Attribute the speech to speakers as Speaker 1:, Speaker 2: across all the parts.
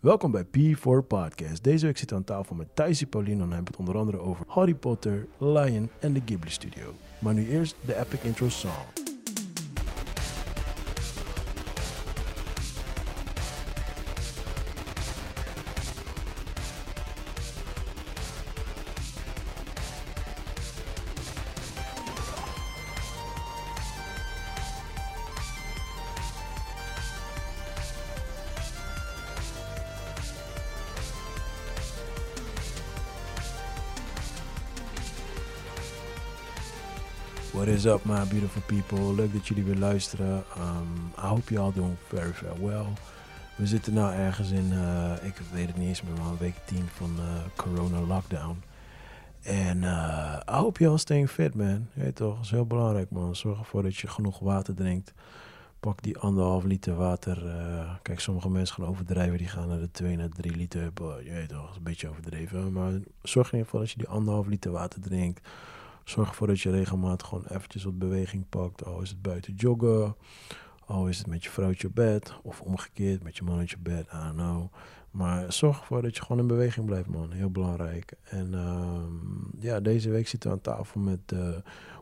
Speaker 1: Welkom bij P4 Podcast. Deze week zit we aan tafel met Thijsie Paulien en hebben we het onder andere over Harry Potter, Lion en de Ghibli Studio. Maar nu eerst de epic intro song. What is up, my beautiful people? Leuk dat jullie weer luisteren. Um, I hope you all doing very, very well. We zitten nou ergens in, eh, ik weet het niet eens meer, maar een week 10 van eh, corona lockdown. En eh, I hope you all staying fit, man. Je weet toch, dat is heel belangrijk, man. Zorg ervoor dat je genoeg water drinkt. Pak die anderhalf liter water. eh. kijk, sommige mensen gaan overdrijven. Die gaan naar de 2 naar 3 liter. Boah, Je weet toch, dat is een beetje overdreven. Maar zorg in ieder geval dat je die anderhalf liter water drinkt. Zorg ervoor dat je regelmatig gewoon eventjes wat beweging pakt. Al is het buiten joggen. Al is het met je vrouwtje op bed. Of omgekeerd, met je mannetje op bed. I don't know. Maar zorg ervoor dat je gewoon in beweging blijft, man. Heel belangrijk. En ehm, ja, deze week zitten we aan tafel met eh,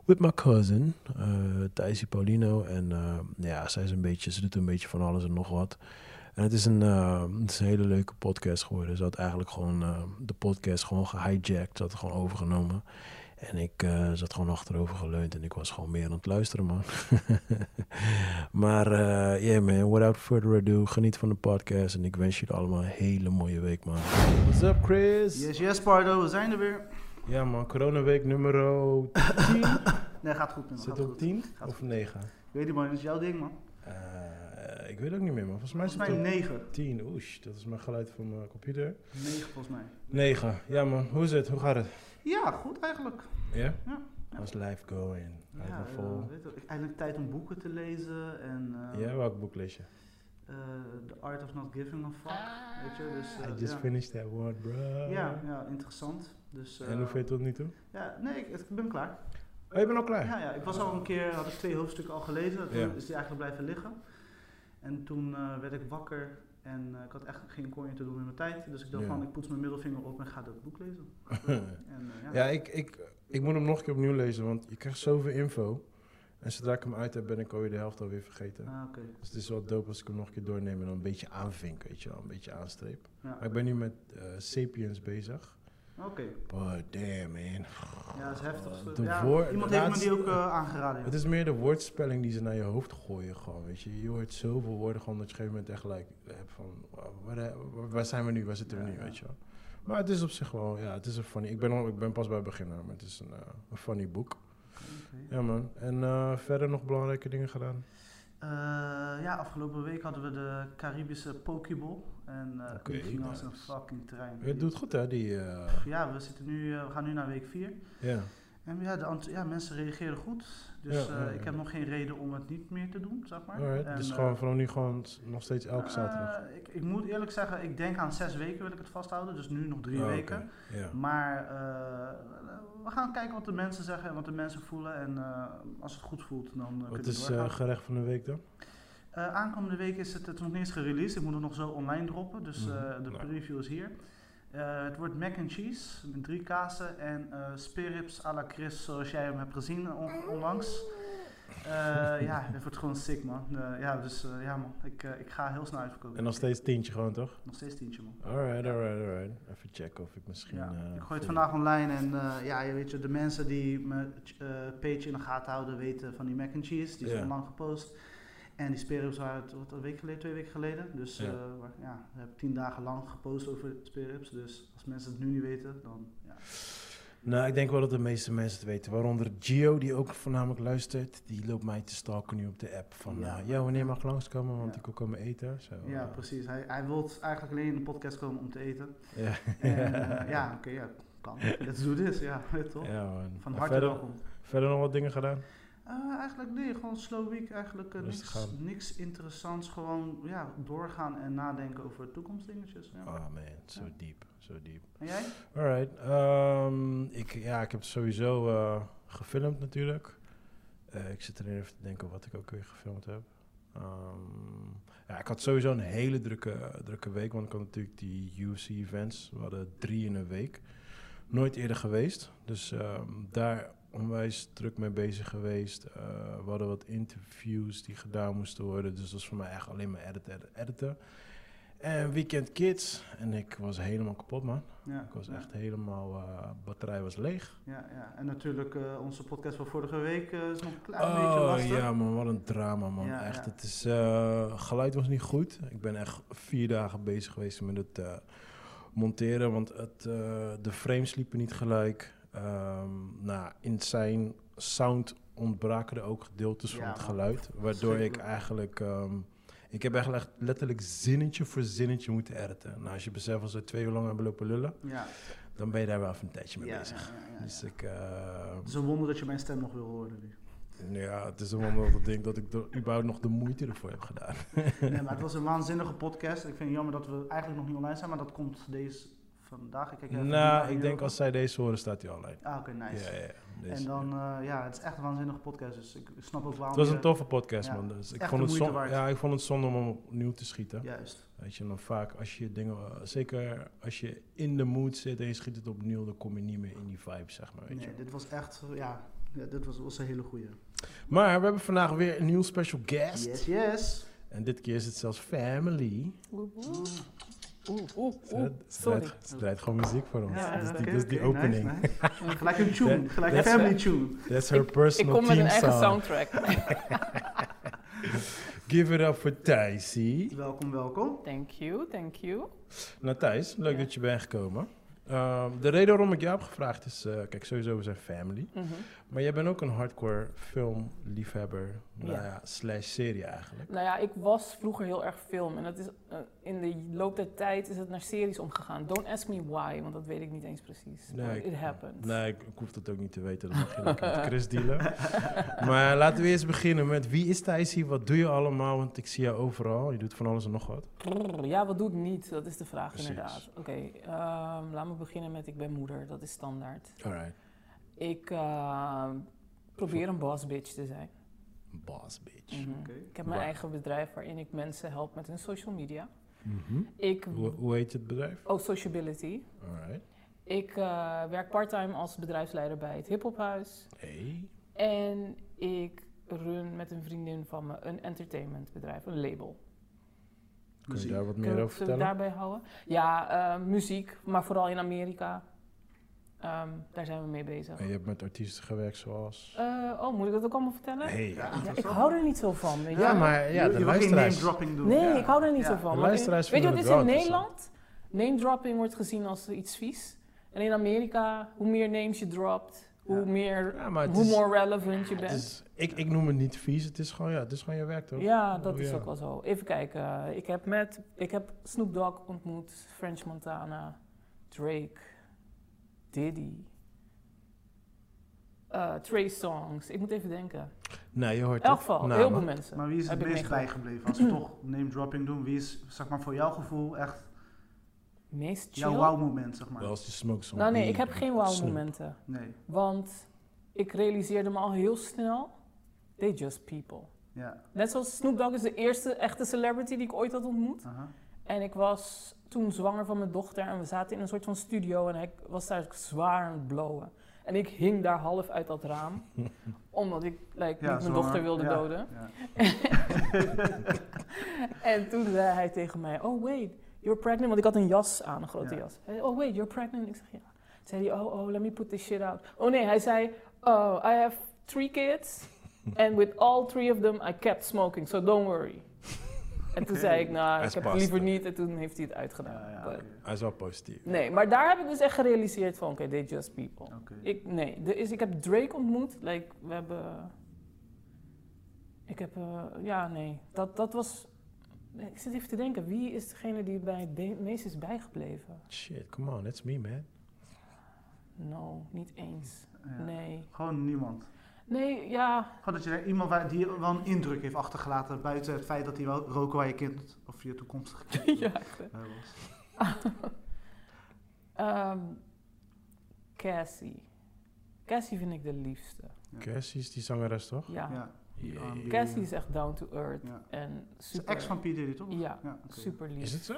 Speaker 1: with my cousin, eh Thijsie Paulino. En eh, ja, zij is een beetje, ze doet een beetje van alles en nog wat. En het is een, eh, het is een hele leuke podcast geworden. Ze had eigenlijk gewoon eh, de podcast gewoon gehijacked. Ze had het gewoon overgenomen. En ik eh, zat gewoon achterover geleund en ik was gewoon meer aan het luisteren, man. maar eh yeah, man, without further ado, geniet van de podcast en ik wens jullie allemaal een hele mooie week, man. What's up, Chris?
Speaker 2: Yes, yes, Pardo, we zijn er weer.
Speaker 1: Ja, man, coronaweek nummer 10.
Speaker 2: Nee, gaat goed, man.
Speaker 1: Zit
Speaker 2: Gaat
Speaker 1: op
Speaker 2: goed.
Speaker 1: 10
Speaker 2: Gaat
Speaker 1: of
Speaker 2: goed.
Speaker 1: 9?
Speaker 2: Ik weet niet, man, dat is jouw ding, man.
Speaker 1: Eh, ik weet ook niet meer, man. Volgens mij
Speaker 2: Volgens
Speaker 1: zit
Speaker 2: mij
Speaker 1: het op
Speaker 2: 9.
Speaker 1: 10. Oesh, dat is mijn geluid van mijn computer.
Speaker 2: 9 volgens mij.
Speaker 1: 9. Ja, man, hoe is het? Hoe gaat het?
Speaker 2: Ja, goed eigenlijk.
Speaker 1: Ja?
Speaker 2: Ja.
Speaker 1: How's life going? Houdt
Speaker 2: Ja,
Speaker 1: het vol?
Speaker 2: eh, weet je, eindelijk tijd om boeken te lezen en eh,
Speaker 1: Ja, welk boek lees je?
Speaker 2: eh, The Art of Not Giving a Fuck. Weet je, dus eh,
Speaker 1: I just
Speaker 2: ja.
Speaker 1: finished that word, bro.
Speaker 2: ja, ja, interessant. Dus, eh,
Speaker 1: En hoe vind je het tot nu toe?
Speaker 2: Ja, nee, ik, ik ben klaar.
Speaker 1: Oh, je bent al klaar?
Speaker 2: Ja, ja, ik was al een keer, had ik twee hoofdstukken al gelezen. Toen
Speaker 1: Ja.
Speaker 2: is die eigenlijk blijven liggen. En toen eh, werd ik wakker en eh, ik had echt geen konje te doen met mijn tijd. Dus ik dacht
Speaker 1: Ja.
Speaker 2: van, ik poets mijn middelvinger op en ga dat boek lezen. En, eh, ja.
Speaker 1: ja, ik, ik, ik moet hem nog een keer opnieuw lezen, want je krijgt zoveel info. En zodra ik hem uit heb, ben ik alweer de helft alweer vergeten.
Speaker 2: Ah, oké.
Speaker 1: Dus het is wel dope als ik hem nog een keer doorneem en dan een beetje aanvink, weet je wel. Een beetje aanstreep.
Speaker 2: Ja.
Speaker 1: Maar ik ben nu met eh, Sapiens bezig.
Speaker 2: Oké.
Speaker 1: But Oh, damn, man.
Speaker 2: Ja, dat is heftig.
Speaker 1: De
Speaker 2: Ja,
Speaker 1: woor-
Speaker 2: iemand
Speaker 1: de
Speaker 2: heeft me
Speaker 1: laatste-
Speaker 2: die ook eh, aangeraden.
Speaker 1: Het is meer de woordspelling die ze naar je hoofd gooien gewoon, weet je. Je hoort zoveel woorden gewoon dat je op een gegeven moment echt like, hebt van... eh, wa- Waar, waar- waar zijn we nu? Waar zitten we
Speaker 2: Ja,
Speaker 1: nu,
Speaker 2: ja.
Speaker 1: weet je wel. Maar het is op zich wel, ja, het is een funny... Ik ben, al, ik ben pas bij het begin, maar het is een, eh, een funny boek.
Speaker 2: Oké.
Speaker 1: Ja man, en eh, verder nog belangrijke dingen gedaan?
Speaker 2: Eh, ja, afgelopen week hadden we de Caribische Pokeball. En eh
Speaker 1: Oké,
Speaker 2: die ging als
Speaker 1: nice.
Speaker 2: een fucking trein.
Speaker 1: Je doet goed hè, die... eh,
Speaker 2: Ja, we, zitten nu, eh, we gaan nu naar week 4.
Speaker 1: ja.
Speaker 2: En ja, de ant- ja, mensen reageren goed. Dus
Speaker 1: Ja,
Speaker 2: eh,
Speaker 1: ja, ja.
Speaker 2: ik heb nog geen reden om het niet meer te doen, zeg maar.
Speaker 1: Alright,
Speaker 2: En,
Speaker 1: dus
Speaker 2: eh,
Speaker 1: gewoon vanaf nu gewoon s- nog steeds elke
Speaker 2: eh,
Speaker 1: zaterdag.
Speaker 2: ik, ik moet eerlijk zeggen, ik denk aan zes weken wil ik het vasthouden. Dus nu nog drie
Speaker 1: Oh, oké.
Speaker 2: weken.
Speaker 1: Ja.
Speaker 2: Maar eh, we gaan kijken wat de mensen zeggen en wat de mensen voelen. En eh, als het goed voelt, dan eh,
Speaker 1: Wat
Speaker 2: kunnen we
Speaker 1: is eh
Speaker 2: doorgaan.
Speaker 1: gerecht van de week dan?
Speaker 2: Eh, aankomende week is het, het is nog niet eens gereleased. Ik moet het nog zo online droppen. Dus eh,
Speaker 1: Mhm.
Speaker 2: de
Speaker 1: Nou.
Speaker 2: preview is hier. Eh, het wordt mac and cheese met drie kazen en eh spirits à la Chris zoals jij hem hebt gezien on- onlangs. Eh, ja, het wordt gewoon sick man. Eh, ja, dus eh, ja man, ik, eh, ik ga heel snel uitverkopen.
Speaker 1: En nog steeds tientje gewoon toch?
Speaker 2: Nog steeds tientje man.
Speaker 1: Alright, alright, alright. Even checken of ik misschien...
Speaker 2: Ja,
Speaker 1: eh,
Speaker 2: ik gooi het
Speaker 1: voor-
Speaker 2: vandaag online en eh, ja, je weet je, de mensen die mijn eh, page in de gaten houden weten van die mac and cheese. Die is
Speaker 1: Ja.
Speaker 2: online gepost. En die spirits waren het, wat, een week geleden, twee weken geleden. Dus
Speaker 1: Ja.
Speaker 2: ja, ja we hebben tien dagen lang gepost over spirits. Dus als mensen het nu niet weten, dan ja.
Speaker 1: Nou, ik denk wel dat de meeste mensen het weten. Waaronder Gio, die ook voornamelijk luistert. Die loopt mij te stalken nu op de app. Van,
Speaker 2: Ja.
Speaker 1: ja, ja wanneer mag ik langskomen? Want
Speaker 2: Ja.
Speaker 1: ik wil komen eten. Zo,
Speaker 2: ja,
Speaker 1: eh,
Speaker 2: precies. Hij, hij wil eigenlijk alleen in de podcast komen om te eten.
Speaker 1: Ja,
Speaker 2: En eh, ja, oké, ja, kan. Let's do this, ja, toch?
Speaker 1: ja man.
Speaker 2: Van
Speaker 1: En
Speaker 2: harte
Speaker 1: verder,
Speaker 2: welkom.
Speaker 1: verder nog wat dingen gedaan?
Speaker 2: Eh, eigenlijk nee, gewoon slow week. Eigenlijk eh,
Speaker 1: Rustig
Speaker 2: niks,
Speaker 1: aan.
Speaker 2: niks interessants. Gewoon ja, doorgaan en nadenken over toekomstdingetjes. Ja.
Speaker 1: Oh man, zo diep, zo diep.
Speaker 2: En jij?
Speaker 1: Alright, ehm, ik, ja, ik heb sowieso eh, gefilmd natuurlijk. Eh, ik zit erin even te denken wat ik ook weer gefilmd heb. Ehm, ja, ik had sowieso een hele drukke, drukke week, want ik had natuurlijk die UFC-events. We hadden drie in een week. Nooit eerder geweest, dus ehm, daar onwijs druk mee bezig geweest. Eh, we hadden wat interviews die gedaan moesten worden, dus dat was voor mij echt alleen maar editen, editen, editen. En Weekend Kids, en ik was helemaal kapot, man.
Speaker 2: Ja,
Speaker 1: Ik was
Speaker 2: ja,
Speaker 1: echt helemaal, eh batterij was leeg.
Speaker 2: Ja, ja. En natuurlijk eh, onze podcast van vorige week eh, is nog een klein beetje
Speaker 1: Oh
Speaker 2: lastig.
Speaker 1: ja, man, wat een drama, man.
Speaker 2: Ja,
Speaker 1: echt,
Speaker 2: ja.
Speaker 1: het is, eh, geluid was niet goed. Ik ben echt vier dagen bezig geweest met het eh, monteren, want het, eh, de frames liepen niet gelijk. Ehm, nou, in zijn sound ontbraken er ook gedeeltes van
Speaker 2: Ja,
Speaker 1: het
Speaker 2: man.
Speaker 1: geluid, waardoor ik
Speaker 2: Verschrikkelijk.
Speaker 1: eigenlijk. ehm, ik heb eigenlijk letterlijk zinnetje voor zinnetje moeten editen. Nou, als je beseft als we twee uur lang hebben lopen lullen,
Speaker 2: Ja,
Speaker 1: dan ben je daar wel even een tijdje mee
Speaker 2: ja,
Speaker 1: bezig.
Speaker 2: ja, ja, ja, ja.
Speaker 1: Dus ik, eh,
Speaker 2: Het is een wonder dat je mijn stem nog wil horen nu.
Speaker 1: Nou ja, het is een dat ik denk dat ik er überhaupt nog de moeite ervoor heb gedaan.
Speaker 2: Nee, maar het was een waanzinnige podcast. Ik vind het jammer dat we eigenlijk nog niet online zijn, maar dat komt deze vandaag. Ik kijk even vandaag
Speaker 1: nou, ik
Speaker 2: hier
Speaker 1: denk
Speaker 2: ook.
Speaker 1: als zij deze horen, staat hij online.
Speaker 2: Ah, oké, nice.
Speaker 1: Ja, ja, ja. Dus,
Speaker 2: En dan, eh, ja, het is echt een waanzinnige podcast, dus ik snap ook waarom
Speaker 1: het was
Speaker 2: je-
Speaker 1: een toffe podcast,
Speaker 2: Ja,
Speaker 1: man. Dus ik,
Speaker 2: echt
Speaker 1: vond
Speaker 2: de
Speaker 1: het
Speaker 2: moeite
Speaker 1: zon-
Speaker 2: waard.
Speaker 1: ja, ik vond het zonde om opnieuw te schieten.
Speaker 2: Juist.
Speaker 1: Weet je, dan vaak als je dingen... eh, Zeker als je in de mood zit en je schiet het opnieuw... dan kom je niet meer in die vibe, zeg maar. Weet je.
Speaker 2: Nee, dit was echt, ja, ja, dit was, was een hele goeie.
Speaker 1: Maar we hebben vandaag weer een nieuw special guest.
Speaker 2: Yes, yes.
Speaker 1: En dit keer is het zelfs family.
Speaker 3: Oeh, oeh, oeh.
Speaker 1: Ze
Speaker 3: Sorry.
Speaker 1: draait- ze draait gewoon muziek voor ons.
Speaker 2: Oh, Ja,
Speaker 1: dat is dus die,
Speaker 2: oké,
Speaker 1: dat is die
Speaker 2: oké, nice,
Speaker 1: opening.
Speaker 2: nice. gelijk een tune, gelijk een
Speaker 1: That's-
Speaker 2: family tune.
Speaker 1: That's her
Speaker 3: Ik
Speaker 1: personal
Speaker 3: kom met
Speaker 1: team
Speaker 3: een eigen
Speaker 1: song.
Speaker 3: soundtrack.
Speaker 1: Give it up voor Thijsie.
Speaker 2: Welkom, welkom.
Speaker 3: Thank you, thank you.
Speaker 1: Nou Thijs, leuk
Speaker 3: Ja.
Speaker 1: dat je bent gekomen. Ehm, de reden waarom ik jou heb gevraagd is, eh, kijk sowieso we zijn family.
Speaker 3: Mhm.
Speaker 1: Maar jij bent ook een hardcore filmliefhebber, nou
Speaker 3: Ja.
Speaker 1: ja, slash serie eigenlijk.
Speaker 3: Nou ja, ik was vroeger heel erg film. En dat is, eh, in de loop der tijd is het naar series omgegaan. Don't ask me why, want dat weet ik niet eens precies.
Speaker 1: Nee,
Speaker 3: But
Speaker 1: Nou, ik-
Speaker 3: it happens.
Speaker 1: Nee, ik, ik hoef dat ook niet te weten, dat mag je lekker met Chris dealen. Maar laten we eerst beginnen met wie is Thijsie, wat doe je allemaal, want ik zie jou overal, je doet van alles en nog wat.
Speaker 3: Brrr, Ja, wat doet niet? Dat is de vraag
Speaker 1: Precies.
Speaker 3: inderdaad. Oké, ehm, laat me beginnen met ik ben moeder. Dat is standaard.
Speaker 1: Alright,
Speaker 3: Ik eh, probeer een boss bitch te zijn.
Speaker 1: boss bitch.
Speaker 3: Mhm.
Speaker 2: Oké.
Speaker 3: Ik heb mijn
Speaker 1: Waar-
Speaker 3: eigen bedrijf waarin ik mensen help met hun social media.
Speaker 1: Mhm.
Speaker 3: Ik...
Speaker 1: Hoe, hoe heet het bedrijf?
Speaker 3: Oh, sociability.
Speaker 1: Alright.
Speaker 3: Ik eh, werk parttime als bedrijfsleider bij het Hiphophuis.
Speaker 1: Hey.
Speaker 3: En ik run met een vriendin van me een entertainmentbedrijf, een label.
Speaker 1: Kun je
Speaker 2: Muziek.
Speaker 1: daar wat
Speaker 3: Zullen
Speaker 1: meer
Speaker 3: we-
Speaker 1: over
Speaker 3: zullen we
Speaker 1: vertellen?
Speaker 3: daarbij houden? Ja, eh, muziek, maar vooral in Amerika. Ehm, daar zijn we mee bezig.
Speaker 1: En je hebt met artiesten gewerkt zoals...
Speaker 3: Eh, oh, moet ik dat ook allemaal vertellen?
Speaker 1: Hey.
Speaker 2: Ja,
Speaker 3: Ja, ik
Speaker 2: interessant.
Speaker 3: hou er niet zo van, weet je.
Speaker 1: Ja, maar
Speaker 2: Je-
Speaker 1: ja,
Speaker 2: je
Speaker 1: de
Speaker 2: wil geen name
Speaker 1: luisteraars...
Speaker 2: dropping doen.
Speaker 3: Nee,
Speaker 2: Ja.
Speaker 3: ik hou er niet
Speaker 2: Ja.
Speaker 3: zo van.
Speaker 1: De
Speaker 3: want in-
Speaker 1: luisteraars
Speaker 3: weet je
Speaker 1: vinden
Speaker 3: wat het is
Speaker 1: het
Speaker 3: in
Speaker 1: wel interessant.
Speaker 3: Nederland? Name dropping wordt gezien als iets vies. En in Amerika, hoe meer names je dropt, hoe
Speaker 2: Ja.
Speaker 3: meer
Speaker 1: Ja, maar het
Speaker 3: hoe
Speaker 1: is-
Speaker 3: more relevant je
Speaker 1: het
Speaker 3: bent.
Speaker 1: is- ik, ik noem het niet vies, het is gewoon, ja, het is gewoon je werk, toch?
Speaker 3: ja, dat
Speaker 1: Oh,
Speaker 3: is
Speaker 1: ja.
Speaker 3: ook wel zo. Even kijken. Ik heb, met, ik heb Snoop Dogg ontmoet, French Montana, Drake, Diddy, eh Trey Songs. Ik moet even denken.
Speaker 1: Nee, je hoort
Speaker 3: In elk
Speaker 1: het.
Speaker 3: geval,
Speaker 1: Nou,
Speaker 3: heel
Speaker 1: maar-
Speaker 3: veel mensen.
Speaker 2: Maar wie is het
Speaker 3: Heb ik
Speaker 2: meest
Speaker 3: meegemaakt.
Speaker 2: bijgebleven? Als we toch name dropping doen, wie is zeg maar, voor jouw gevoel echt
Speaker 3: Meest chill?
Speaker 2: jouw wow moment? Zeg maar?
Speaker 1: Wel als je smokes zo'n
Speaker 3: nou nee,
Speaker 1: weed,
Speaker 3: ik heb
Speaker 1: dan
Speaker 3: geen wow
Speaker 1: snoep.
Speaker 3: momenten.
Speaker 2: Nee,
Speaker 3: Want ik realiseerde me al heel snel, they just people.
Speaker 2: ja.
Speaker 3: Net zoals Snoop Dogg is de eerste echte celebrity die ik ooit had ontmoet.
Speaker 2: aha.
Speaker 3: En ik was toen zwanger van mijn dochter en we zaten in een soort van studio en hij was daar zwaar aan het blowen. En ik hing daar half uit dat raam, omdat ik like, niet mijn
Speaker 2: zwanger.
Speaker 3: dochter wilde
Speaker 2: Ja,
Speaker 3: doden.
Speaker 2: ja.
Speaker 3: En toen zei hij tegen mij, oh wait, you're pregnant, want ik had een jas aan, een grote
Speaker 2: Ja.
Speaker 3: jas. Hij zei, oh wait, you're pregnant? Ik zeg ja. Toen zei hij, oh, oh, let me put this shit out. Oh nee, hij zei, oh, I have three kids and with all three of them I kept smoking, so don't worry. En toen zei ik, nou,
Speaker 1: Hij
Speaker 3: ik heb het
Speaker 1: spaste.
Speaker 3: liever niet. En toen heeft hij het uitgedaan.
Speaker 2: Ja, ja,
Speaker 3: But-
Speaker 2: oké.
Speaker 1: Hij is wel positief.
Speaker 3: Nee, maar daar heb ik dus echt gerealiseerd van, oké, they just people.
Speaker 2: Oké.
Speaker 3: Ik, nee, er is, ik heb Drake ontmoet, like, we hebben... Ik heb, eh, ja, nee, dat, dat was... nee, Ik zit even te denken, wie is degene die bij het be- meest is bijgebleven?
Speaker 1: Shit, come on, that's me, man.
Speaker 3: No, niet eens.
Speaker 2: Ja.
Speaker 3: Nee.
Speaker 2: Gewoon niemand.
Speaker 3: Nee, ja,
Speaker 2: Gewoon dat je er iemand waar, die wel een indruk heeft achtergelaten. Buiten het feit dat hij wel roken waar je kind of je toekomstige kind
Speaker 3: ja.
Speaker 2: bij was.
Speaker 3: Ehm, Cassie. Cassie vind ik de liefste.
Speaker 2: Ja.
Speaker 1: Cassie is die zangeres, toch?
Speaker 3: Ja,
Speaker 2: Ja. Die
Speaker 1: Jee.
Speaker 2: arm die-
Speaker 3: Cassie is echt down to earth
Speaker 2: Ja.
Speaker 3: en
Speaker 2: Is de
Speaker 3: super.
Speaker 2: ex van P. Diddy, toch?
Speaker 3: Ja,
Speaker 2: oké.
Speaker 3: super lief.
Speaker 1: Is het zo?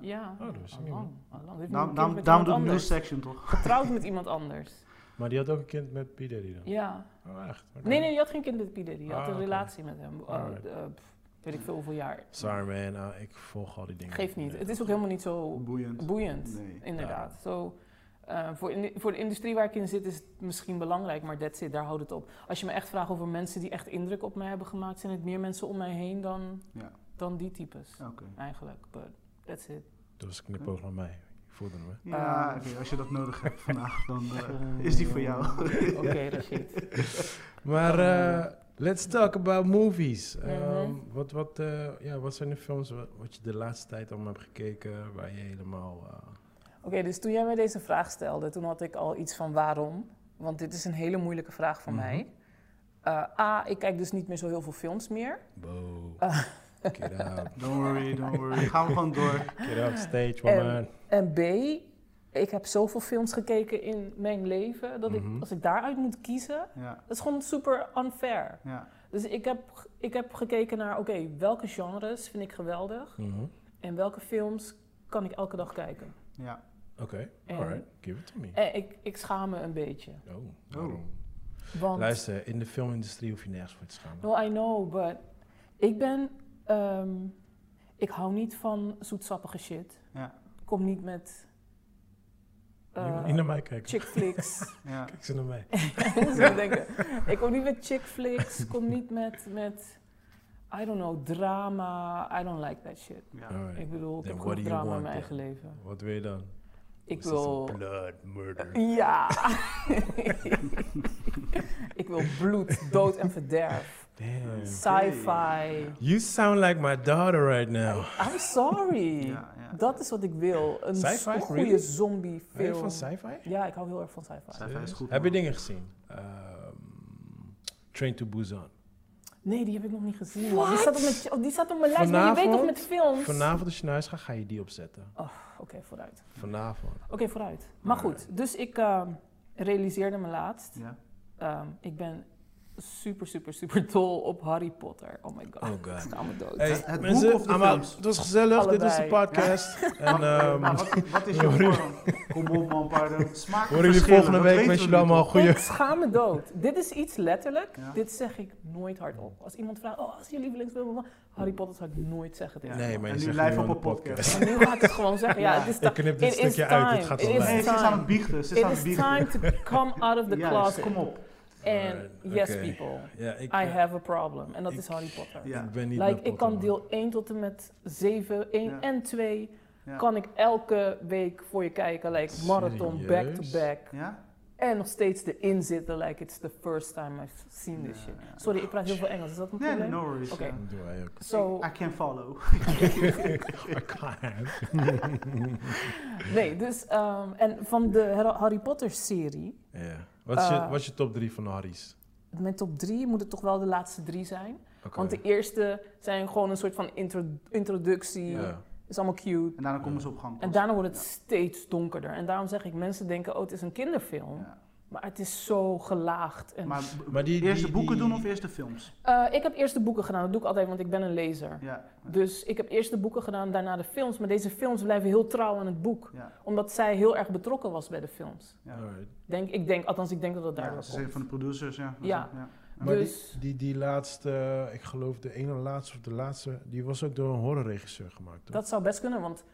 Speaker 3: Ja,
Speaker 1: Oh, dat wist ik niet,
Speaker 3: allang, allang. Heeft nog
Speaker 2: Daarom,
Speaker 3: een
Speaker 2: daarom,
Speaker 3: kind
Speaker 2: daarom doet
Speaker 3: met iemand
Speaker 2: News
Speaker 3: anders.
Speaker 2: Section toch?
Speaker 3: Getrouwd met iemand anders.
Speaker 1: Maar die had ook een kind met P. Diddy dan?
Speaker 3: Ja.
Speaker 1: Oh, echt? Oké.
Speaker 3: Nee, nee, die had geen kind met Pieter. Die had
Speaker 1: Ah,
Speaker 3: een
Speaker 1: oké.
Speaker 3: relatie met hem. Uh,
Speaker 1: Alright.
Speaker 3: eh, pff, weet ik veel hoeveel jaar.
Speaker 1: Sorry man, nou, ik volg al die dingen.
Speaker 3: Geeft niet.
Speaker 1: Nee.
Speaker 3: Het is ook helemaal niet zo
Speaker 2: Boeiend.
Speaker 3: boeiend.
Speaker 2: Nee.
Speaker 3: Inderdaad. Zo, eh, voor, in- voor de industrie waar ik in zit is het misschien belangrijk, maar that's it, daar houdt het op. Als je me echt vraagt over mensen die echt indruk op mij hebben gemaakt, zijn het meer mensen om mij heen dan,
Speaker 2: Ja.
Speaker 3: dan die types.
Speaker 2: Oké.
Speaker 3: Eigenlijk. But that's it.
Speaker 1: Dat was een knipoog naar mij. Ik voelde hem, hè?
Speaker 2: Ja,
Speaker 3: Ehm.
Speaker 2: oké. als je dat nodig hebt vandaag, dan eh, is die voor jou.
Speaker 3: Oké, Rashid.
Speaker 1: Maar
Speaker 3: eh,
Speaker 1: let's talk about movies.
Speaker 3: Ehm, Mhm.
Speaker 1: wat, wat, eh, ja, wat zijn de films wat, je de laatste tijd allemaal hebt gekeken waar je helemaal... eh,
Speaker 3: Oké, dus toen jij mij deze vraag stelde, toen had ik al iets van waarom. Want dit is een hele moeilijke vraag van
Speaker 1: Mhm.
Speaker 3: mij. Eh, A, ik kijk dus niet meer zo heel veel films meer.
Speaker 1: Wow.
Speaker 3: Ah.
Speaker 1: Get out.
Speaker 2: Don't worry, don't worry. Gaan we gewoon door.
Speaker 1: Get out stage,
Speaker 3: En-
Speaker 1: man.
Speaker 3: En B, ik heb zoveel films gekeken in mijn leven dat
Speaker 1: Mhm.
Speaker 3: ik, als ik daaruit moet kiezen,
Speaker 2: Ja,
Speaker 3: dat is gewoon super unfair.
Speaker 2: ja.
Speaker 3: Dus ik heb, ik heb gekeken naar, oké, welke genres vind ik geweldig
Speaker 1: Mhm.
Speaker 3: en welke films kan ik elke dag kijken.
Speaker 2: ja.
Speaker 1: Oké,
Speaker 3: En-
Speaker 1: alright. Give it to me.
Speaker 3: En ik, ik schaam me een beetje.
Speaker 1: Oh, waarom?
Speaker 3: Want,
Speaker 1: Luister, in de filmindustrie hoef je nergens voor te schamen.
Speaker 3: No, I know, but ik ben, ehm, ik hou niet van zoetsappige shit.
Speaker 2: Ja.
Speaker 3: Kom niet met
Speaker 1: je
Speaker 3: eh
Speaker 1: moet niet naar mij kijken.
Speaker 3: chick flicks.
Speaker 2: ja.
Speaker 1: Kijk ze naar mij.
Speaker 3: Moest ik denken. Ik kom niet met chick flicks, kom niet met, met, I don't know, drama. I don't like that shit.
Speaker 2: ja.
Speaker 1: Alright.
Speaker 3: Ik bedoel, ik
Speaker 1: Then
Speaker 3: heb
Speaker 1: what
Speaker 3: genoeg
Speaker 1: do you
Speaker 3: drama in
Speaker 1: want
Speaker 3: mijn eigen
Speaker 1: then?
Speaker 3: leven.
Speaker 1: Wat wil je dan?
Speaker 3: Ik
Speaker 1: Is dit een
Speaker 3: wil...
Speaker 1: Blood, murder.
Speaker 3: Ja. ik wil bloed, dood en verderf.
Speaker 1: Damn.
Speaker 3: Sci-fi.
Speaker 1: You sound like my daughter right now.
Speaker 3: I'm sorry.
Speaker 2: Ja, ja.
Speaker 3: Dat is wat ik wil. Een,
Speaker 1: Sci-fi?
Speaker 3: s- een goede
Speaker 1: Really?
Speaker 3: zombie
Speaker 1: Ben je
Speaker 3: film.
Speaker 1: van sci-fi?
Speaker 3: Ja, ik hou heel erg van sci-fi.
Speaker 2: Sci-fi is goed.
Speaker 1: Heb je
Speaker 2: man.
Speaker 1: dingen gezien? Ehm, Train to Busan.
Speaker 3: Nee, die heb ik nog niet gezien. man. Die staat, op mijn, oh, die staat op mijn lijst, maar je weet
Speaker 1: Vanavond-
Speaker 3: toch met films?
Speaker 1: Vanavond als je naar huis gaat, ga je die opzetten.
Speaker 3: Oké, vooruit.
Speaker 1: Vanavond.
Speaker 3: Oké, vooruit. Maar goed, dus ik ehm, realiseerde me laatst.
Speaker 2: Ja.
Speaker 3: ehm, ik ben super, super, super dol op Harry Potter. Oh my god.
Speaker 1: Oh god.
Speaker 3: Ik ga me dood.
Speaker 1: Hey,
Speaker 2: Het- het
Speaker 1: mensen,
Speaker 2: boek of de
Speaker 1: allemaal,
Speaker 2: films?
Speaker 1: het was gezellig. Dit was de
Speaker 3: Allebei.
Speaker 1: podcast. En
Speaker 2: Maar- maar
Speaker 1: ehm
Speaker 2: Oh. Nou, wat, wat is jouw vorm? Kom op man, pardon. Smaak
Speaker 1: horen jullie volgende week. Wens jullie allemaal goede...
Speaker 3: Ik schaam me dood. Dit is iets letterlijk.
Speaker 2: Ja.
Speaker 3: Dit zeg ik nooit hardop. Als iemand vraagt, oh, als jullie lievelingsfilm... blablabla. Harry Potter zou ik nooit zeggen tegen
Speaker 1: Nee,
Speaker 3: iemand.
Speaker 1: maar
Speaker 2: En
Speaker 1: je
Speaker 2: nu
Speaker 1: zegt
Speaker 2: live
Speaker 1: nu
Speaker 2: op
Speaker 1: aan
Speaker 2: een
Speaker 1: de podcast.
Speaker 3: Maar nu ga ik het gewoon zeggen. Ja,
Speaker 2: Ja.
Speaker 3: het is
Speaker 1: Ik
Speaker 3: ta-
Speaker 1: knip dit
Speaker 3: It is
Speaker 1: stukje uit. Dit
Speaker 3: time.
Speaker 1: gaat
Speaker 3: It is
Speaker 1: online.
Speaker 2: Nee, ze is aan het biechten. Ze is
Speaker 3: It
Speaker 2: aan het
Speaker 3: is
Speaker 2: biechten.
Speaker 3: time to come out of the
Speaker 2: Juist,
Speaker 3: closet.
Speaker 2: kom op.
Speaker 3: And
Speaker 1: Alright,
Speaker 3: yes,
Speaker 1: oké.
Speaker 3: people,
Speaker 1: Ja, ik,
Speaker 3: I have a problem. En dat
Speaker 1: Ik-
Speaker 3: is Harry Potter.
Speaker 2: Ja.
Speaker 1: ik ben niet
Speaker 3: Like,
Speaker 1: met
Speaker 3: ik kan
Speaker 1: Pokémon.
Speaker 3: deel 1 tot en met 7, 1
Speaker 2: Ja.
Speaker 3: en 2.
Speaker 2: Ja.
Speaker 3: Kan ik elke week voor je kijken. Like marathon, back
Speaker 1: Serieus?
Speaker 3: to back.
Speaker 2: Ja?
Speaker 3: En nog steeds erin zitten. Like it's the first time I've seen this
Speaker 2: Ja,
Speaker 3: shit.
Speaker 2: ja.
Speaker 3: Sorry, ik praat heel veel Engels. Is dat een
Speaker 2: Nee,
Speaker 3: probleem?
Speaker 2: nee, no worries.
Speaker 3: Oké.
Speaker 2: ja.
Speaker 1: Dat doe wij ook.
Speaker 3: So,
Speaker 2: I can follow.
Speaker 3: nee, dus... ehm, en van de Har- Harry Potter serie...
Speaker 1: Ja. Wat is je-
Speaker 3: Eh.
Speaker 1: wat is je top 3 van de Harry's?
Speaker 3: Mijn top 3 moet het toch wel de laatste drie zijn.
Speaker 1: Oké.
Speaker 3: Want de eerste zijn gewoon een soort van intro- introductie.
Speaker 1: Ja.
Speaker 3: Is allemaal cute.
Speaker 2: En daarna komen ze op gang.
Speaker 3: En daarna wordt het steeds donkerder. En daarom zeg ik, mensen denken, oh, het is een kinderfilm.
Speaker 2: Ja.
Speaker 3: Maar het is zo gelaagd. En... dus-
Speaker 2: Maar,
Speaker 1: Maar die-
Speaker 2: eerst de
Speaker 1: die-
Speaker 2: boeken
Speaker 1: die-
Speaker 2: doen of eerst de films?
Speaker 3: Eh, ik heb eerst de boeken gedaan. Dat doe ik altijd, want ik ben een lezer.
Speaker 2: Ja.
Speaker 3: Dus ik heb eerst de boeken gedaan, daarna de films. Maar deze films blijven heel trouw aan het boek.
Speaker 2: ja,
Speaker 3: Omdat zij heel erg betrokken was bij de films.
Speaker 2: ja.
Speaker 1: Alright.
Speaker 3: Denk, ik denk, althans, ik denk dat dat
Speaker 2: Ja,
Speaker 3: daar
Speaker 2: ze zijn van de producers, ja.
Speaker 3: Ja.
Speaker 2: ja.
Speaker 1: Maar
Speaker 3: Dus-
Speaker 1: die, die, die laatste, ik geloof de ene laatste of de laatste, die was ook door een horrorregisseur gemaakt. toch?
Speaker 3: Dat zou best kunnen, want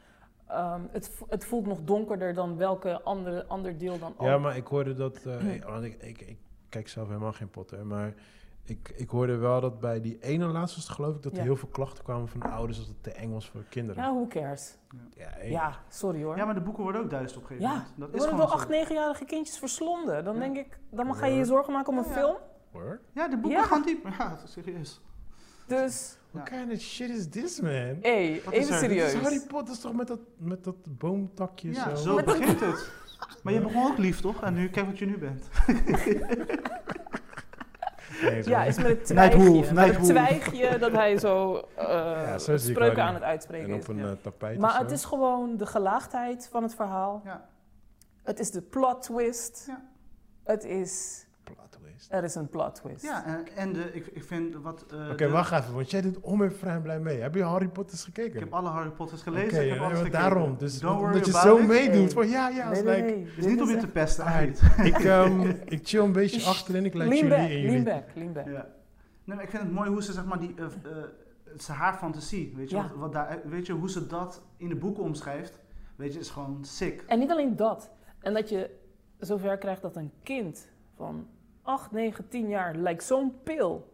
Speaker 3: ehm, het, vo- het voelt nog donkerder dan welke andere, ander deel dan ook.
Speaker 1: Ja, maar ik hoorde dat. eh, ik- want ik, ik, ik kijk zelf helemaal geen potten, maar ik, ik hoorde wel dat bij die ene laatste was het geloof ik dat er
Speaker 3: Ja.
Speaker 1: heel veel klachten kwamen van ouders dat het te eng was voor kinderen.
Speaker 3: Ja, who cares?
Speaker 1: Ja, ik-
Speaker 3: Ja, sorry hoor.
Speaker 2: Ja, maar de boeken worden ook duizend op een gegeven
Speaker 3: Ja,
Speaker 2: moment. Dat
Speaker 3: Er
Speaker 2: is
Speaker 3: worden
Speaker 2: gewoon
Speaker 3: door
Speaker 2: zo.
Speaker 3: acht, negenjarige kindjes verslonden. Dan
Speaker 2: Ja.
Speaker 3: denk ik, dan ga je je zorgen maken om een
Speaker 2: Ja, ja.
Speaker 3: film.
Speaker 1: hoor.
Speaker 2: Ja, de boeken
Speaker 3: Ja.
Speaker 2: gaan diep. Ja, serieus.
Speaker 3: Dus,
Speaker 1: What kind of shit is this man?
Speaker 3: hé,
Speaker 2: Wat is er? Dit
Speaker 3: even
Speaker 1: Dit is
Speaker 3: serieus.
Speaker 1: Harry Potter is toch met dat, met dat boomtakje
Speaker 2: Ja,
Speaker 1: zo?
Speaker 2: zo begint het. Maar je begon ook lief, toch? En nu, kijk wat je nu bent.
Speaker 1: Nee, zo.
Speaker 3: Ja, is met het twijgje.
Speaker 2: Nightwolf,
Speaker 3: met het
Speaker 2: Nightwolf.
Speaker 3: twijgje dat hij zo,
Speaker 1: zo
Speaker 3: eh,
Speaker 1: zie ik Harry.
Speaker 3: spreuken aan het
Speaker 1: en
Speaker 3: uitspreken
Speaker 1: op
Speaker 3: is.
Speaker 1: een
Speaker 2: Ja.
Speaker 1: eh, tapijt. of
Speaker 3: Maar
Speaker 1: zo.
Speaker 3: het is gewoon de gelaagdheid van het verhaal.
Speaker 2: Ja.
Speaker 3: Het is de plot twist.
Speaker 2: Ja.
Speaker 3: Het is
Speaker 1: Plot twist.
Speaker 3: Er is een plot twist.
Speaker 2: Ja, en, en de, ik, ik vind wat... eh,
Speaker 1: Oké,
Speaker 2: de-
Speaker 1: wacht even, want jij doet om en vrij blij mee. Heb je Harry Potters gekeken?
Speaker 2: Ik heb alle Harry Potters gelezen,
Speaker 1: Oké,
Speaker 2: ik heb
Speaker 1: eh,
Speaker 2: alles gekeken.
Speaker 1: daarom. Dus
Speaker 2: Don't worry
Speaker 1: omdat je
Speaker 2: about
Speaker 1: zo
Speaker 2: it.
Speaker 1: meedoet.
Speaker 3: Nee.
Speaker 1: Van ja, ja.
Speaker 3: nee,
Speaker 1: is
Speaker 3: nee,
Speaker 1: like-
Speaker 3: nee.
Speaker 2: Het is
Speaker 3: Dit
Speaker 2: niet om je
Speaker 3: echt-
Speaker 2: te pesten,
Speaker 1: Alright.
Speaker 2: eigenlijk.
Speaker 1: Ik, ehm, ik chill een beetje
Speaker 3: Shh.
Speaker 1: achter en ik laat
Speaker 3: Lean
Speaker 1: jullie
Speaker 3: back,
Speaker 1: en jullie.
Speaker 3: lean back, lean back.
Speaker 2: Ja. Nee, maar ik vind het mooi hoe ze zeg maar die, eh, eh, het is haar fantasie, weet je,
Speaker 3: Ja.
Speaker 2: wat, wat daar, eh, weet je, hoe ze dat in de boeken omschrijft, weet je, is gewoon sick.
Speaker 3: En niet alleen dat. En dat je zover krijgt dat een kind van 8, 9, 10 jaar lijkt zo'n pil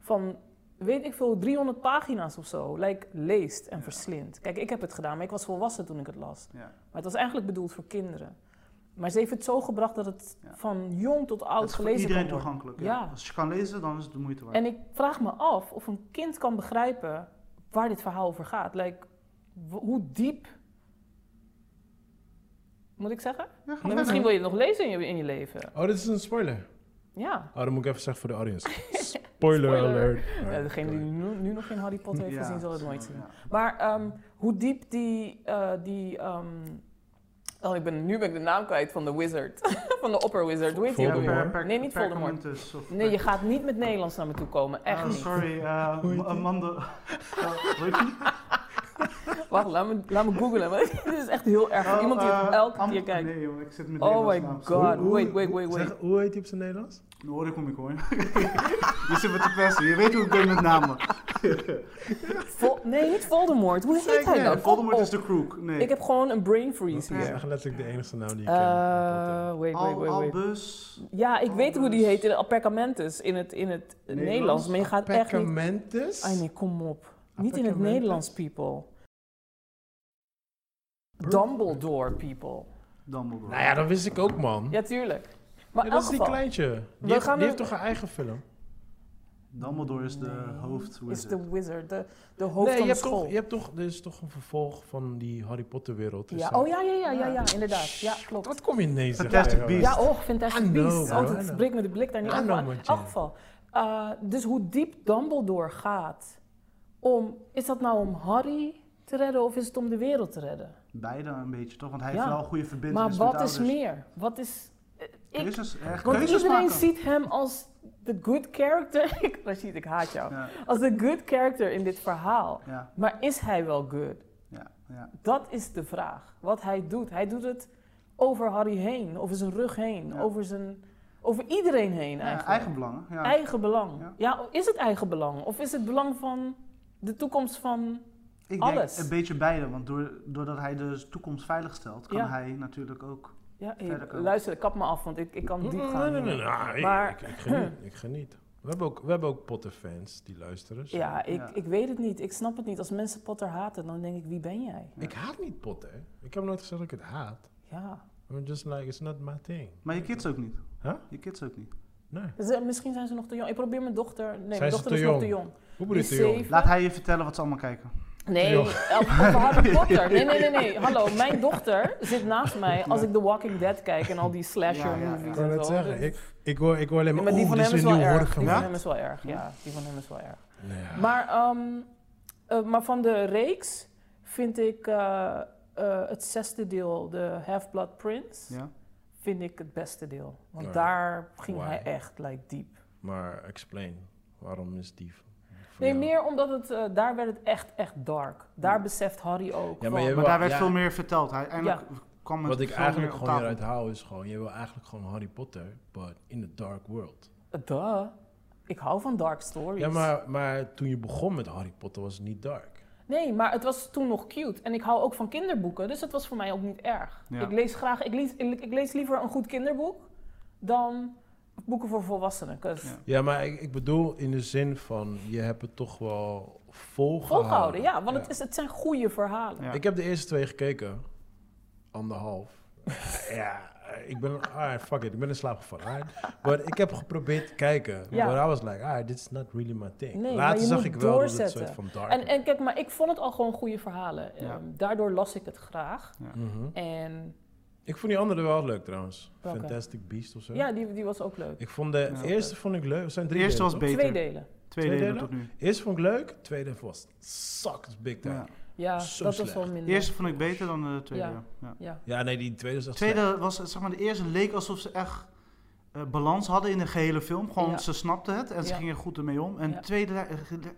Speaker 3: van weet ik veel, 300 pagina's of zo, lijkt leest en
Speaker 2: Ja.
Speaker 3: verslindt. Kijk, ik heb het gedaan, maar ik was volwassen toen ik het las.
Speaker 2: Ja.
Speaker 3: Maar het was eigenlijk bedoeld voor kinderen. Maar ze heeft het zo gebracht dat het
Speaker 2: Ja.
Speaker 3: van jong tot oud
Speaker 2: Het is voor
Speaker 3: gelezen
Speaker 2: iedereen
Speaker 3: kan worden.
Speaker 2: toegankelijk. Ja.
Speaker 3: Ja.
Speaker 2: Als je kan lezen, dan is het de moeite waard.
Speaker 3: En ik vraag me af of een kind kan begrijpen waar dit verhaal over gaat. Like, w- hoe diep. Moet ik zeggen?
Speaker 2: Ja, ga
Speaker 3: Maar
Speaker 2: verder.
Speaker 3: misschien wil je het nog lezen in je, in je leven.
Speaker 1: Oh, dit is een spoiler.
Speaker 3: Ja.
Speaker 1: Oh, dat moet ik even zeggen voor de audience. Spoiler,
Speaker 3: Spoiler.
Speaker 1: alert.
Speaker 3: Eh, degene die nu, nu nog geen Harry Potter heeft
Speaker 2: Ja,
Speaker 3: gezien, zal het nooit zien.
Speaker 2: ja.
Speaker 3: Maar ehm, hoe diep die. eh, die ehm, oh, ik ben, nu ben ik de naam kwijt van de wizard. van de opper wizard. Hoe heet die ook
Speaker 1: Voldemort.
Speaker 3: weer? Nee, niet Voldemort.
Speaker 2: Perkamentus of-
Speaker 3: Nee, je gaat niet met Nederlands naar me toe komen. Echt
Speaker 2: Oh,
Speaker 3: niet.
Speaker 2: sorry, eh,
Speaker 1: Hoe heet die?
Speaker 2: Amanda. Eh, hoe heet die?
Speaker 3: Wacht, laat me, laat me googlen. want dit is echt heel erg. voor
Speaker 2: Oh,
Speaker 3: Iemand die het
Speaker 2: eh,
Speaker 3: elke
Speaker 2: Am-
Speaker 3: keer kijkt.
Speaker 2: Nee, jongen, ik zit met
Speaker 3: Oh my
Speaker 2: Nederlands
Speaker 3: god, wait, wait, wait, wait.
Speaker 1: Zeg, hoe heet die op zijn Nederlands?
Speaker 2: Nou, hoor, daar kom ik hoor. je zit met de pesten, je weet hoe ik ben met namen.
Speaker 3: Vol- nee, niet Voldemort. Hoe heet
Speaker 1: Zeker,
Speaker 3: hij nou? Kom
Speaker 2: Voldemort
Speaker 3: op.
Speaker 2: is de crook. Nee.
Speaker 3: Ik heb gewoon een brain freeze
Speaker 1: Dat is
Speaker 3: hier.
Speaker 1: echt letterlijk de enige naam die ik ken.
Speaker 3: Eh, wait, wait,
Speaker 2: Al,
Speaker 3: wait, wait.
Speaker 2: Albus.
Speaker 3: Ja, ik weet hoe die
Speaker 2: Albus.
Speaker 3: heet in Perkamentus in het, in het
Speaker 2: Nederlands?
Speaker 3: Nederlands, maar je gaat echt niet...
Speaker 1: Perkamentus?
Speaker 3: Ai nee, kom op. Niet in het
Speaker 1: Perkamentus?
Speaker 3: Nederlands, people. Dumbledore, people.
Speaker 2: Dumbledore.
Speaker 1: Nou ja, dat wist ik ook, man.
Speaker 3: Ja, tuurlijk. Maar
Speaker 1: Ja,
Speaker 3: in
Speaker 1: dat
Speaker 3: elk
Speaker 1: is die
Speaker 3: geval
Speaker 1: kleintje. Die,
Speaker 3: We
Speaker 1: heeft,
Speaker 3: gaan
Speaker 1: die
Speaker 3: er-
Speaker 1: heeft toch een eigen film?
Speaker 2: Dumbledore is de
Speaker 3: Nee.
Speaker 2: hoofd.
Speaker 3: is
Speaker 2: wizard.
Speaker 3: de wizard, de, de hoofd
Speaker 1: nee,
Speaker 3: van
Speaker 1: je
Speaker 3: de
Speaker 1: hebt, toch,
Speaker 3: school.
Speaker 1: je hebt toch... Er is toch een vervolg van die Harry Potter wereld. dus
Speaker 3: Ja,
Speaker 1: dan-
Speaker 3: oh ja, ja, ja, ja, ja,
Speaker 2: Ja.
Speaker 3: inderdaad. Ja, klopt.
Speaker 1: Wat kom je ineens
Speaker 2: Fantastic
Speaker 1: tegen,
Speaker 2: Beasts.
Speaker 1: man?
Speaker 3: Ja, och, Fantastic
Speaker 1: I know,
Speaker 3: Beasts.
Speaker 1: bro,
Speaker 3: Oh,
Speaker 1: I
Speaker 3: dat
Speaker 1: know.
Speaker 3: breekt me de blik daar niet
Speaker 1: I
Speaker 3: af.
Speaker 1: know,
Speaker 3: Maar in
Speaker 1: Montje.
Speaker 3: elk geval, eh, dus hoe diep Dumbledore gaat om... Is dat nou om Harry te redden of is het om de wereld te redden?
Speaker 2: Beide een beetje toch? Want hij
Speaker 3: Ja.
Speaker 2: heeft wel een goede verbinding.
Speaker 3: maar wat is meer? Wat is... eh, Ik,
Speaker 2: Keuzes, echt
Speaker 3: want
Speaker 2: keuzes
Speaker 3: iedereen
Speaker 2: maken.
Speaker 3: ziet hem als the good character. Ik- Rashid, ik haat jou.
Speaker 2: Ja,
Speaker 3: Als the good character in dit verhaal.
Speaker 2: ja,
Speaker 3: Maar is hij wel good?
Speaker 2: ja, ja.
Speaker 3: Dat is de vraag. Wat hij doet. Hij doet het over Harry heen, over zijn rug heen,
Speaker 2: Ja.
Speaker 3: over, zijn, over iedereen heen
Speaker 2: ja
Speaker 3: eigenlijk.
Speaker 2: eigen belangen. Ja.
Speaker 3: Eigen belang. Ja.
Speaker 2: Ja.
Speaker 3: is het eigen belang? Of is het belang van de toekomst van...
Speaker 2: Ik
Speaker 3: alles.
Speaker 2: denk een beetje beide, want door- doordat hij de toekomst veilig stelt, kan
Speaker 3: Ja.
Speaker 2: hij natuurlijk ook.
Speaker 3: Ja, hey,
Speaker 2: Verder komen.
Speaker 3: luister, kap me af, want ik, ik kan
Speaker 1: Nee,
Speaker 3: diep
Speaker 1: nee,
Speaker 3: gaan.
Speaker 1: nee, nee,
Speaker 3: hier.
Speaker 1: nee, ik-
Speaker 3: Maar-
Speaker 1: Ik, ik, geniet, ik geniet. We hebben ook, we hebben ook Potter-fans die luisteren. so-
Speaker 3: Ja, ik,
Speaker 2: Ja.
Speaker 3: ik weet het niet. Ik snap het niet. Als mensen Potter haten, dan denk ik, wie ben jij?
Speaker 1: Ik haat niet Potter. Ik heb nooit gezegd dat ik het haat.
Speaker 3: Ja.
Speaker 1: I'm just like, it's not my thing.
Speaker 2: Maar je kids ook niet.
Speaker 1: Huh?
Speaker 2: Je kids ook niet.
Speaker 1: Nee.
Speaker 3: Ze- misschien zijn ze nog te jong. Ik probeer mijn dochter... Nee,
Speaker 1: Zijn
Speaker 3: mijn
Speaker 1: ze
Speaker 3: dochter
Speaker 1: te
Speaker 3: is nog
Speaker 1: jong?
Speaker 3: te jong.
Speaker 1: Hoe bedoel je
Speaker 3: Die
Speaker 1: het, joh?
Speaker 3: zeven-
Speaker 2: Laat hij je vertellen wat ze allemaal kijken.
Speaker 3: Nee,
Speaker 1: Jong.
Speaker 3: eh, over Harry Potter. Nee, nee, nee, nee. Hallo, mijn dochter zit naast mij als ik The Walking Dead kijk en al die slasher
Speaker 2: Ja, ja, ja.
Speaker 3: movies
Speaker 1: Ik
Speaker 3: en
Speaker 1: kan het
Speaker 3: zo.
Speaker 1: zeggen.
Speaker 3: Dus-
Speaker 1: Ik, ik, hoor, ik hoor alleen
Speaker 3: Ja,
Speaker 1: maar,
Speaker 3: maar die
Speaker 1: oeh,
Speaker 3: van
Speaker 1: dit
Speaker 3: hem
Speaker 1: is
Speaker 3: is
Speaker 1: weer
Speaker 3: wel
Speaker 1: nieuw horror
Speaker 3: erg. Die
Speaker 1: van
Speaker 3: van
Speaker 1: mij.
Speaker 3: hem is wel erg. Ja, die van hem is wel erg.
Speaker 1: Nee, ja.
Speaker 3: Maar, ehm, eh, maar van de reeks vind ik eh, eh, het zesde deel, de Half-Blood Prince,
Speaker 2: Ja?
Speaker 3: vind ik het beste deel. Want
Speaker 1: Alright.
Speaker 3: daar ging
Speaker 1: Why?
Speaker 3: hij echt like, diep.
Speaker 1: Maar explain, waarom is die van voor
Speaker 3: Nee,
Speaker 1: jou?
Speaker 3: meer omdat het, eh, daar werd het echt, echt dark. Daar
Speaker 2: Ja.
Speaker 3: beseft Harry ook.
Speaker 1: Ja, maar je
Speaker 3: van-
Speaker 2: Maar daar werd
Speaker 1: Ja.
Speaker 2: veel meer verteld. Hij, eindelijk kwam het
Speaker 1: Wat ik
Speaker 2: veel
Speaker 1: eigenlijk
Speaker 2: meer op
Speaker 1: gewoon
Speaker 2: tafel.
Speaker 1: hieruit haal is gewoon... Je wil eigenlijk gewoon Harry Potter, but in the dark world.
Speaker 3: Eh, Duh. Ik hou van dark stories.
Speaker 1: Ja, maar, maar toen je begon met Harry Potter was het niet dark.
Speaker 3: Nee, maar het was toen nog cute. En ik hou ook van kinderboeken, dus dat was voor mij ook niet erg.
Speaker 2: Ja.
Speaker 3: Ik lees graag, ik lees, ik, ik lees liever een goed kinderboek dan boeken voor volwassenen. 'cause
Speaker 2: Ja.
Speaker 1: Ja, maar ik, ik bedoel in de zin van... Je hebt het toch wel volgehouden.
Speaker 3: Volgehouden, ja, want Het, is, het zijn goede verhalen.
Speaker 2: Ja.
Speaker 1: Ik heb de eerste twee gekeken. Anderhalf. ja, ik ben... alright, fuck it. Ik ben in slaap gevallen. alright. Maar ik heb geprobeerd te kijken.
Speaker 3: Ja.
Speaker 1: Maar I was like, ah, this is not really my thing.
Speaker 3: Nee, maar
Speaker 1: Later
Speaker 3: je
Speaker 1: zag
Speaker 3: moet
Speaker 1: ik wel dat het
Speaker 3: doorzetten.
Speaker 1: soort van dark
Speaker 3: En, en kijk, maar ik vond het al gewoon goede verhalen.
Speaker 2: Ja.
Speaker 3: Ehm, daardoor las ik het graag.
Speaker 1: Mhm.
Speaker 3: En
Speaker 1: Ik vond die andere wel leuk trouwens.
Speaker 3: Welke?
Speaker 1: Fantastic Beast of zo.
Speaker 3: ja, die, die was ook leuk.
Speaker 1: Ik vond de
Speaker 2: Ja.
Speaker 1: eerste vond ik leuk. Er zijn
Speaker 2: De
Speaker 1: drie
Speaker 2: eerste was
Speaker 1: delen,
Speaker 2: beter.
Speaker 3: Twee
Speaker 2: Twee,
Speaker 3: delen.
Speaker 1: Twee
Speaker 2: delen,
Speaker 1: delen?
Speaker 2: tot nu.
Speaker 1: toch? Eerste vond ik leuk. Tweede was sucked big time.
Speaker 2: Ja.
Speaker 1: Ja,
Speaker 3: Ja,
Speaker 1: Zo
Speaker 3: dat was
Speaker 1: slecht.
Speaker 3: wel
Speaker 2: De
Speaker 3: minder.
Speaker 2: eerste vond ik beter dan de tweede.
Speaker 3: Ja.
Speaker 2: Ja. Ja.
Speaker 3: Ja.
Speaker 1: nee, die tweede was
Speaker 2: De
Speaker 1: echt
Speaker 2: tweede was, zeg maar, de eerste leek alsof ze echt eh, balans hadden in de gehele film. Gewoon,
Speaker 3: Ja.
Speaker 2: ze snapten het en ze
Speaker 3: Ja.
Speaker 2: gingen goed ermee om. En
Speaker 3: Ja.
Speaker 2: tweede, eh, eh,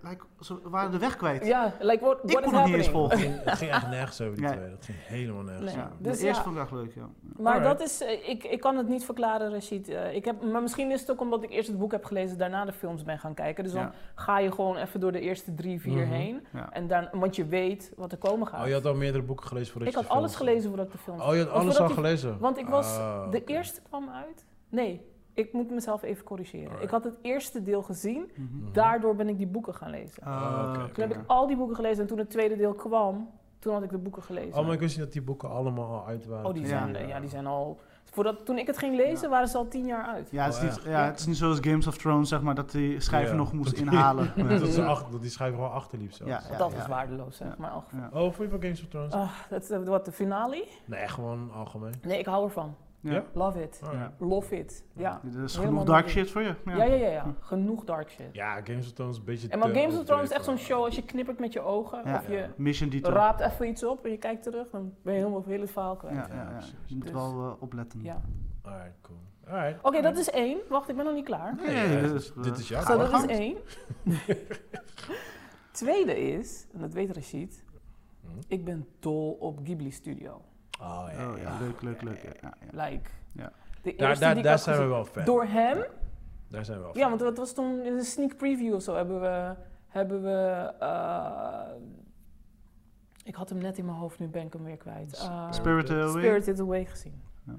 Speaker 2: like, ze waren de weg kwijt.
Speaker 3: Ja, like what,
Speaker 2: Ik
Speaker 3: what is
Speaker 2: kon het niet eens
Speaker 3: happening?
Speaker 1: Oh, Het
Speaker 2: volgen.
Speaker 1: ging, het ging echt nergens over die
Speaker 2: Nee.
Speaker 1: twee. Dat ging helemaal nergens
Speaker 3: Nee.
Speaker 1: over.
Speaker 2: Ja,
Speaker 3: Dus
Speaker 2: de eerste
Speaker 3: ja.
Speaker 2: vond ik echt leuk, ja.
Speaker 3: Maar
Speaker 1: Alright.
Speaker 3: dat is, eh, ik, ik kan het niet verklaren, Rashid. Eh, ik heb, maar misschien is het ook omdat ik eerst het boek heb gelezen, daarna de films ben gaan kijken. Dus dan
Speaker 2: ja,
Speaker 3: ga je gewoon even door de eerste drie, vier
Speaker 1: Mhm.
Speaker 3: heen.
Speaker 2: ja.
Speaker 3: En dan, want je weet wat er komen gaat.
Speaker 1: Oh, je had al meerdere boeken gelezen voordat
Speaker 3: ik
Speaker 1: je
Speaker 3: had
Speaker 1: de
Speaker 3: alles
Speaker 1: film-
Speaker 3: gelezen voordat ik de film
Speaker 1: Oh, je had
Speaker 3: Want
Speaker 1: alles al
Speaker 3: voordat
Speaker 1: gelezen?
Speaker 3: Want ik was,
Speaker 1: Ah,
Speaker 2: Oh,
Speaker 3: de
Speaker 1: oké.
Speaker 3: eerste kwam uit. Nee, ik moet mezelf even corrigeren.
Speaker 1: Alright.
Speaker 3: Ik had het eerste deel gezien,
Speaker 2: Mhm.
Speaker 1: Mhm.
Speaker 3: daardoor ben ik die boeken gaan lezen.
Speaker 2: Ah,
Speaker 1: Oh, oké,
Speaker 2: oké,
Speaker 3: Toen heb
Speaker 2: ja.
Speaker 3: ik al die boeken gelezen en toen het tweede deel kwam, toen had ik de boeken gelezen.
Speaker 1: Oh, maar ik wist niet dat die boeken allemaal al uit waren.
Speaker 3: Oh, die
Speaker 2: Ja.
Speaker 3: zijn, eh, ja. die zijn al. Voordat, toen ik het ging lezen,
Speaker 2: Ja.
Speaker 3: waren ze al tien jaar uit.
Speaker 2: Ja, het is
Speaker 1: Oh,
Speaker 2: niet, ja, het is niet zoals Games of Thrones, zeg maar, dat die schrijver
Speaker 1: Ja.
Speaker 2: nog moest
Speaker 1: Dat die-
Speaker 2: inhalen. Ja.
Speaker 1: Dat, ze achter, dat die schrijver wel achterliep zelfs.
Speaker 2: Ja, ja.
Speaker 3: dat is waardeloos, zeg
Speaker 2: Ja.
Speaker 3: maar. Al.
Speaker 2: Ja.
Speaker 1: Oh, vond je van Games of Thrones?
Speaker 3: Ah, dat, eh, wat, de finale?
Speaker 1: Nee, gewoon algemeen.
Speaker 3: Nee, ik hou ervan.
Speaker 1: Ja?
Speaker 3: Love it.
Speaker 1: Alright.
Speaker 2: Oh, Ja.
Speaker 3: Love it. Ja.
Speaker 2: Er is
Speaker 3: Helemaal
Speaker 2: genoeg
Speaker 3: niet
Speaker 2: dark
Speaker 3: in.
Speaker 2: shit voor je.
Speaker 3: Ja, ja, ja, ja. Genoeg dark shit.
Speaker 1: Ja, Games of Thrones is een beetje...
Speaker 3: En maar
Speaker 1: te
Speaker 3: Games of Thrones is echt zo'n
Speaker 1: overdreven.
Speaker 3: show als je knippert met je ogen.
Speaker 2: Ja.
Speaker 3: Of je
Speaker 2: Mission detail.
Speaker 3: raapt even iets op en je kijkt terug. Dan ben je helemaal heel het verhaal
Speaker 2: Ja,
Speaker 3: kwijt.
Speaker 2: ja, ja.
Speaker 1: precies.
Speaker 2: Je moet
Speaker 3: Dus-
Speaker 2: wel eh, opletten.
Speaker 3: Ja.
Speaker 1: Alright, cool. Alright.
Speaker 3: Oké, dat is één. Wacht, ik ben nog niet klaar.
Speaker 2: Nee,
Speaker 1: Nee,
Speaker 2: nee,
Speaker 1: ja,
Speaker 2: dit is,
Speaker 1: dit
Speaker 2: eh,
Speaker 1: is jouw
Speaker 3: Zo,
Speaker 1: maar
Speaker 3: dat is één. Tweede is, en dat weet Rashid,
Speaker 1: Hm?
Speaker 3: ik ben dol op Ghibli Studio.
Speaker 1: Oh, ja,
Speaker 2: Oh, ja,
Speaker 1: ja.
Speaker 2: leuk, leuk, leuk. Ja, ja, ja.
Speaker 3: Like,
Speaker 2: Ja.
Speaker 3: de
Speaker 1: Daar,
Speaker 3: eerste
Speaker 1: daar,
Speaker 3: die ik
Speaker 1: daar
Speaker 3: had
Speaker 1: zijn we
Speaker 3: gezien-
Speaker 1: wel fan.
Speaker 3: Door hem?
Speaker 1: Daar zijn we wel
Speaker 3: Ja,
Speaker 1: fan.
Speaker 3: want dat was toen in een sneak preview of zo hebben we. Hebben we eh, ik had hem net in mijn hoofd, nu ben ik hem weer kwijt. Eh,
Speaker 2: Spirited Away.
Speaker 3: Spirited Away gezien.
Speaker 2: Ja.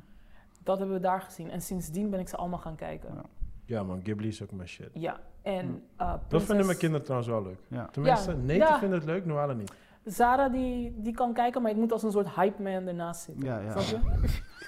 Speaker 3: Dat hebben we daar gezien. En sindsdien ben ik ze allemaal gaan kijken.
Speaker 2: Ja.
Speaker 3: Ja,
Speaker 1: Ja, man, Ghibli is ook mijn shit.
Speaker 3: en.
Speaker 2: Hm.
Speaker 3: eh,
Speaker 1: Dat vinden
Speaker 3: Princess-
Speaker 1: mijn kinderen trouwens wel leuk.
Speaker 2: Ja.
Speaker 1: Tenminste,
Speaker 3: Ja.
Speaker 1: nee,
Speaker 3: Ja.
Speaker 1: vinden het leuk, Noelle niet.
Speaker 3: Zara die, die kan kijken, maar ik moet als een soort hype man ernaast zitten.
Speaker 2: Ja, ja.
Speaker 3: Snap je?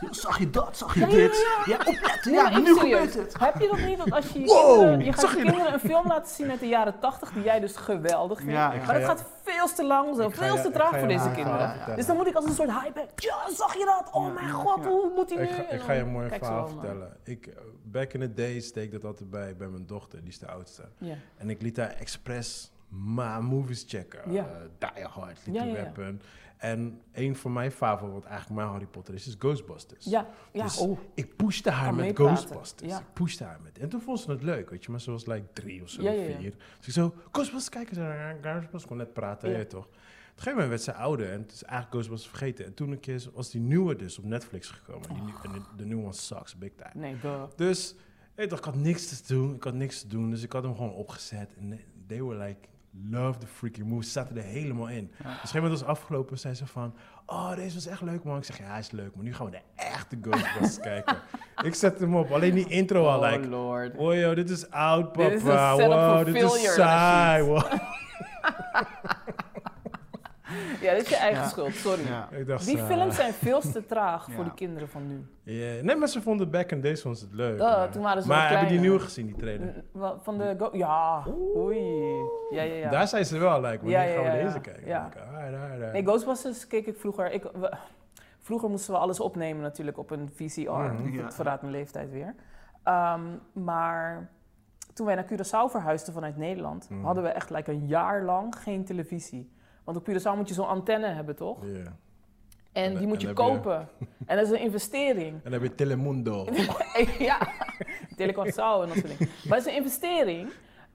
Speaker 2: Zag je dat? Zag je
Speaker 3: Ja, ja,
Speaker 2: dit? Ja, opletten.
Speaker 3: Nee,
Speaker 2: Ja,
Speaker 3: maar even
Speaker 2: nu gebeurt
Speaker 3: serieus.
Speaker 2: het.
Speaker 3: Heb je dat niet dat als je je
Speaker 1: Wow,
Speaker 3: kinderen, je gaat
Speaker 1: zag
Speaker 3: je
Speaker 1: je
Speaker 3: kinderen een film laten zien uit de jaren 80 die jij dus geweldig vindt?
Speaker 2: Ja,
Speaker 1: Ik
Speaker 2: ja.
Speaker 1: ga
Speaker 3: Maar
Speaker 1: je-
Speaker 3: het gaat veel te langzaam,
Speaker 1: Ik ga
Speaker 3: veel
Speaker 1: je-
Speaker 3: te
Speaker 1: ik
Speaker 3: traag
Speaker 1: ga
Speaker 3: voor
Speaker 1: je- ik ga
Speaker 3: deze
Speaker 1: je
Speaker 3: kinderen.
Speaker 1: wel vertellen.
Speaker 3: Dus dan moet ik als een soort hype. Ja, zag je dat? Oh
Speaker 2: Ja,
Speaker 3: mijn
Speaker 2: ja,
Speaker 3: god,
Speaker 2: ja.
Speaker 3: hoe moet hij nu?
Speaker 1: Ik ga,
Speaker 3: En
Speaker 1: ik
Speaker 3: dan
Speaker 1: ga je een mooi
Speaker 3: kijk ze
Speaker 1: verhaal
Speaker 3: allemaal.
Speaker 1: vertellen. Ik, eh, back in the day steek dat altijd bij, bij mijn dochter, die is de oudste.
Speaker 3: Ja.
Speaker 1: En ik liet haar expres ma movies checken.
Speaker 3: Ja.
Speaker 1: Eh, Die Hard,
Speaker 3: Ja,
Speaker 1: Little
Speaker 3: ja, ja.
Speaker 1: Weapon. En een van mijn favorieten, wat eigenlijk mijn Harry Potter is, is Ghostbusters.
Speaker 3: Ja, ja.
Speaker 1: Dus-
Speaker 3: oh.
Speaker 1: Ik pushte haar
Speaker 3: Kan
Speaker 1: met
Speaker 3: meepraten,
Speaker 1: Ghostbusters.
Speaker 3: ja.
Speaker 1: Ik pushte haar met. En toen vond ze het leuk, weet je. Maar ze was like drie of zo,
Speaker 3: Ja, ja, ja.
Speaker 1: vier. Dus ik zo, Ghostbusters kijken. Ze zei, "Ja, Ghostbusters kon net praten,
Speaker 3: Ja.
Speaker 1: weet je toch. Op een gegeven moment werd ze ouder en het is eigenlijk Ghostbusters vergeten. En toen een keer was die nieuwe dus op Netflix gekomen.
Speaker 3: Oh.
Speaker 1: Die nieuw- en de, de nieuwe one sucks, big time.
Speaker 3: Nee, duh.
Speaker 1: Dus ik dacht, ik had niks te doen. Ik had niks te doen. Dus ik had hem gewoon opgezet. En eh, they were like, love the freaking movie. Ze zaten er helemaal in. Dus op een gegeven moment was het afgelopen. Zei ze van, oh, deze was echt leuk, man. Ik zeg, ja, hij is leuk. Maar nu gaan we de echte Ghostbusters kijken. Ik zet hem op. Alleen die intro al, like...
Speaker 3: lord.
Speaker 1: Oh joh, dit is oud, papa.
Speaker 3: Dit is een setup
Speaker 1: Wow,
Speaker 3: for
Speaker 1: dit
Speaker 3: failure,
Speaker 1: is saai.
Speaker 3: Rashid.
Speaker 1: wow.
Speaker 3: Ja, dit is je eigen
Speaker 2: Ja.
Speaker 3: schuld, sorry.
Speaker 2: Ja.
Speaker 1: Ik dacht,
Speaker 3: Die
Speaker 1: saai.
Speaker 3: films zijn veel te traag
Speaker 2: Ja.
Speaker 3: voor de kinderen van nu.
Speaker 1: Ja, Nee, maar ze vonden Back in Days vonden ze het leuk.
Speaker 3: Duh,
Speaker 1: maar-
Speaker 3: Oh, toen waren ze
Speaker 1: maar
Speaker 3: nog
Speaker 1: hebben die
Speaker 3: kleiner.
Speaker 1: nieuwe gezien, die trailer?
Speaker 3: N- wel, Van de go- Ja, oei. Ja, ja, ja.
Speaker 1: Daar zijn ze wel, like,
Speaker 3: Ja,
Speaker 1: wanneer
Speaker 3: ja,
Speaker 1: gaan we
Speaker 3: ja, ja.
Speaker 1: deze kijken?
Speaker 3: Ja.
Speaker 1: Dan denk ik, alright, alright, alright.
Speaker 3: Nee, Ghostbusters keek ik vroeger. Ik, we- vroeger moesten we alles opnemen natuurlijk op een VCR.
Speaker 1: Mhm.
Speaker 2: Ja.
Speaker 3: Dat verraadt mijn leeftijd weer. Ehm, maar toen wij naar Curaçao verhuisden vanuit Nederland,
Speaker 1: Mhm.
Speaker 3: hadden we echt like een jaar lang geen televisie. Want op Curaçao moet je zo'n antenne hebben, toch?
Speaker 1: Ja.
Speaker 3: En,
Speaker 1: En-
Speaker 3: die moet
Speaker 1: en
Speaker 3: je
Speaker 1: heb je-
Speaker 3: kopen. en dat is een investering.
Speaker 1: En dan heb je Telemundo.
Speaker 3: ja, Telecorsaal en dat soort dingen. Maar het is een investering.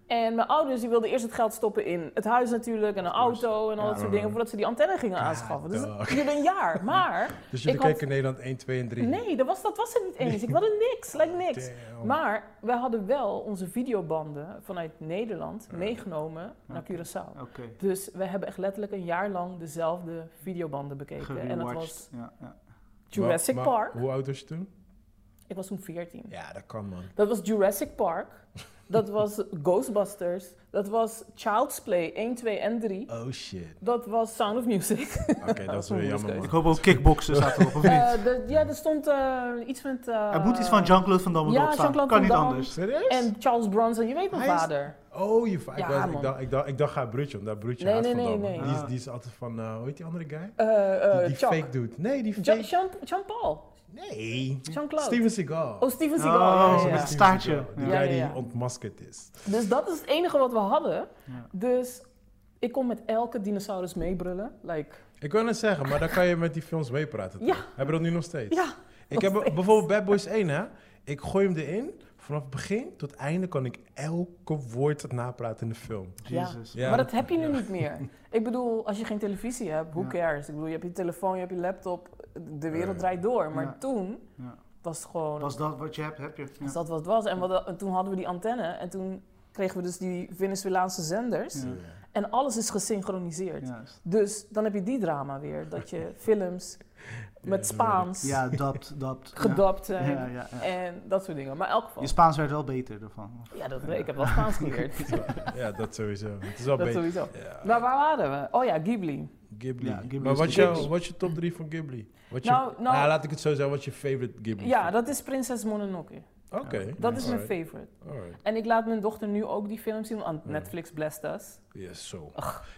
Speaker 3: En mijn ouders die wilden eerst het geld stoppen in het huis natuurlijk en een
Speaker 1: course.
Speaker 3: auto en al
Speaker 1: Ja,
Speaker 3: dat soort
Speaker 1: maar-
Speaker 3: dingen voordat ze die antenne gingen
Speaker 1: Ja,
Speaker 3: aanschaffen. Dus dat
Speaker 1: dog.
Speaker 3: duurde een jaar. Maar
Speaker 1: Dus jullie
Speaker 3: Ik had-
Speaker 1: kijken Nederland 1, 2 en 3.
Speaker 3: nee, dat was, dat was het niet eens. Ik wilde niks, lijkt niks.
Speaker 1: Damn.
Speaker 3: Maar we hadden wel onze videobanden vanuit Nederland
Speaker 1: Ja.
Speaker 3: meegenomen naar
Speaker 2: Oké.
Speaker 3: Curaçao.
Speaker 2: Oké.
Speaker 3: Dus we hebben echt letterlijk een jaar lang dezelfde videobanden bekeken. eh, En dat was
Speaker 2: Gerewatcht. Ja, ja.
Speaker 3: Jurassic
Speaker 1: Maar- maar
Speaker 3: Park.
Speaker 1: Hoe oud was je toen?
Speaker 3: Ik was toen 14.
Speaker 1: Ja, dat kan man.
Speaker 3: Dat was Jurassic Park. Dat was Ghostbusters. Dat was Child's Play 1, 2 en 3.
Speaker 1: Oh shit.
Speaker 3: Dat was Sound of Music.
Speaker 1: Oké, dat is weer jammer
Speaker 2: Ik
Speaker 1: man.
Speaker 2: hoop ook kickboksen staat erop, of niet?
Speaker 3: Eh, de- ja, er stond eh, iets met... eh,
Speaker 2: Er moet iets van Jean-Claude Van Damme
Speaker 3: ja,
Speaker 2: erop staan.
Speaker 3: Jean-Claude
Speaker 2: Kan niet
Speaker 3: Van Damme.
Speaker 2: anders.
Speaker 1: Serieus?
Speaker 3: En Charles Bronson, je weet mijn
Speaker 1: Hij is-
Speaker 3: vader.
Speaker 1: Oh, je va- ik,
Speaker 3: Ja,
Speaker 1: was-
Speaker 3: man.
Speaker 1: ik, dacht, ik, dacht, ik dacht haar broertje, omdat haar broertje
Speaker 3: Nee,
Speaker 1: haat
Speaker 3: nee,
Speaker 1: van
Speaker 3: nee,
Speaker 1: Damme.
Speaker 3: nee.
Speaker 1: Die, is,
Speaker 2: Ah.
Speaker 1: die is altijd van, eh hoe heet die andere guy?
Speaker 3: Eh, eh,
Speaker 1: die die
Speaker 3: Chuck.
Speaker 1: fake doet. Nee, die
Speaker 3: Ja-
Speaker 1: fake.
Speaker 3: Jean, Jean-Paul.
Speaker 1: nee.
Speaker 3: Jean-Claude.
Speaker 1: Steven Seagal.
Speaker 3: Oh, Steven Seagal. ja,
Speaker 2: Oh,
Speaker 3: ja, ja.
Speaker 2: met staartje.
Speaker 1: Die
Speaker 3: Ja,
Speaker 1: guy
Speaker 3: ja, ja.
Speaker 1: die ontmaskerd is.
Speaker 3: Dus dat is het enige wat we hadden.
Speaker 2: Ja.
Speaker 3: Dus ik kon met elke dinosaurus meebrullen. Like,
Speaker 1: Ik wil net zeggen, maar dan kan je met die films meepraten. toch?
Speaker 3: Ja.
Speaker 1: Hebben we dat nu nog steeds?
Speaker 3: ja,
Speaker 1: Ik heb
Speaker 3: steeds.
Speaker 1: bijvoorbeeld Bad Boys 1, hè. Ik gooi hem erin. Vanaf het begin tot het einde kan ik elke woord napraten in de film.
Speaker 3: Ja.
Speaker 2: Jesus.
Speaker 1: Ja.
Speaker 3: maar dat heb je nu niet meer. Ik bedoel, als je geen televisie hebt, who
Speaker 2: Ja.
Speaker 3: cares? Ik bedoel, je hebt je telefoon, je hebt je laptop, de wereld
Speaker 1: Eh,
Speaker 3: draait door. Maar
Speaker 2: ja.
Speaker 3: toen
Speaker 2: Ja.
Speaker 3: was het gewoon,
Speaker 2: Als dat wat je hebt, heb je. Ja.
Speaker 3: als dat wat het was. En, wat- en toen hadden we die antenne en toen kregen we dus die Venezolaanse zenders.
Speaker 2: Ja.
Speaker 3: En alles is gesynchroniseerd.
Speaker 2: Juist.
Speaker 3: Dus dan heb je die drama weer, dat je films met
Speaker 1: dat
Speaker 3: Spaans
Speaker 2: Ja, dat, dat. ja.
Speaker 3: gedapt
Speaker 2: Ja,
Speaker 3: zijn
Speaker 2: ja, ja.
Speaker 3: en dat soort dingen. Maar in elk geval,
Speaker 2: Je Spaans werd wel beter ervan.
Speaker 3: ja, dat, ik heb wel Spaans geleerd,
Speaker 1: Ja, dat sowieso. Het is wel
Speaker 3: dat
Speaker 1: beter.
Speaker 3: sowieso.
Speaker 1: Ja.
Speaker 3: Maar waar waren we? Oh ja, Ghibli.
Speaker 1: Ghibli.
Speaker 2: Ja, Ghibli
Speaker 1: maar
Speaker 2: is
Speaker 1: wat
Speaker 2: de
Speaker 1: is jouw-
Speaker 2: Ghibli.
Speaker 1: wat is je top 3 van Ghibli? Wat je,
Speaker 3: Nou, nou-
Speaker 1: Ah, laat ik het zo zeggen, wat is je favorite Ghibli?
Speaker 3: Ja,
Speaker 1: film?
Speaker 3: dat is Prinses Mononoke.
Speaker 1: Oké.
Speaker 3: Dat is mijn
Speaker 1: Alright,
Speaker 3: favorite.
Speaker 1: alright.
Speaker 3: En ik laat mijn dochter nu ook die film zien, want
Speaker 1: Ja.
Speaker 3: Netflix blessed us.
Speaker 1: Yes, zo.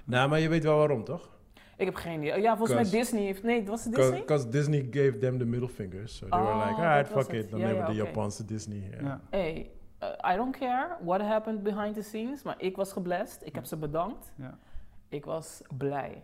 Speaker 1: Nou, maar je weet wel waarom, toch?
Speaker 3: Ik heb geen idee. Ja, volgens
Speaker 1: Kans.
Speaker 3: mij Disney heeft... Nee, was het Disney?
Speaker 1: Because Disney gave them the middle fingers. So they were
Speaker 3: Oh,
Speaker 1: like, alright,
Speaker 3: dat was
Speaker 1: fuck
Speaker 3: het.
Speaker 1: it. Dan
Speaker 3: Ja,
Speaker 1: nemen we
Speaker 3: ja,
Speaker 1: de
Speaker 3: oké.
Speaker 1: Japanse Disney. Ja.
Speaker 2: Ja.
Speaker 3: Hey, eh, I don't care what happened behind the scenes, maar ik was geblest. Ik heb ze bedankt.
Speaker 2: Ja.
Speaker 3: Ik was blij.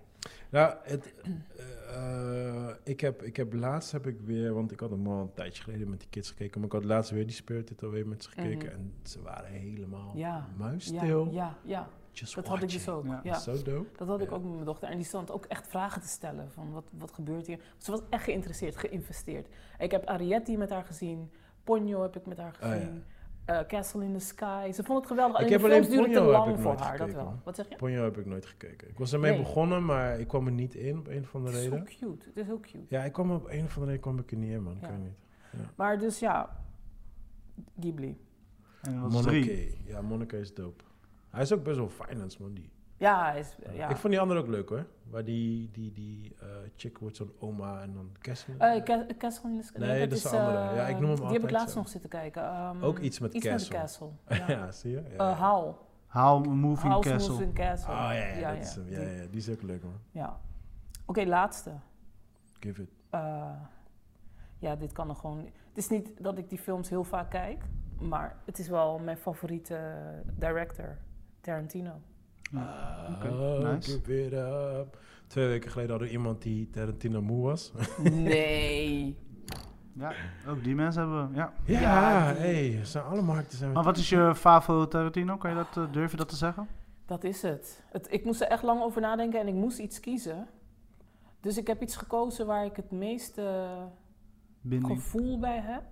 Speaker 1: Nou, het, eh, eh, ik, heb, ik heb laatst heb ik weer, want ik had hem al een tijdje geleden met die kids gekeken, maar ik had laatst weer die Spirited alweer met ze gekeken
Speaker 3: Mhm.
Speaker 1: en ze waren helemaal
Speaker 3: Ja,
Speaker 1: muisstil.
Speaker 3: Ja, ja, ja.
Speaker 1: Just
Speaker 3: dat had ik dus
Speaker 1: watching.
Speaker 3: ook.
Speaker 2: Ja.
Speaker 3: Ja.
Speaker 1: Zo dope.
Speaker 3: Dat had ik
Speaker 1: Ja.
Speaker 3: ook met mijn dochter. En die stond ook echt vragen te stellen van wat, wat gebeurt hier. Ze was echt geïnteresseerd, geïnvesteerd. Ik heb Arietti met haar gezien. Ponyo heb ik met haar
Speaker 1: Oh, ja.
Speaker 3: gezien. Eh, Castle in the Sky. Ze vond het geweldig.
Speaker 1: Ik
Speaker 3: Alleen
Speaker 1: heb
Speaker 3: de
Speaker 1: alleen
Speaker 3: films duurden te
Speaker 1: Ponyo heb
Speaker 3: lang
Speaker 1: ik
Speaker 3: voor
Speaker 1: nooit
Speaker 3: haar, dat
Speaker 1: gekeken,
Speaker 3: wel.
Speaker 1: hoor.
Speaker 3: Wat zeg je?
Speaker 1: Ponyo heb ik nooit gekeken. Ik was ermee
Speaker 3: Nee.
Speaker 1: begonnen, maar ik kwam er niet in op een of andere
Speaker 3: Het is zo
Speaker 1: reden.
Speaker 3: cute. Het is heel cute.
Speaker 1: Ja, ik kwam op een of andere reden kwam ik er niet in, man. Ik
Speaker 3: Ja.
Speaker 1: weet niet.
Speaker 3: Maar dus ja, Ghibli.
Speaker 2: En dat was drie.
Speaker 1: Monarchy. Ja, Monarchy is dope. Hij is ook best wel finance, man. Die.
Speaker 3: Ja, hij is, ja.
Speaker 1: Ik vond die andere ook leuk, hoor. Waar die, die, die eh, chick wordt zo'n oma en dan kersen.
Speaker 3: Eh, Ca- Castle in the Sky.
Speaker 1: Nee, dat is de andere. Ja, ik noem hem
Speaker 3: ehm, Die heb ik
Speaker 1: altijd
Speaker 3: laatst
Speaker 1: zo.
Speaker 3: nog zitten kijken. Ehm,
Speaker 1: Ook iets met
Speaker 3: iets
Speaker 1: Castle.
Speaker 3: met Castle.
Speaker 1: ja.
Speaker 3: Ja.
Speaker 1: zie je? Ja,
Speaker 3: Eh,
Speaker 1: ja.
Speaker 3: Howl.
Speaker 2: How Moving
Speaker 3: House
Speaker 2: Castle.
Speaker 3: Moves in Castle.
Speaker 1: oh, ja, ja, dat is hem.
Speaker 3: Die-
Speaker 1: Ja, ja, die is ook leuk, man.
Speaker 3: ja. Oké, laatste.
Speaker 1: Give it.
Speaker 3: Eh, ja, dit kan er gewoon. Het is niet dat ik die films heel vaak kijk, maar het is wel mijn favoriete eh, director, Tarantino.
Speaker 2: Ja.
Speaker 1: Ah,
Speaker 2: Oké,
Speaker 1: oh,
Speaker 2: nice.
Speaker 1: Give it up. Twee weken geleden hadden we iemand die Tarantino moe was.
Speaker 3: Nee.
Speaker 2: Ja, ook die mensen hebben we. Ja.
Speaker 1: ja,
Speaker 3: Ja, die-
Speaker 1: hey, zijn alle markten zijn we
Speaker 2: Maar wat is je favo Tarantino? Kan je dat, eh, durf je dat te zeggen?
Speaker 3: Dat is het. het. Ik moest er echt lang over nadenken en ik moest iets kiezen. Dus ik heb iets gekozen waar ik het meeste eh,
Speaker 2: Binding.
Speaker 3: gevoel bij heb.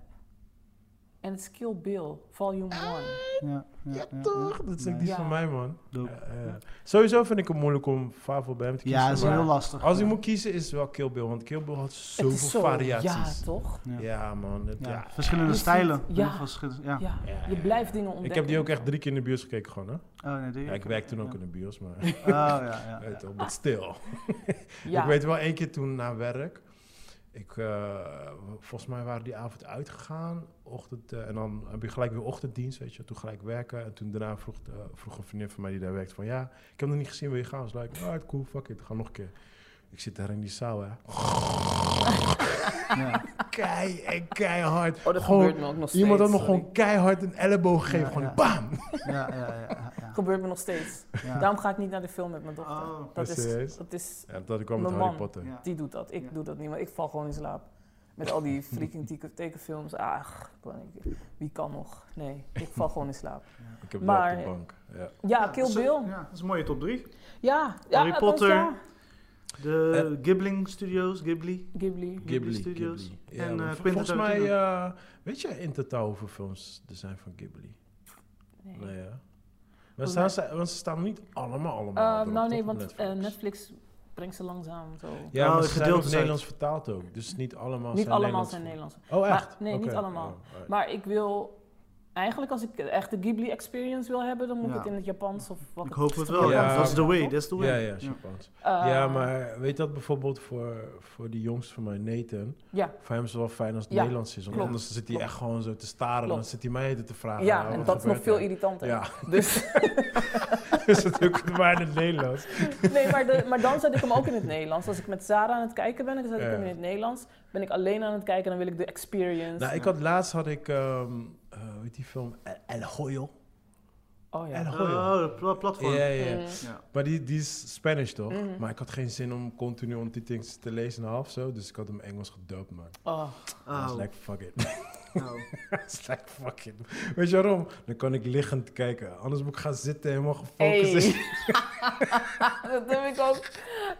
Speaker 3: En het is Kill Bill, volume
Speaker 1: Ah.
Speaker 2: Ja,
Speaker 3: 1.
Speaker 2: ja, ja, ja.
Speaker 1: Toch? Dat is ook die
Speaker 3: Ja.
Speaker 1: van mij, man.
Speaker 2: Dope.
Speaker 1: Eh, eh, sowieso vind ik het moeilijk om Favo bij hem te kiezen.
Speaker 2: Ja, dat is
Speaker 1: maar
Speaker 2: heel lastig.
Speaker 1: Als ik moet kiezen, is het wel Kill Bill. Want Kill Bill had zoveel variaties.
Speaker 3: Ja, toch?
Speaker 2: Ja.
Speaker 1: Ja, man. Het-
Speaker 2: Ja,
Speaker 1: ja.
Speaker 2: Verschillende
Speaker 3: Je
Speaker 2: stijlen.
Speaker 3: ziet-
Speaker 2: Heel
Speaker 3: ja.
Speaker 2: veel verschillende- ja.
Speaker 3: Ja,
Speaker 1: Ja,
Speaker 3: je
Speaker 1: ja,
Speaker 3: blijft dingen ontdekken.
Speaker 1: Ik heb die ook echt drie keer in de bios gekeken, gewoon, hè?
Speaker 2: Oh, nee, die-
Speaker 1: Ja, ik werk toen ook in de bios, maar...
Speaker 2: Oh, ja, ja.
Speaker 1: Weet je wel, maar stil.
Speaker 3: Ja.
Speaker 1: Ik weet wel één keer toen na werk. Ik, eh, volgens mij waren die avond uitgegaan. Ochtend, eh, en dan heb je gelijk weer ochtenddienst, weet je. Toen gelijk werken. En toen daarna vroeg, eh, vroeg een vriendin van mij die daar werkt van... Ja, ik heb nog niet gezien, wil je gaan? Ik was like, alright, cool, fuck it, ga nog een keer. Ik zit daar in die zaal, hè.
Speaker 2: ja.
Speaker 1: Kei en keihard.
Speaker 3: Oh, dat
Speaker 1: Gewoon
Speaker 3: gebeurt me ook nog steeds.
Speaker 1: Iemand had me
Speaker 3: sorry.
Speaker 1: gewoon keihard een elleboog gegeven.
Speaker 2: Ja,
Speaker 1: gewoon
Speaker 2: ja.
Speaker 1: bam!
Speaker 2: Ja, ja, ja, ja,
Speaker 3: Gebeurt me nog steeds.
Speaker 2: ja.
Speaker 3: Daarom ga ik niet naar de film met mijn dochter.
Speaker 2: Oh.
Speaker 3: dat,
Speaker 1: Serieus?
Speaker 3: is, dat is...
Speaker 1: En toen kwam met
Speaker 3: Mijn
Speaker 1: Harry
Speaker 3: man.
Speaker 1: Potter.
Speaker 2: Ja.
Speaker 3: Die doet dat. Ik
Speaker 2: Ja.
Speaker 3: doe dat niet, maar ik val gewoon in slaap. Met al die freaking teke- tekenfilms. Ach, ik kan niet. wie kan nog? Nee, ik val gewoon in slaap.
Speaker 1: Ik heb
Speaker 3: Maar-
Speaker 1: dat op de bank. Ja.
Speaker 3: Ja,
Speaker 2: Ja, dat
Speaker 3: Kill
Speaker 2: is-
Speaker 3: Bill.
Speaker 2: Ja, dat is een mooie top 3.
Speaker 3: Ja, ja
Speaker 2: Harry
Speaker 3: dat
Speaker 2: Potter.
Speaker 3: is- ja.
Speaker 1: Eh.
Speaker 2: De Ghibling Studios, Ghibli.
Speaker 3: Ghibli.
Speaker 1: Ghibli,
Speaker 2: Ghibli Studios.
Speaker 1: Ghibli. Ja,
Speaker 2: En, eh,
Speaker 1: maar vol-
Speaker 2: Quentin
Speaker 1: volgens mij,
Speaker 2: Tarantino.
Speaker 1: eh, weet jij in totaal hoeveel films er zijn van Ghibli?
Speaker 3: Nee. Eh,
Speaker 1: Nee, ja. Maar
Speaker 3: Volgens
Speaker 1: staan
Speaker 3: mij-
Speaker 1: ze, want ze staan niet allemaal allemaal
Speaker 3: Eh,
Speaker 1: erop,
Speaker 3: nou nee,
Speaker 1: toch, op
Speaker 3: want eh,
Speaker 1: Netflix.
Speaker 3: Netflix brengt ze langzaam zo.
Speaker 1: Ja,
Speaker 2: Oh,
Speaker 1: maar ze zijn ook
Speaker 2: gedeeltes
Speaker 1: Nederlands vertaald ook. Dus niet allemaal
Speaker 3: niet
Speaker 1: zijn
Speaker 3: allemaal
Speaker 1: Nederlands
Speaker 3: zijn
Speaker 1: ver-
Speaker 3: Nederlands.
Speaker 1: Oh,
Speaker 3: Maar-
Speaker 1: echt?
Speaker 3: nee, niet
Speaker 1: Oké,
Speaker 3: allemaal.
Speaker 1: oh, alright.
Speaker 3: Maar ik wil... Eigenlijk als ik echt de Ghibli experience wil hebben, dan moet
Speaker 2: Ja.
Speaker 3: ik het in het Japans of wat
Speaker 2: Ik hoop het wel.
Speaker 1: gebeurd.
Speaker 2: Ja,
Speaker 1: Ja.
Speaker 2: that's the way, that's the way.
Speaker 1: ja, ja, Japans.
Speaker 3: Eh,
Speaker 1: ja, maar weet dat bijvoorbeeld voor, voor die jongste van mij, Nathan...
Speaker 3: Ja.
Speaker 1: Voor hem is het wel fijn als het
Speaker 3: Ja,
Speaker 1: Nederlands is. Want
Speaker 3: klopt,
Speaker 1: anders zit hij
Speaker 3: klopt.
Speaker 1: echt gewoon zo te staren. En
Speaker 3: Klopt.
Speaker 1: dan zit hij mij te vragen.
Speaker 3: Ja,
Speaker 1: "Ah,
Speaker 3: en
Speaker 1: wat
Speaker 3: dat is nog
Speaker 1: gebeurt
Speaker 3: veel
Speaker 1: er?"
Speaker 3: irritanter.
Speaker 1: Ja,
Speaker 3: Dus,
Speaker 1: is het ook maar in het Nederlands.
Speaker 3: nee, maar, de, maar dan zet ik hem ook in het Nederlands. Als ik met Sarah aan het kijken ben, dan zet ik
Speaker 1: Ja.
Speaker 3: hem in het Nederlands. Ben ik alleen aan het kijken, dan wil ik de experience.
Speaker 1: Nou, ik had laatst had ik, ehm eh, hoe heet die film? El- El Hoyo.
Speaker 3: Oh ja.
Speaker 1: En eh,
Speaker 2: Oh,
Speaker 1: Goeie.
Speaker 2: de pla- platform.
Speaker 1: Ja, ja, ja.
Speaker 3: Mm.
Speaker 2: Ja.
Speaker 1: Maar die, die is Spanish toch?
Speaker 3: Mhm.
Speaker 1: Maar ik had geen zin om continu ondertitels te lezen en half zo. Dus ik had hem Engels gedubt, man.
Speaker 3: Oh,
Speaker 1: I
Speaker 2: Oh,
Speaker 1: was like, fuck it.
Speaker 2: oh.
Speaker 1: I was like, fuck it. Weet je waarom? Dan kan ik liggend kijken. Anders moet ik gaan zitten helemaal gefocussen.
Speaker 3: Hey. dat heb ik ook.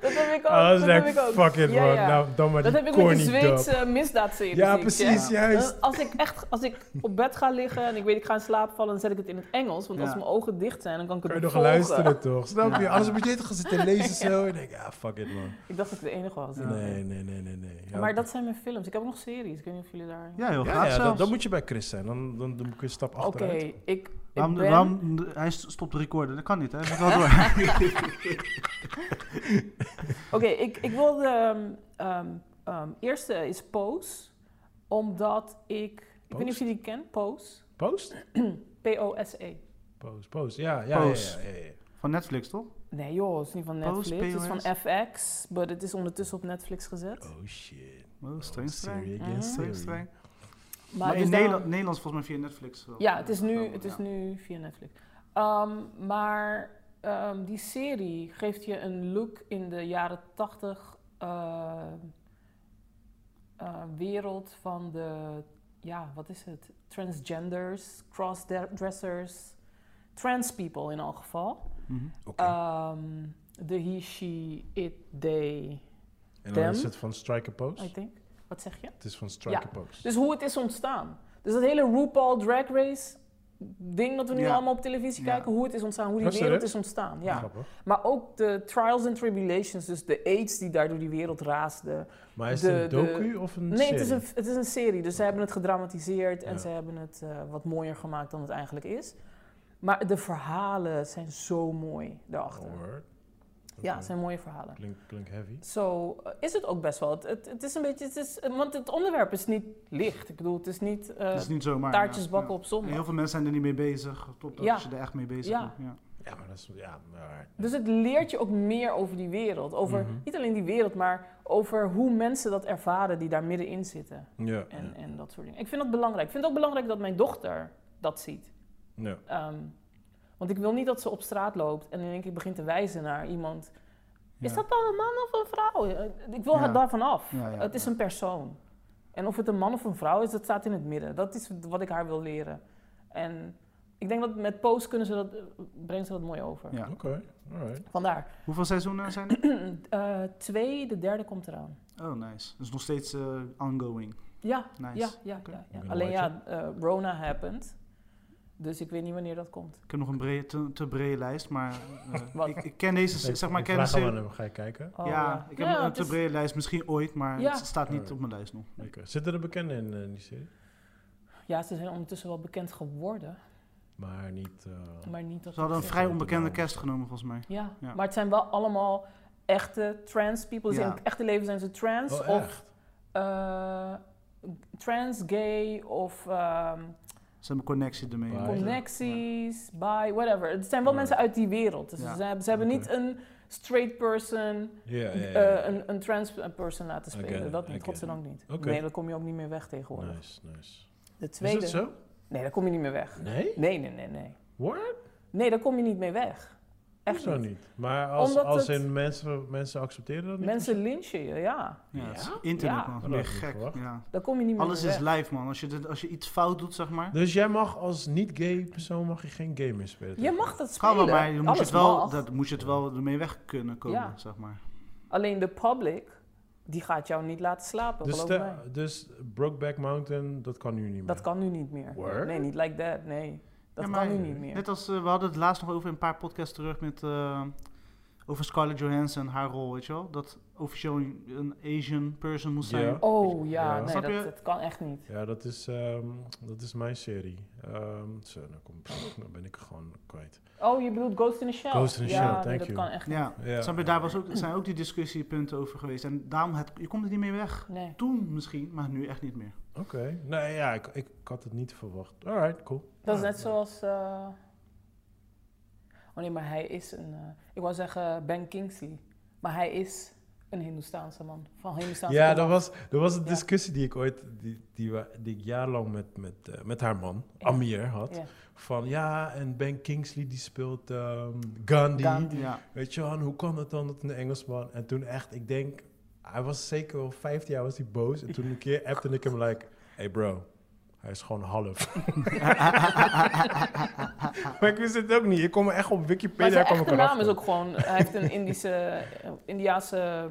Speaker 3: Dat heb ik ook.
Speaker 1: I was
Speaker 3: dat
Speaker 1: like,
Speaker 3: heb ik ook.
Speaker 1: fuck it,
Speaker 3: Ja,
Speaker 1: man.
Speaker 3: ja.
Speaker 1: Nou, dan maar
Speaker 3: dat
Speaker 1: die
Speaker 3: heb ik met
Speaker 1: corny
Speaker 3: die
Speaker 1: dub.
Speaker 3: Zweedse misdaadseries.
Speaker 1: Ja,
Speaker 3: die ik check.
Speaker 1: precies, juist.
Speaker 3: Dan- Eh, Als ik echt als ik op bed ga liggen en ik weet ik ga in slaap vallen, dan zet ik het in het Engels. Want
Speaker 2: Ja.
Speaker 3: als mijn ogen dicht zijn, dan kan ik het
Speaker 1: Kun je nog
Speaker 3: volgen.
Speaker 1: luisteren toch? Snap je?
Speaker 2: Ja.
Speaker 1: Anders moet je dit gaan zitten lezen zo. En denk ik, ah, fuck it, man.
Speaker 3: Ik dacht dat ik de enige was.
Speaker 2: Ja.
Speaker 1: Nee, nee, nee, nee, nee. Ja,
Speaker 3: Maar dat zijn mijn films. Ik heb ook nog series. Ik weet niet of jullie daar...
Speaker 2: Ja, heel
Speaker 1: Ja,
Speaker 2: graag
Speaker 1: ja, dan,
Speaker 2: zelfs.
Speaker 1: dan moet je bij Chris zijn. Dan, dan, dan moet ik een stap
Speaker 3: Oké,
Speaker 1: achteruit.
Speaker 3: ik, ik
Speaker 2: waarom,
Speaker 3: ben...
Speaker 2: waarom, hij stopt de recorder, dat kan niet, hè? Hij moet wel door.
Speaker 3: Oké, ik, ik wilde... ehm, ehm, ehm, eerste is Pose. Omdat ik... Ik weet niet of
Speaker 1: Pose?
Speaker 3: jullie die kennen. Pose.
Speaker 1: Post?
Speaker 3: P-O-S-E.
Speaker 1: Post, post. Ja, ja, ja,
Speaker 2: Post.
Speaker 1: ja, ja, ja.
Speaker 2: Van Netflix, toch?
Speaker 3: Nee joh, het is niet van
Speaker 2: Pose,
Speaker 3: Netflix. het is
Speaker 2: POS.
Speaker 3: van FX. Maar het is ondertussen op Netflix gezet.
Speaker 1: Oh shit.
Speaker 2: Oh, streng,
Speaker 1: Oh,
Speaker 2: streng.
Speaker 1: Serie
Speaker 3: Mhm.
Speaker 1: against
Speaker 2: Streng,
Speaker 1: serie.
Speaker 2: streng.
Speaker 3: Maar,
Speaker 2: Maar,
Speaker 3: dus
Speaker 2: in
Speaker 3: daarom-
Speaker 2: Nederland, Nederlands volgens mij via Netflix. wel.
Speaker 3: Ja, het is nu,
Speaker 2: Ja.
Speaker 3: het is
Speaker 2: Ja.
Speaker 3: nu via Netflix. Ehm, maar ehm, die serie geeft je een look in de jaren tachtig eh, wereld van de, ja, wat is het? Transgenders, crossdressers, trans people in elk geval.
Speaker 2: Mhm.
Speaker 1: Oké.
Speaker 3: Ehm, de he, she, it, they,
Speaker 1: en dan is
Speaker 3: them?
Speaker 1: het van Striker Post.
Speaker 3: I think. Wat zeg je?
Speaker 1: Het is van Striker Post.
Speaker 3: Dus hoe het is ontstaan. Dus dat hele RuPaul Drag Race ding dat we nu
Speaker 2: Ja.
Speaker 3: allemaal op televisie
Speaker 2: Ja.
Speaker 3: kijken, hoe het is ontstaan, hoe die
Speaker 1: Oh, serieus?
Speaker 3: wereld is ontstaan. Ja.
Speaker 1: Grappig.
Speaker 3: Maar ook de trials and tribulations, dus de aids die daar door die wereld raasden.
Speaker 1: Maar is
Speaker 3: De-
Speaker 1: het een docu
Speaker 3: de-
Speaker 1: of een
Speaker 3: Nee,
Speaker 1: serie?
Speaker 3: het is, een, het is een serie, dus ze hebben het gedramatiseerd en
Speaker 1: Ja.
Speaker 3: ze hebben het eh, wat mooier gemaakt dan het eigenlijk is. Maar de verhalen zijn zo mooi daarachter.
Speaker 1: Word.
Speaker 3: Ja,
Speaker 1: Oké.
Speaker 3: het zijn mooie verhalen.
Speaker 1: Klink, klink heavy.
Speaker 3: Zo eh, is het ook best wel. Het, het, het is een beetje, het is, want het onderwerp is niet licht. Ik bedoel, het is niet, eh,
Speaker 2: Het is niet zomaar.
Speaker 3: taartjes
Speaker 2: ja.
Speaker 3: bakken
Speaker 2: Ja.
Speaker 3: op zondag.
Speaker 2: En Heel veel mensen zijn er niet mee bezig. Totdat
Speaker 3: Ja.
Speaker 2: je er echt mee bezig
Speaker 3: Ja.
Speaker 2: bent. Ja.
Speaker 1: Ja, maar dat is... Ja, maar...
Speaker 3: Dus het leert je ook meer over die wereld. Over
Speaker 1: Mhm.
Speaker 3: niet alleen die wereld, maar over hoe mensen dat ervaren die daar middenin zitten.
Speaker 1: Ja,
Speaker 3: En,
Speaker 1: ja.
Speaker 3: en dat soort dingen. Ik vind dat belangrijk. Ik vind het ook belangrijk dat mijn dochter dat ziet.
Speaker 1: ja.
Speaker 3: Ehm, want ik wil niet dat ze op straat loopt en in één keer begint te wijzen naar iemand. Is
Speaker 2: Ja.
Speaker 3: dat dan een man of een vrouw? Eh, Ik wil
Speaker 2: Ja.
Speaker 3: haar daarvan af.
Speaker 2: Ja, ja,
Speaker 3: het is
Speaker 2: ja.
Speaker 3: een persoon. En of het een man of een vrouw is, dat staat in het midden. Dat is wat ik haar wil leren. En ik denk dat met post kunnen ze dat, eh, brengen ze dat mooi over.
Speaker 2: Ja.
Speaker 1: Oké, alright.
Speaker 3: Vandaar.
Speaker 2: Hoeveel seizoenen zijn er?
Speaker 3: Eh, twee, de derde komt eraan.
Speaker 2: Oh, nice. Dus nog steeds eh, ongoing.
Speaker 3: Ja,
Speaker 2: Nice.
Speaker 3: ja, ja.
Speaker 2: Oké.
Speaker 3: ja,
Speaker 1: Ik
Speaker 3: ja.
Speaker 1: ben
Speaker 3: Alleen
Speaker 1: een
Speaker 3: ja, eh, Rona happened. Dus ik weet niet wanneer dat komt.
Speaker 2: Ik heb nog een brede, te, te brede lijst, maar eh,
Speaker 3: Wat?
Speaker 2: ik, ik ken deze, zeg maar, ik ken
Speaker 1: ik vraag
Speaker 2: deze-
Speaker 1: hem aan hem, ga je kijken?
Speaker 3: Oh,
Speaker 2: ja, ik heb
Speaker 3: Ja,
Speaker 2: een
Speaker 3: het
Speaker 2: te
Speaker 3: is-
Speaker 2: brede lijst, misschien ooit, maar
Speaker 3: Ja.
Speaker 2: het staat niet
Speaker 1: Alright.
Speaker 2: op mijn lijst nog.
Speaker 1: Oké. Zitten er bekenden in eh, die serie?
Speaker 3: ja, ze zijn ondertussen wel bekend geworden,
Speaker 1: Maar niet... eh,
Speaker 3: maar niet dat...
Speaker 2: Ze hadden een
Speaker 1: Ja,
Speaker 2: vrij
Speaker 1: dat
Speaker 2: onbekende
Speaker 1: wel.
Speaker 2: cast genomen, volgens mij.
Speaker 3: Ja,
Speaker 2: Ja.
Speaker 3: maar het zijn wel allemaal echte trans people. Dus
Speaker 2: Ja.
Speaker 3: in het echte leven zijn ze trans
Speaker 1: Oh,
Speaker 3: of
Speaker 1: echt?
Speaker 3: eh, trans, gay of ehm,
Speaker 2: Ze hebben connectie ermee.
Speaker 1: Bye. Right.
Speaker 3: connecties, by whatever. Het zijn wel
Speaker 1: Right.
Speaker 3: mensen uit die wereld. Dus
Speaker 2: Ja.
Speaker 3: ze, hebben, ze hebben
Speaker 1: Oké.
Speaker 3: niet een straight person,
Speaker 1: Ja, ja, ja.
Speaker 3: eh, een, een trans person laten
Speaker 1: I get
Speaker 3: spelen.
Speaker 1: it, I
Speaker 3: Dat niet,
Speaker 1: get
Speaker 3: godzijdank niet.
Speaker 1: Oké.
Speaker 3: Nee, daar kom je ook niet meer weg tegenwoordig.
Speaker 1: Nice, nice.
Speaker 3: De
Speaker 1: Is
Speaker 3: tweede.
Speaker 1: dat zo?
Speaker 3: Nee, daar kom je niet meer weg.
Speaker 1: Nee?
Speaker 3: Nee, nee, nee, nee.
Speaker 1: What?
Speaker 3: Nee, daar kom je niet mee weg. Echt
Speaker 1: Hoezo
Speaker 3: niet.
Speaker 1: niet? Maar als,
Speaker 3: Omdat
Speaker 1: als
Speaker 3: het-
Speaker 1: in mensen, mensen accepteren dat niet?
Speaker 3: Mensen lynchen je, ja.
Speaker 2: Ja,
Speaker 1: Ja?
Speaker 2: het is internet,
Speaker 3: Ja.
Speaker 2: man.
Speaker 1: Dat
Speaker 2: Ben je
Speaker 1: had ik niet
Speaker 2: gek.
Speaker 1: verwacht.
Speaker 2: Ja.
Speaker 3: Daar kom je niet meer
Speaker 2: Alles
Speaker 3: mee
Speaker 2: is
Speaker 3: weg.
Speaker 2: live, man. Als je, dit- als je iets fout doet, zeg maar.
Speaker 1: Dus jij mag als niet-gay persoon mag je geen game meer spelen?
Speaker 3: Je mag dat
Speaker 2: Kan
Speaker 3: spelen.
Speaker 2: wel, maar dan moet je
Speaker 3: Alles
Speaker 2: het wel,
Speaker 3: mag.
Speaker 2: dat moet je het wel ermee weg kunnen komen,
Speaker 3: Ja.
Speaker 2: zeg maar.
Speaker 3: Alleen de public, die gaat jou niet laten slapen,
Speaker 1: Dus,
Speaker 3: geloof
Speaker 1: de-
Speaker 3: mij.
Speaker 1: dus Brokeback Mountain, dat kan nu niet meer?
Speaker 3: Dat kan nu niet meer.
Speaker 1: Word?
Speaker 3: Nee, niet like that, nee. Dat
Speaker 2: Ja,
Speaker 3: kan
Speaker 2: maar-
Speaker 3: nu niet meer.
Speaker 2: Net als, eh, we hadden het laatst nog over een paar podcasts terug met... eh, over Scarlett Johansson, haar rol, weet je wel? Dat officieel een een Asian person moest
Speaker 1: Ja.
Speaker 2: zijn.
Speaker 3: Oh ja,
Speaker 1: Ja.
Speaker 3: nee,
Speaker 2: Snap
Speaker 3: dat,
Speaker 2: je?
Speaker 3: dat kan echt niet.
Speaker 1: Ja, dat is, ehm, dat is mijn serie. Ehm zo, nou, kom, nou ben ik gewoon kwijt.
Speaker 3: Oh, je bedoelt Ghost in the Shell?
Speaker 1: Ghost in the
Speaker 3: ja,
Speaker 1: Shell,
Speaker 3: nee,
Speaker 1: thank
Speaker 3: dat
Speaker 1: you.
Speaker 3: kan echt niet.
Speaker 2: Ja,
Speaker 1: Ja.
Speaker 2: snap je? Daar was ook, zijn ook die discussiepunten over geweest. En daarom, het, je komt er niet meer weg.
Speaker 3: Nee.
Speaker 2: Toen misschien, maar nu echt niet meer.
Speaker 1: Oké. Nee, ja, ik, ik, ik had het niet verwacht. Alright, cool.
Speaker 3: Dat is
Speaker 1: Ja,
Speaker 3: net
Speaker 1: Ah, ja.
Speaker 3: zoals. eh, Oh nee, maar hij is een. eh, ik wou zeggen Ben Kingsley. Maar hij is Een Hindoestaanse man. Van Hindoestaanse
Speaker 1: Ja, dat
Speaker 3: dat
Speaker 1: was, dat was een
Speaker 3: Ja.
Speaker 1: discussie die ik ooit, die, die, wa- die ik jarenlang met, met, eh, met haar man,
Speaker 3: Ja.
Speaker 1: Amir, had.
Speaker 3: Ja.
Speaker 1: Van ja, en Ben Kingsley die speelt ehm, Gandhi.
Speaker 3: Gandhi.
Speaker 2: Ja.
Speaker 1: Weet je wel, en hoe kan het dan dat een Engelsman? En toen echt, ik denk, hij was zeker wel 15 jaar was hij boos. En toen een keer appte ik hem like, hey bro, hij is gewoon half. maar ik wist het ook niet. Ik kom echt op
Speaker 3: Maar
Speaker 1: Wikipedia.
Speaker 3: zijn
Speaker 1: kwam ik
Speaker 3: echte naam
Speaker 1: erachter.
Speaker 3: is ook gewoon... Hij heeft een Indische, eh, Indiaanse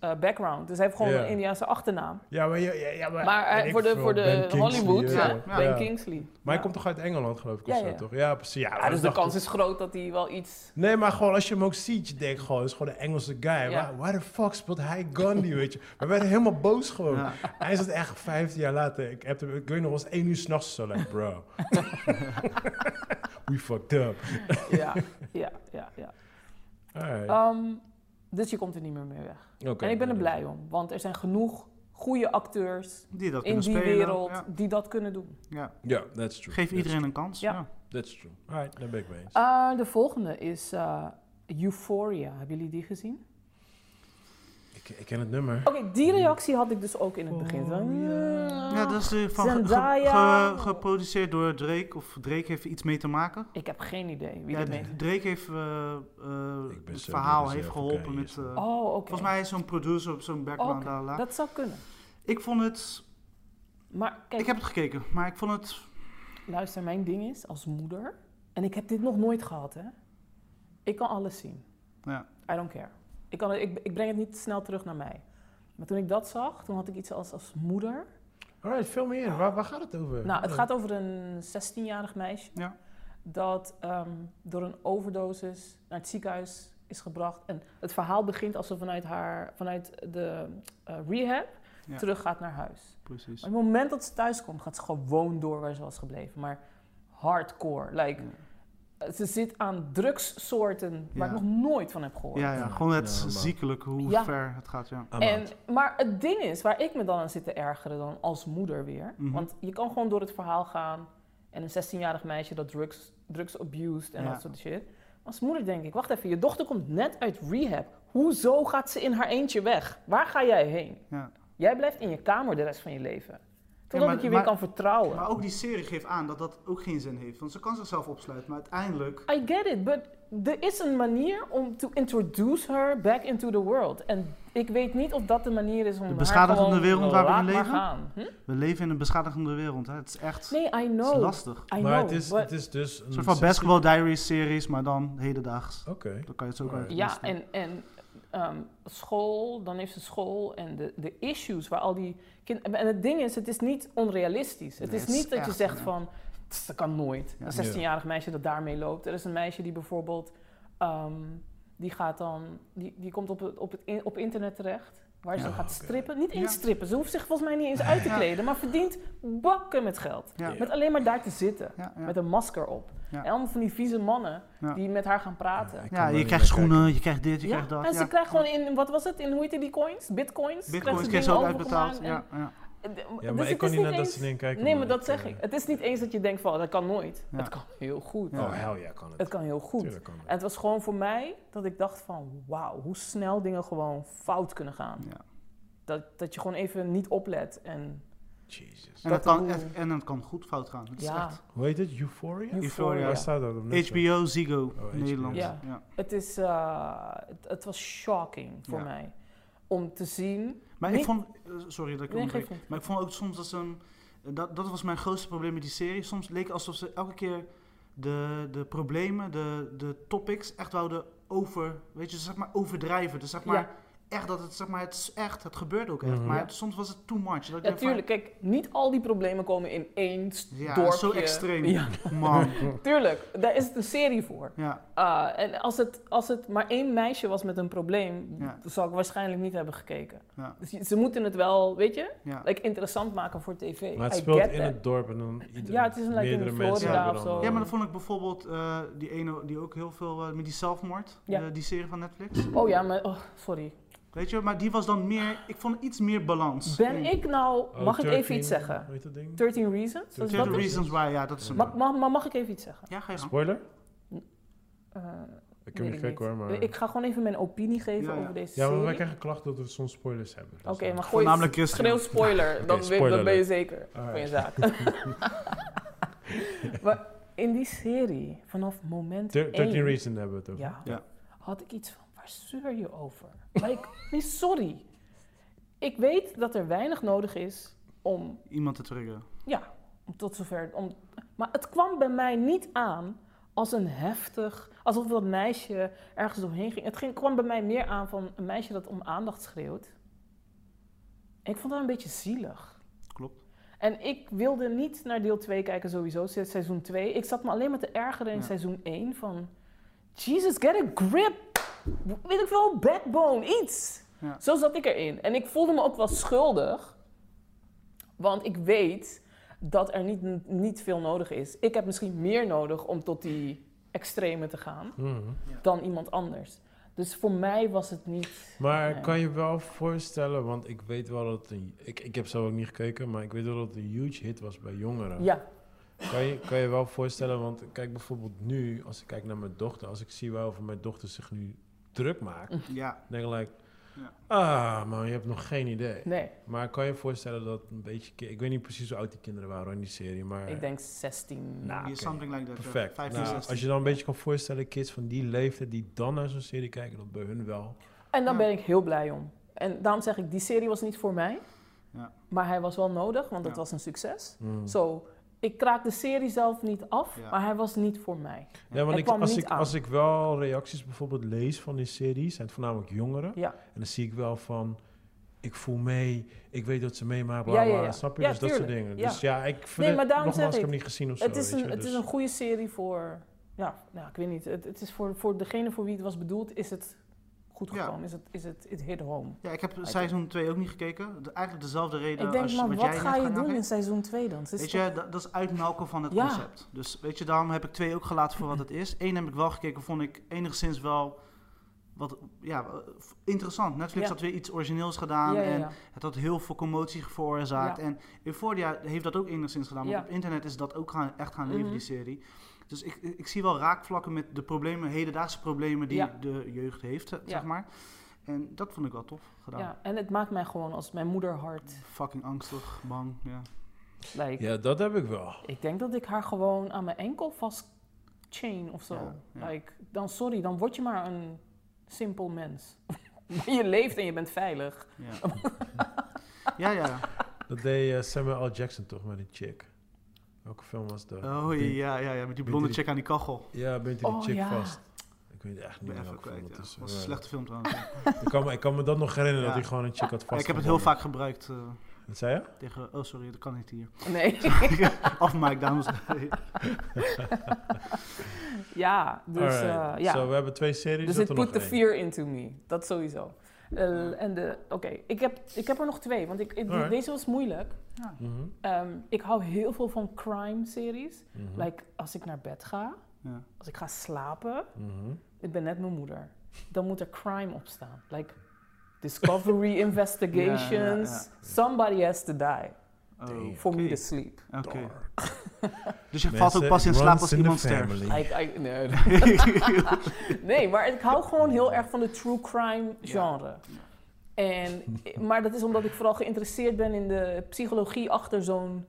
Speaker 3: eh, background. Dus hij heeft gewoon
Speaker 1: Ja.
Speaker 3: een Indiaanse achternaam.
Speaker 1: Ja, maar... Ja, ja, ja, maar
Speaker 3: Maar
Speaker 1: en
Speaker 3: hij-
Speaker 1: ik
Speaker 3: voor de-
Speaker 1: vooral
Speaker 3: voor de
Speaker 1: Ben Kingsley, eh,
Speaker 3: Hollywood,
Speaker 1: ja.
Speaker 2: ja.
Speaker 1: Ja.
Speaker 3: Ben
Speaker 1: Ja.
Speaker 3: Kingsley.
Speaker 1: Maar hij
Speaker 3: Ja.
Speaker 1: komt toch uit Engeland, geloof ik, of
Speaker 3: Ja,
Speaker 1: zo,
Speaker 3: ja.
Speaker 1: toch? Ja, precies. Ja,
Speaker 3: Ja, dus
Speaker 1: ik
Speaker 3: de
Speaker 1: dacht
Speaker 3: kans
Speaker 1: toch-
Speaker 3: is groot dat hij wel iets...
Speaker 1: Nee, maar gewoon als je hem ook ziet, je denkt gewoon, het is gewoon een Engelse guy. Waar, waar de fuck speelt hij Gandhi, weet je? We werden helemaal boos gewoon.
Speaker 2: Ja.
Speaker 1: Hij is het echt 15 jaar later. Ik, heb hem, ik weet nog, was één uur s'nachts zo, like, bro. We fucked up.
Speaker 3: Ja, ja, ja. ja.
Speaker 1: Alright.
Speaker 3: Ehm, dus je komt er niet meer mee weg.
Speaker 1: Oké.
Speaker 3: Oh, en ik ben er blij om, want er zijn genoeg goede acteurs
Speaker 2: Die dat
Speaker 3: in
Speaker 2: kunnen
Speaker 3: die
Speaker 2: spelen.
Speaker 3: wereld
Speaker 2: Ja.
Speaker 3: die dat kunnen doen.
Speaker 2: Ja.
Speaker 1: Ja, that's true.
Speaker 2: Geef
Speaker 1: That's
Speaker 2: iedereen een kans.
Speaker 3: Ja.
Speaker 2: Ja.
Speaker 1: true. That's true. Alright, daar ben ik mee eens.
Speaker 3: Eh, de volgende is eh, Euphoria. Hebben jullie die gezien?
Speaker 1: ik, ik ken het nummer.
Speaker 3: Oké, die reactie had ik dus ook in het begin. "Ah." Zo,
Speaker 1: Euphoria.
Speaker 2: Ja, dat is eh, van ge- ge-
Speaker 3: Zendaya.
Speaker 2: ge- geproduceerd door Drake. Of Drake heeft er iets mee te maken.
Speaker 3: Ik heb geen idee wie
Speaker 2: Ja,
Speaker 3: dat meent.
Speaker 2: Drake heeft eh, eh,
Speaker 1: Ik ben
Speaker 2: het
Speaker 1: zo
Speaker 2: verhaal
Speaker 1: niet
Speaker 2: heeft
Speaker 1: eens
Speaker 2: geholpen
Speaker 1: even
Speaker 2: met.
Speaker 1: kijken,
Speaker 2: eh,
Speaker 3: Oh, oké.
Speaker 2: Volgens mij is zo'n producer op zo'n background.
Speaker 3: Oké,
Speaker 2: la, la, la.
Speaker 3: Dat zou kunnen.
Speaker 2: Ik vond het.
Speaker 3: Maar kijk,
Speaker 2: Ik heb het gekeken, maar ik vond het.
Speaker 3: luister, mijn ding is als moeder, en ik heb dit nog nooit gehad, hè. Ik kan alles zien.
Speaker 2: Ja.
Speaker 3: I don't care. Ik, kan, ik, ik breng het niet snel terug naar mij. Maar toen ik dat zag, toen had ik iets als, als moeder.
Speaker 1: Alright, film me in. Waar, waar gaat het over? Oh.
Speaker 3: Nou, het gaat over een 16-jarig meisje.
Speaker 2: Eh, Ja.
Speaker 3: Dat ehm, door een overdosis naar het ziekenhuis is gebracht. En het verhaal begint alsof vanuit haar, vanuit de eh, rehab,
Speaker 2: Ja. Dus
Speaker 3: terug gaat naar huis.
Speaker 2: Precies.
Speaker 3: Maar op het moment dat ze thuis komt, gaat ze gewoon door waar ze was gebleven. Maar hardcore. Like, Ze zit aan drugssoorten waar
Speaker 2: Ja.
Speaker 3: ik nog nooit van heb gehoord.
Speaker 2: Ja, ja, gewoon het
Speaker 1: Ja, maar-
Speaker 2: ziekelijk hoe
Speaker 3: Ja.
Speaker 2: ver het gaat. Ja.
Speaker 1: I'm
Speaker 3: En,
Speaker 1: out.
Speaker 3: maar het ding is, waar ik me dan aan zit te ergeren dan als moeder weer.
Speaker 2: Mhm.
Speaker 3: Want je kan gewoon door het verhaal gaan. En een 16-jarig meisje dat drugs, drugs abused en
Speaker 2: Ja.
Speaker 3: dat soort shit. Als moeder denk ik, wacht even, je dochter komt net uit rehab. Hoezo gaat ze in haar eentje weg? Waar ga jij heen?
Speaker 2: Ja.
Speaker 3: Jij blijft in je kamer de rest van je leven. Totdat
Speaker 2: Ja, maar-
Speaker 3: ik je
Speaker 2: maar-
Speaker 3: weer kan vertrouwen.
Speaker 2: Maar ook die serie geeft aan dat dat ook geen zin heeft. Want ze kan zichzelf opsluiten, maar uiteindelijk.
Speaker 3: I get it, but er is een manier om to introduce her back into the world. En ik weet niet of dat de manier is om
Speaker 2: De
Speaker 3: haar
Speaker 2: beschadigende
Speaker 3: gewoon-
Speaker 2: wereld waar we in
Speaker 3: laat maar
Speaker 2: leven?
Speaker 3: gaan. Hm?
Speaker 2: We leven in een beschadigende wereld. Hè. Het is echt
Speaker 3: Nee, I
Speaker 2: het
Speaker 3: know.
Speaker 2: is lastig.
Speaker 3: I
Speaker 1: maar
Speaker 3: know,
Speaker 1: het is,
Speaker 3: but-
Speaker 1: het is dus...
Speaker 2: Een soort van basketball diaries series, maar dan hedendaags.
Speaker 1: Oké.
Speaker 2: Dan kan je het zo ook uit.
Speaker 3: ja, en, en ehm, school, dan heeft ze school en de, de issues waar al die kinderen... En het ding is, het is niet onrealistisch. Het
Speaker 2: Nee,
Speaker 3: is
Speaker 2: het is
Speaker 3: niet dat je
Speaker 2: echt,
Speaker 3: zegt
Speaker 2: ja.
Speaker 3: van, "Tss, dat kan nooit.
Speaker 2: Ja.
Speaker 3: Een 16-jarig meisje dat daarmee loopt. Er is een meisje die bijvoorbeeld, ehm, die gaat dan, die, die komt op, het, op, het in- op internet terecht. Waar ze
Speaker 1: Ja.
Speaker 3: gaat
Speaker 1: Oké.
Speaker 3: strippen. Niet eens
Speaker 2: Ja.
Speaker 3: strippen, ze hoeft zich volgens mij niet eens uit te
Speaker 2: Ja.
Speaker 3: kleden. Maar verdient bakken met geld.
Speaker 2: Ja, ja,
Speaker 3: Met alleen maar daar te zitten.
Speaker 2: ja.
Speaker 3: Met een masker op.
Speaker 2: Ja.
Speaker 3: En allemaal van die vieze mannen
Speaker 2: Ja.
Speaker 3: die met haar gaan praten.
Speaker 1: Ja, ik-
Speaker 2: Ja,
Speaker 1: kan
Speaker 2: je
Speaker 1: er
Speaker 2: krijgt
Speaker 1: niet naar
Speaker 2: schoenen, je krijgt dit, je
Speaker 3: Ja,
Speaker 2: krijgt dat.
Speaker 3: en ze
Speaker 2: ja.
Speaker 3: krijgt gewoon in, wat was het, in hoe heet die coins? Bitcoins?
Speaker 2: Bitcoins
Speaker 3: Krijgt
Speaker 2: krijgt ze ook
Speaker 3: dingen
Speaker 2: uitbetaald. Ja,
Speaker 3: overgemaakt
Speaker 2: ja.
Speaker 3: en- en-
Speaker 1: Ja, maar
Speaker 3: dus
Speaker 1: ik
Speaker 3: het
Speaker 1: kon
Speaker 3: is
Speaker 1: niet naar dat
Speaker 3: eens-
Speaker 1: soort dingen kijken.
Speaker 3: Nee, maar
Speaker 1: omdat
Speaker 3: dat
Speaker 1: ik,
Speaker 3: zeg
Speaker 1: eh,
Speaker 3: ik. Het is niet eens dat je denkt van, dat kan nooit.
Speaker 2: Ja.
Speaker 3: Het kan heel goed.
Speaker 2: Ja.
Speaker 1: Oh, hell ja, kan het.
Speaker 3: Het kan heel goed.
Speaker 1: Tuurlijk kan het.
Speaker 3: En het was gewoon voor mij dat ik dacht van, wauw, hoe snel dingen gewoon fout kunnen gaan.
Speaker 2: ja.
Speaker 3: Dat, dat je gewoon even niet oplet en
Speaker 1: Jesus.
Speaker 2: En,
Speaker 3: Dat
Speaker 2: het kan,
Speaker 3: bedoel-
Speaker 2: het- en het kan goed fout gaan. Het is
Speaker 3: Ja.
Speaker 2: echt
Speaker 1: Hoe heet het? Euphoria?
Speaker 2: Euphoria.
Speaker 1: Waar staat dat op Netflix?
Speaker 2: HBO, Ziggo,
Speaker 1: HBO.
Speaker 2: Nederland.
Speaker 3: Ja.
Speaker 2: Ja.
Speaker 3: het is, eh, het, het was shocking voor
Speaker 2: Ja.
Speaker 3: mij. Om te zien,
Speaker 2: Maar
Speaker 3: Nee.
Speaker 2: ik vond, eh, sorry dat ik
Speaker 3: Nee,
Speaker 2: onderbreek.
Speaker 3: geef niet.
Speaker 2: maar ik vond ook soms dat ze hem, dat, dat was mijn grootste probleem met die serie. Soms leek het alsof ze elke keer de, de problemen, de, de topics echt wouden over, weet je, zeg maar overdrijven. Dus zeg maar,
Speaker 3: Ja.
Speaker 2: echt dat het, zeg maar, het is echt, het gebeurt ook echt.
Speaker 1: Mhm.
Speaker 2: Maar
Speaker 3: Ja.
Speaker 2: het- soms was het too much. Dat ik
Speaker 3: ja
Speaker 2: dacht van,
Speaker 3: tuurlijk, kijk, niet al die problemen komen in één
Speaker 2: Ja,
Speaker 3: dorpje.
Speaker 2: zo extreem.
Speaker 3: Ja,
Speaker 2: Man,
Speaker 3: tuurlijk. Daar is het een serie voor.
Speaker 2: ja,
Speaker 3: Ah, en als het, als het maar één meisje was met een probleem,
Speaker 2: Ja.
Speaker 3: dan zou ik waarschijnlijk niet hebben gekeken.
Speaker 2: Ja.
Speaker 3: Dus je- ze moeten het wel, weet je,
Speaker 2: ja.
Speaker 3: like, interessant maken voor tv.
Speaker 1: Maar het
Speaker 3: I
Speaker 1: speelt in
Speaker 3: get that.
Speaker 1: het dorp en dan ieder,
Speaker 3: Ja, het is een lekker in
Speaker 1: meerdere
Speaker 3: Florida
Speaker 1: mensen hebben
Speaker 3: of
Speaker 1: dan,
Speaker 3: zo.
Speaker 2: Ja, maar
Speaker 1: eh,
Speaker 2: dan vond ik bijvoorbeeld eh, die ene die ook heel veel eh, met die zelfmoord,
Speaker 3: Ja.
Speaker 2: eh, die serie van Netflix.
Speaker 3: Oh ja, maar, oh, sorry.
Speaker 2: Weet je, maar die was dan meer, ik vond iets meer balans.
Speaker 3: Ben
Speaker 2: in-
Speaker 3: ik nou,
Speaker 1: oh,
Speaker 3: mag ik even
Speaker 1: 13,
Speaker 3: iets zeggen?
Speaker 1: Hoe heet dat ding?
Speaker 3: 13 Reasons? Dus
Speaker 1: Is
Speaker 2: Tell
Speaker 3: dat
Speaker 2: the
Speaker 1: is-
Speaker 2: reasons why, ja, dat is een...
Speaker 1: Ma-
Speaker 3: mag, mag, maar mag ik even iets zeggen?
Speaker 2: Ja, ga je gang.
Speaker 1: Spoiler?
Speaker 3: Eh,
Speaker 1: Ik heb
Speaker 3: Weet
Speaker 1: niet
Speaker 3: ik
Speaker 1: gek hoor, maar...
Speaker 3: Ik ga gewoon even mijn opinie geven
Speaker 2: Ja, ja.
Speaker 3: over deze
Speaker 1: Ja, maar wij
Speaker 3: serie.
Speaker 1: krijgen klachten dat we soms spoilers hebben. dus
Speaker 3: Oké, maar gooi
Speaker 2: Voornamelijk
Speaker 3: Schreeuw
Speaker 2: Christian.
Speaker 3: spoiler, dan, weet-
Speaker 1: spoiler
Speaker 3: dan ben je
Speaker 1: alert.
Speaker 3: zeker van je zaak. maar in die serie, vanaf moment
Speaker 1: 13
Speaker 3: één,
Speaker 1: Reason hebben we het over.
Speaker 3: ja,
Speaker 2: Ja.
Speaker 3: had ik iets van, waar zeur je over? Like, nee, sorry. Ik weet dat er weinig nodig is om,
Speaker 2: Iemand te triggeren.
Speaker 3: om tot zover... Om, maar het kwam bij mij niet aan als een heftig... Alsof dat meisje ergens doorheen ging. Het ging, kwam bij mij meer aan van een meisje dat om aandacht schreeuwt. Ik vond dat een beetje zielig.
Speaker 2: Klopt.
Speaker 3: En ik wilde niet naar deel 2 kijken sowieso, se- seizoen 2. Ik zat me alleen maar te ergeren in
Speaker 2: Ja.
Speaker 3: seizoen 1 van... Jesus, get a grip! Weet ik veel, backbone, iets!
Speaker 2: Ja.
Speaker 3: Zo zat ik erin. En ik voelde me ook wel schuldig. Want ik weet dat er niet, niet veel nodig is. Ik heb misschien meer nodig om tot die extreme te gaan
Speaker 1: Mhm.
Speaker 3: dan iemand anders. Dus voor mij was het niet...
Speaker 1: Maar
Speaker 3: Nee.
Speaker 1: kan je wel voorstellen, want ik weet wel dat het een, ik, ik heb zelf ook niet gekeken, maar ik weet wel dat het een huge hit was bij jongeren.
Speaker 3: Ja,
Speaker 1: Kan, je, kan je wel voorstellen, want kijk bijvoorbeeld nu, als ik kijk naar mijn dochter, als ik zie waarover mijn dochter zich nu druk maakt,
Speaker 2: Ja.
Speaker 1: denk ik like,
Speaker 2: Ja.
Speaker 1: ah man, je hebt nog geen idee.
Speaker 3: nee.
Speaker 1: Maar kan je voorstellen dat een beetje, ki- ik weet niet precies hoe oud die kinderen waren in die serie, maar
Speaker 3: Ik denk 16.
Speaker 1: Nou,
Speaker 2: Hier
Speaker 1: oké.
Speaker 2: Something like that. ja.
Speaker 1: perfect.
Speaker 2: 15,
Speaker 1: Nou,
Speaker 2: 16.
Speaker 1: als je dan een beetje kan voorstellen, kids van die leeftijd die dan naar zo'n serie kijken, dat bij hun wel.
Speaker 3: En daar
Speaker 2: Ja.
Speaker 3: ben ik heel blij om. En daarom zeg ik, die serie was niet voor mij.
Speaker 2: Ja.
Speaker 3: Maar hij was wel nodig, want het
Speaker 2: Ja.
Speaker 3: was een succes.
Speaker 1: Mm.
Speaker 3: Zo, ik kraak de serie zelf niet af,
Speaker 2: Ja.
Speaker 3: maar hij was niet voor mij.
Speaker 1: Ja, want
Speaker 3: Hij
Speaker 1: ik,
Speaker 3: kwam
Speaker 1: als,
Speaker 3: niet
Speaker 1: ik,
Speaker 3: aan.
Speaker 1: als ik wel reacties bijvoorbeeld lees van die serie, zijn het voornamelijk jongeren.
Speaker 3: Ja.
Speaker 1: En dan zie ik wel van, ik voel mee, ik weet dat ze meemaken, bla
Speaker 3: Ja,
Speaker 1: bla,
Speaker 3: ja, ja.
Speaker 1: snap je?
Speaker 3: Ja,
Speaker 1: dus dat soort
Speaker 3: tuurlijk,
Speaker 1: dingen.
Speaker 3: ja.
Speaker 1: Dus ja, ik vind
Speaker 3: Nee,
Speaker 1: het-
Speaker 3: maar daarom
Speaker 1: nogmaals,
Speaker 3: zeg
Speaker 1: ik heb
Speaker 3: ik,
Speaker 1: hem niet gezien of zo.
Speaker 3: Het, is
Speaker 1: weet
Speaker 3: een,
Speaker 1: je,
Speaker 3: het is
Speaker 1: dus-
Speaker 3: een goede serie voor, ja, nou, ik weet niet, het, het is voor, voor degene voor wie het was bedoeld, is het goed
Speaker 2: Ja.
Speaker 3: gekomen, is, het, is het, it hit home.
Speaker 2: Ja, ik heb seizoen 2 ook niet gekeken. De- eigenlijk dezelfde reden
Speaker 3: ik denk,
Speaker 2: als
Speaker 3: man,
Speaker 2: wat
Speaker 3: wat
Speaker 2: jij
Speaker 3: ga
Speaker 2: net
Speaker 3: je doen in
Speaker 2: aangeeft.
Speaker 3: seizoen 2 dan? Het is
Speaker 2: Weet
Speaker 3: toch-
Speaker 2: je, dat, dat is uitmelken van het
Speaker 3: Ja.
Speaker 2: concept. Dus weet je, daarom heb ik twee ook gelaten voor wat het is. Eén heb ik wel gekeken, vond ik enigszins wel wat, ja, eh, interessant. Netflix
Speaker 3: Ja.
Speaker 2: had weer iets origineels gedaan
Speaker 3: ja, ja,
Speaker 2: en
Speaker 3: ja.
Speaker 2: het had heel veel commotie veroorzaakt.
Speaker 3: Ja.
Speaker 2: En Euphoria heeft dat ook enigszins gedaan, want
Speaker 3: Ja.
Speaker 2: op internet is dat ook gaan, echt gaan leven,
Speaker 3: Mhm.
Speaker 2: die serie. Dus ik, ik ik zie wel raakvlakken met de problemen, hedendaagse problemen die
Speaker 3: Ja.
Speaker 2: de jeugd heeft, eh,
Speaker 3: Ja.
Speaker 2: zeg maar. En dat vond ik wel tof gedaan.
Speaker 3: Ja, en het maakt mij gewoon als mijn moederhart.
Speaker 2: Fucking angstig, bang, ja.
Speaker 3: Like,
Speaker 1: Ja, dat heb ik wel.
Speaker 3: Ik denk dat ik haar gewoon aan mijn enkel vast chain of zo.
Speaker 2: Ja, ja.
Speaker 3: Like, dan sorry, dan word je maar een simpel mens. Maar je leeft en je bent veilig.
Speaker 2: Ja, ja, ja. ja.
Speaker 1: Dat deed eh, Samuel L. Jackson toch met die chick. Welke film was dat?
Speaker 2: Oh
Speaker 1: Bind-
Speaker 2: ja, ja, ja, met die blonde
Speaker 1: die-
Speaker 2: check aan die kachel.
Speaker 1: Ja, bent u die
Speaker 3: Oh,
Speaker 1: chick
Speaker 3: ja.
Speaker 1: vast? Ik weet echt niet
Speaker 2: Ik ben
Speaker 1: meer
Speaker 2: even
Speaker 1: welke film
Speaker 2: kwijt. Ja.
Speaker 1: dat is.
Speaker 2: was een
Speaker 1: Ja.
Speaker 2: slechte film trouwens. Ja,
Speaker 1: Ik kan, me, ik kan me dat nog herinneren,
Speaker 2: Ja.
Speaker 1: dat hij gewoon een chick had vast.
Speaker 2: ik heb het heel vaak gebruikt eh,
Speaker 1: Wat zei je?
Speaker 2: tegen... Oh, sorry, dat kan niet hier.
Speaker 3: Nee.
Speaker 2: Af Mike, dames en
Speaker 3: ja, dus eh,
Speaker 1: Alright.
Speaker 3: ja.
Speaker 1: Zo, we hebben twee series.
Speaker 3: dus
Speaker 1: dat
Speaker 3: het
Speaker 1: er
Speaker 3: put
Speaker 1: nog
Speaker 3: the
Speaker 1: één.
Speaker 3: fear into me. Dat sowieso. Eh, en de, oké, ik, heb, ik heb er nog twee, want ik, ik- die-
Speaker 1: Alright.
Speaker 3: deze was moeilijk.
Speaker 1: Mhm,
Speaker 3: Ehm, ik hou heel veel van crime series.
Speaker 1: mhm,
Speaker 3: Like, als ik naar bed ga,
Speaker 2: Ja.
Speaker 3: als ik ga slapen,
Speaker 1: mhm.
Speaker 3: ik ben net mijn moeder. Dan moet er crime op staan. Like discovery investigations.
Speaker 2: Ja, ja, ja.
Speaker 3: Somebody has to die
Speaker 2: Oh,
Speaker 3: for me
Speaker 2: oké.
Speaker 3: to sleep.
Speaker 2: Oké.
Speaker 1: Dark.
Speaker 2: Dus je valt
Speaker 1: Mensen,
Speaker 2: ook pas in slaap
Speaker 1: runs
Speaker 2: als
Speaker 1: in the
Speaker 2: iemand sterft.
Speaker 1: family.
Speaker 3: I- I- nee, nee, maar ik hou gewoon heel erg van de true crime genre. En, maar dat is omdat ik vooral geïnteresseerd ben in de psychologie achter zo'n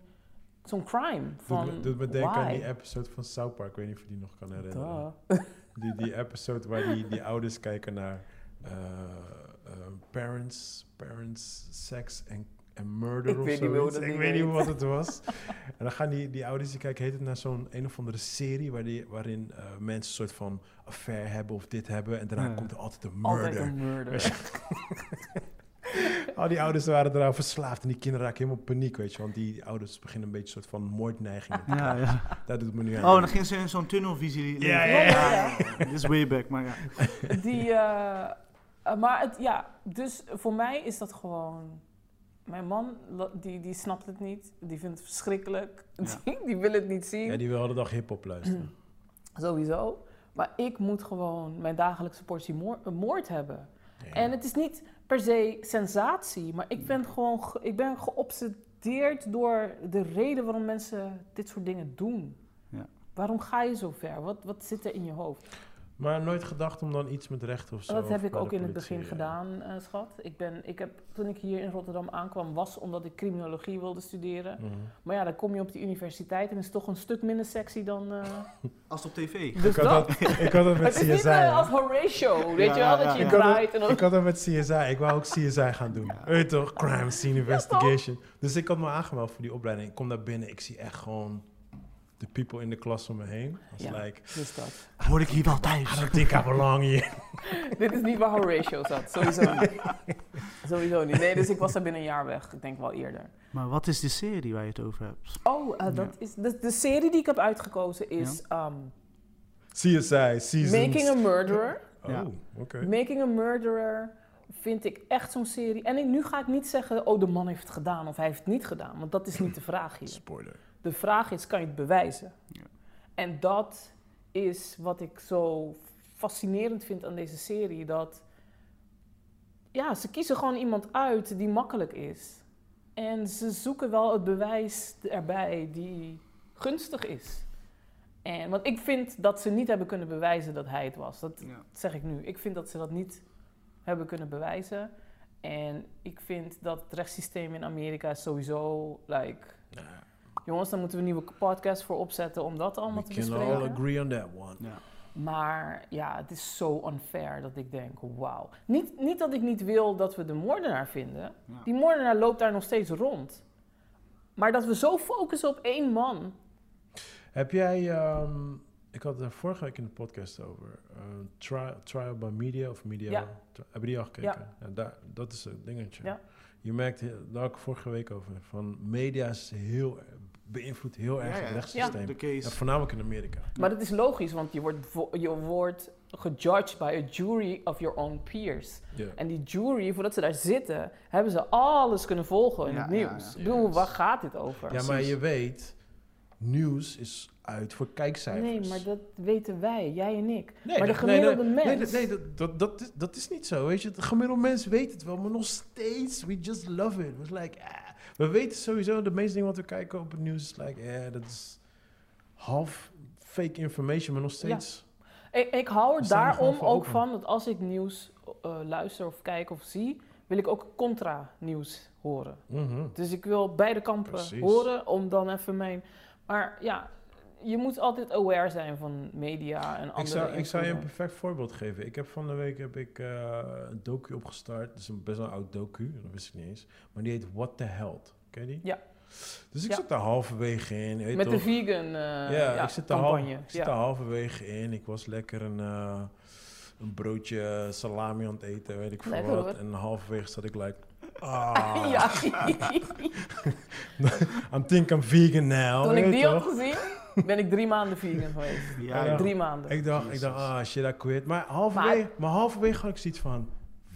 Speaker 3: zo'n crime. Van,
Speaker 1: Doet me, doet me denken aan
Speaker 3: why?
Speaker 1: die episode van South Park. Ik weet niet of je die nog kan herinneren.
Speaker 3: Duh.
Speaker 1: Die, die episode waar die, die ouders kijken naar eh, eh, parents, parents, sex en en murder
Speaker 3: Ik
Speaker 1: of
Speaker 3: weet niet meer hoe
Speaker 1: zoiets.
Speaker 3: dat
Speaker 1: Ik
Speaker 3: ding
Speaker 1: weet niet
Speaker 3: heet.
Speaker 1: wat het was. en dan gaan die, die ouders, die kijken, heet het naar zo'n een of andere serie... Waar die, waarin eh, mensen een soort van affaire hebben of dit hebben... en daarna
Speaker 2: Ja.
Speaker 1: komt er altijd een
Speaker 3: Altijd
Speaker 1: murder.
Speaker 3: een murder.
Speaker 1: Al die ouders waren eraan verslaafd en die kinderen raken helemaal paniek, weet je. Want die ouders beginnen een beetje een soort van moordneigingen. te
Speaker 2: Ja,
Speaker 1: krijgen.
Speaker 2: ja.
Speaker 1: Daar doet het me nu aan.
Speaker 2: Oh, dan ging ze in zo'n tunnelvisie.
Speaker 1: Ja,
Speaker 3: ja, ja.
Speaker 2: Dit is way back, maar ja.
Speaker 3: Die, eh, eh, maar het, ja, dus voor mij is dat gewoon. Mijn man, la- die, die snapt het niet. Die vindt het verschrikkelijk.
Speaker 2: Ja.
Speaker 3: Die, die wil het niet zien.
Speaker 1: Ja, die wil de hele dag hip-hop luisteren.
Speaker 3: Sowieso. Maar ik moet gewoon mijn dagelijkse portie moor- eh, moord hebben. En het is niet per se sensatie, maar ik ben gewoon ge- ik ben geobsedeerd door de reden waarom mensen dit soort dingen doen.
Speaker 2: Ja.
Speaker 3: Waarom ga je zo ver? Wat, wat zit er in je hoofd?
Speaker 1: Maar nooit gedacht om dan iets met recht of zo.
Speaker 3: Dat
Speaker 1: of
Speaker 3: heb ik
Speaker 1: bij
Speaker 3: ook
Speaker 1: de
Speaker 3: in het
Speaker 1: politie,
Speaker 3: begin
Speaker 1: ja.
Speaker 3: gedaan, eh, schat. Ik ben, ik heb, toen ik hier in Rotterdam aankwam, was omdat ik criminologie wilde studeren.
Speaker 1: Mhm.
Speaker 3: Maar ja, dan kom je op de universiteit en is het toch een stuk minder sexy dan. eh,
Speaker 2: Als op tv.
Speaker 3: dus
Speaker 1: Ik had
Speaker 3: dat.
Speaker 1: dat, ik had dat met
Speaker 3: Het is
Speaker 1: CSI.
Speaker 3: niet eh, als Horatio,
Speaker 2: Ja,
Speaker 3: weet je wel,
Speaker 2: ja,
Speaker 3: dat
Speaker 2: ja.
Speaker 3: je je
Speaker 1: Ik had het-
Speaker 3: draait en dan.
Speaker 1: Ik had dat met CSI. Ik wou ook CSI gaan doen.
Speaker 2: Ja.
Speaker 1: Weet je toch? Crime Scene Investigation. Dus ik had me aangemeld voor die opleiding. Ik kom daar binnen. Ik zie echt gewoon de people in de klas om me heen. Als
Speaker 3: Ja.
Speaker 1: like,
Speaker 3: Dus dat.
Speaker 2: Hoor ik hier wel
Speaker 1: I
Speaker 2: thuis?
Speaker 1: don't think I belong here.
Speaker 3: Dit is niet waar Horatio zat, sowieso niet. sowieso niet. Nee, dus ik was daar binnen een jaar weg, ik denk wel eerder.
Speaker 2: Maar wat is de serie waar je het over hebt?
Speaker 3: Oh, eh, dat is, de, de serie die ik heb uitgekozen is ehm,
Speaker 1: CSI, seasons.
Speaker 3: Making a Murderer.
Speaker 2: Ja.
Speaker 1: Oh, oké.
Speaker 3: Making a Murderer vind ik echt zo'n serie. En ik, nu ga ik niet zeggen, oh de man heeft het gedaan of hij heeft het niet gedaan. Want dat is niet de vraag hier.
Speaker 1: Spoiler.
Speaker 3: De vraag is, kan je het bewijzen? En dat is wat ik zo fascinerend vind aan deze serie. Dat, ja, ze kiezen gewoon iemand uit die makkelijk is. En ze zoeken wel het bewijs erbij die gunstig is. En, want ik vind dat ze niet hebben kunnen bewijzen dat hij het was. Dat, dat zeg ik nu. Ik vind dat ze dat niet hebben kunnen bewijzen. En ik vind dat het rechtssysteem in Amerika is sowieso, like... Jongens, dan moeten we een nieuwe podcast voor opzetten om dat allemaal
Speaker 4: We
Speaker 3: te
Speaker 4: can
Speaker 3: bespreken.
Speaker 4: all agree on that one.
Speaker 3: Maar ja, het is zo unfair dat ik denk, wauw. Niet, niet dat ik niet wil dat we de moordenaar vinden.
Speaker 2: Ja.
Speaker 3: Die moordenaar loopt daar nog steeds rond. Maar dat we zo focussen op één man.
Speaker 1: Heb jij, ehm, ik had er vorige week in de podcast over, eh, tri- Trial by Media of Media,
Speaker 3: Ja.
Speaker 1: tri- hebben die al gekeken? Ja. daar, dat is een dingetje.
Speaker 3: Ja.
Speaker 1: Je merkt, heel- daar had ik vorige week over, van media is heel, er- beïnvloedt heel erg het rechtssysteem.
Speaker 2: De
Speaker 1: En
Speaker 2: case.
Speaker 1: voornamelijk in Amerika.
Speaker 3: Maar dat is logisch, want je wordt, vo- je wordt gejudged by a jury of your own peers.
Speaker 1: Ja.
Speaker 3: En die jury, voordat ze daar zitten, hebben ze alles kunnen volgen in
Speaker 2: Ja,
Speaker 3: het
Speaker 2: ja,
Speaker 3: nieuws.
Speaker 2: ja.
Speaker 3: Ik bedoel,
Speaker 1: Yes.
Speaker 3: waar gaat dit over?
Speaker 1: Ja, maar je weet, nieuws is uit voor kijkcijfers.
Speaker 3: Nee, maar dat weten wij, jij en ik.
Speaker 1: Nee,
Speaker 3: maar de
Speaker 1: dat- nee,
Speaker 3: gemiddelde
Speaker 1: nee,
Speaker 3: mens...
Speaker 1: Nee, dat- nee, dat, dat, dat, is, dat is niet zo. Weet je, de gemiddelde mens weet het wel, maar nog steeds, we just love it. We're like, ah. We weten sowieso, de meeste dingen wat we kijken op het nieuws is like, eh, dat is half fake information, maar nog steeds.
Speaker 3: Ik, ik hou
Speaker 1: We
Speaker 3: er
Speaker 1: staan er gewoon
Speaker 3: daarom
Speaker 1: voor
Speaker 3: ook
Speaker 1: open.
Speaker 3: van dat als ik nieuws eh, luister of kijk of zie, wil ik ook contra-nieuws horen.
Speaker 1: Mhm.
Speaker 3: Dus ik wil beide kampen
Speaker 1: Precies.
Speaker 3: horen om dan even mijn. Maar ja, je moet altijd aware zijn van media en andere.
Speaker 1: Ik zou, ik zou je een
Speaker 3: invloeden.
Speaker 1: perfect voorbeeld geven. Ik heb van de week heb ik, eh, een docu opgestart. Dat is een best wel oud docu, dat wist ik niet eens. Maar die heet What the Hell. Ken je die?
Speaker 3: Ja.
Speaker 1: Dus ik
Speaker 3: Ja.
Speaker 1: zat daar halverwege in. je weet
Speaker 3: Met
Speaker 1: toch?
Speaker 3: de vegan eh
Speaker 1: ja,
Speaker 3: ja,
Speaker 1: ik zit, er half,
Speaker 3: campagne.
Speaker 1: ik zit
Speaker 3: ja.
Speaker 1: er halverwege in. Ik was lekker een, eh, een broodje eh, salami aan het eten, weet ik veel
Speaker 3: Lekker,
Speaker 1: wat.
Speaker 3: hoor.
Speaker 1: En halverwege zat ik like, ah,
Speaker 3: ja.
Speaker 1: I'm think I'm vegan now.
Speaker 3: Toen
Speaker 1: weet
Speaker 3: ik
Speaker 1: je
Speaker 3: die had
Speaker 1: toch?
Speaker 3: gezien, ben ik drie maanden vegan geweest.
Speaker 2: Ja,
Speaker 1: Ja.
Speaker 3: Drie maanden.
Speaker 1: Ik dacht, ik
Speaker 2: Jezus.
Speaker 1: dacht, ah shit, I quit. Maar halverwege, maar, halverwege had ik zoiets van,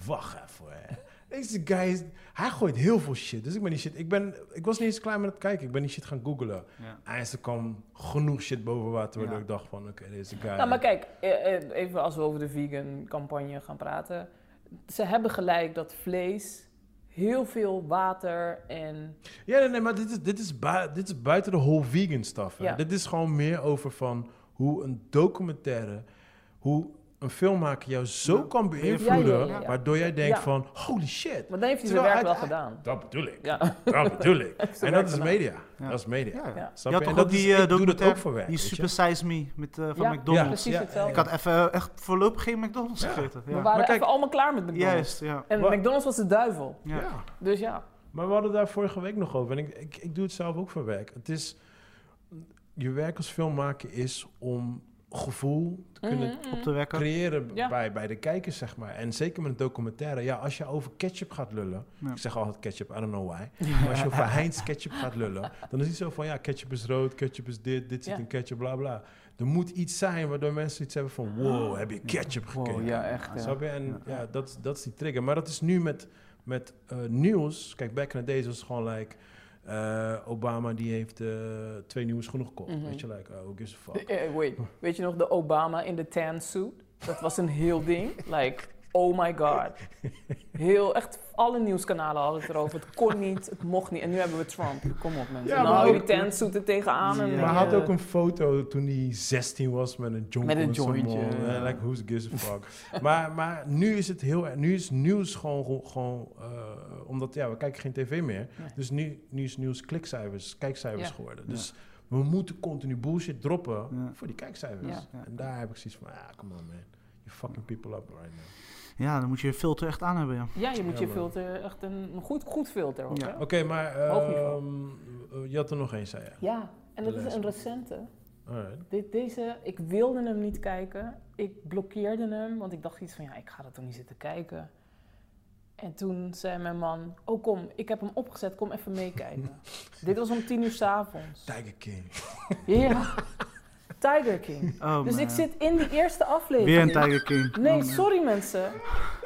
Speaker 1: wacht even. Hè. Deze guy, is, hij gooit heel veel shit. Dus ik ben die shit, ik, ben, ik was niet eens klaar met het kijken. Ik ben die shit gaan googlen.
Speaker 2: Ja.
Speaker 1: En er kwam genoeg shit boven water, waardoor
Speaker 2: Ja.
Speaker 1: ik dacht van, oké, deze guy.
Speaker 3: Nou, maar kijk, eh, eh, even als we over de vegan campagne gaan praten. Ze hebben gelijk dat vlees heel veel water en...
Speaker 1: Ja, nee, nee maar dit is, dit, is bui- dit is buiten de whole vegan stuff. hè.
Speaker 3: Ja.
Speaker 1: Dit is gewoon meer over van hoe een documentaire, hoe een filmmaker jou zo
Speaker 2: Ja.
Speaker 1: kan beïnvloeden,
Speaker 3: Ja, ja, ja, ja.
Speaker 1: waardoor jij denkt
Speaker 3: Ja.
Speaker 1: van, holy shit.
Speaker 3: Maar dan heeft hij
Speaker 1: Terwijl
Speaker 3: zijn werk
Speaker 1: uit-
Speaker 3: wel gedaan.
Speaker 1: Dat bedoel ik.
Speaker 3: Ja.
Speaker 1: Dat bedoel ik.
Speaker 3: zijn
Speaker 1: en
Speaker 3: werk
Speaker 1: dat is
Speaker 3: gedaan.
Speaker 1: media.
Speaker 2: Ja.
Speaker 1: Dat is media.
Speaker 2: Ja.
Speaker 3: Ja.
Speaker 1: Snap
Speaker 2: Je had
Speaker 1: je? En
Speaker 2: toch
Speaker 1: dat
Speaker 2: ook
Speaker 1: is-
Speaker 2: die eh,
Speaker 1: ik doe dat ook
Speaker 2: documentaire,
Speaker 1: voor werk.
Speaker 2: die
Speaker 1: weet je?
Speaker 2: Super Size Me met, eh, van
Speaker 3: Ja,
Speaker 2: McDonald's.
Speaker 3: Precies
Speaker 1: Ja,
Speaker 3: hetzelfde.
Speaker 1: ja,
Speaker 2: Ik had even eh, echt voorlopig geen McDonald's
Speaker 1: Ja.
Speaker 2: gegeten.
Speaker 3: We
Speaker 2: Ja.
Speaker 3: waren
Speaker 1: Maar kijk-
Speaker 3: even allemaal klaar met McDonald's.
Speaker 2: Juist, ja.
Speaker 3: En
Speaker 1: Wa-
Speaker 3: McDonald's was de duivel.
Speaker 2: Ja.
Speaker 1: ja.
Speaker 3: Dus ja.
Speaker 1: Maar we hadden daar vorige week nog over. En ik, ik, ik doe het zelf ook voor werk. Het is... Je werk als filmmaker is om gevoel te kunnen
Speaker 3: Mhm, mhm.
Speaker 2: Op te wekken.
Speaker 1: creëren b-
Speaker 3: Ja.
Speaker 1: bij, bij de kijkers, zeg maar. En zeker met een documentaire. Ja, als je over ketchup gaat lullen...
Speaker 2: Ja.
Speaker 1: Ik zeg altijd ketchup, I don't know why. Maar als je over Heinz ketchup gaat lullen... dan is het zo van, ja, ketchup is rood, ketchup is dit... dit zit
Speaker 3: Ja.
Speaker 1: in ketchup, bla bla. Er moet iets zijn waardoor mensen iets hebben van... Ah. wow, heb je ketchup gekeken?
Speaker 3: echt.
Speaker 1: Snap je? En Oh, ja, dat, is- dat is die trigger. Maar dat is nu met, met eh, nieuws... Kijk, back in the days was het gewoon like... eh, Obama die heeft eh, twee nieuwe schoenen gekocht.
Speaker 3: Mhm.
Speaker 1: Weet je, like, oh, who gives a fuck.
Speaker 3: Eh, wait, weet je nog de Obama in de tan suit? Dat was een heel ding. Like, Oh my god. Heel, echt alle nieuwskanalen hadden het erover. Het kon niet, het mocht niet. En nu hebben we Trump. Kom op mensen.
Speaker 1: Ja,
Speaker 3: En dan
Speaker 1: maar
Speaker 3: hou je
Speaker 1: ook-
Speaker 3: die tentzoet er tegenaan. En eh,
Speaker 2: Ja.
Speaker 1: Maar hij had ook een foto toen hij 16 was met een joint.
Speaker 3: Met een
Speaker 1: on someone.
Speaker 3: jointje,
Speaker 1: Eh,
Speaker 3: ja.
Speaker 1: like, who's gives a fuck. maar, maar nu is het heel erg. Nu is nieuws gewoon. gewoon- gewoon eh, omdat ja, we kijken geen tv meer.
Speaker 3: Nee.
Speaker 1: Dus nu, nu is nieuws klikcijfers, kijkcijfers
Speaker 3: Ja.
Speaker 1: geworden. Dus we moeten continu bullshit droppen
Speaker 2: Ja.
Speaker 1: voor die kijkcijfers.
Speaker 3: Ja.
Speaker 2: Ja.
Speaker 1: En daar heb ik zoiets van: ah, come on man. You fucking people up right now.
Speaker 2: Ja, dan moet je je filter echt aan hebben, ja.
Speaker 3: Ja, je moet
Speaker 1: Ja,
Speaker 3: je
Speaker 1: man.
Speaker 3: filter, echt een een goed, goed filter ook.
Speaker 2: Ja.
Speaker 3: hè?
Speaker 1: Oké, maar
Speaker 3: Hoog niveau.
Speaker 1: ehm, eh, je had er nog één, zei je.
Speaker 3: ja, en dat
Speaker 1: De
Speaker 3: is
Speaker 1: les.
Speaker 3: een recente.
Speaker 1: Alright.
Speaker 3: Dit, deze, ik wilde hem niet kijken. Ik blokkeerde hem, want ik dacht iets van, ja, ik ga dat toch niet zitten kijken. En toen zei mijn man, oh kom, ik heb hem opgezet, kom even meekijken. Dit was om tien uur s'avonds.
Speaker 1: Tiger King.
Speaker 3: Ja, Tiger King.
Speaker 2: Oh,
Speaker 3: Dus
Speaker 2: man.
Speaker 3: ik zit in die eerste aflevering.
Speaker 2: Weer een Tiger King.
Speaker 3: Nee,
Speaker 2: Oh, man.
Speaker 3: sorry mensen.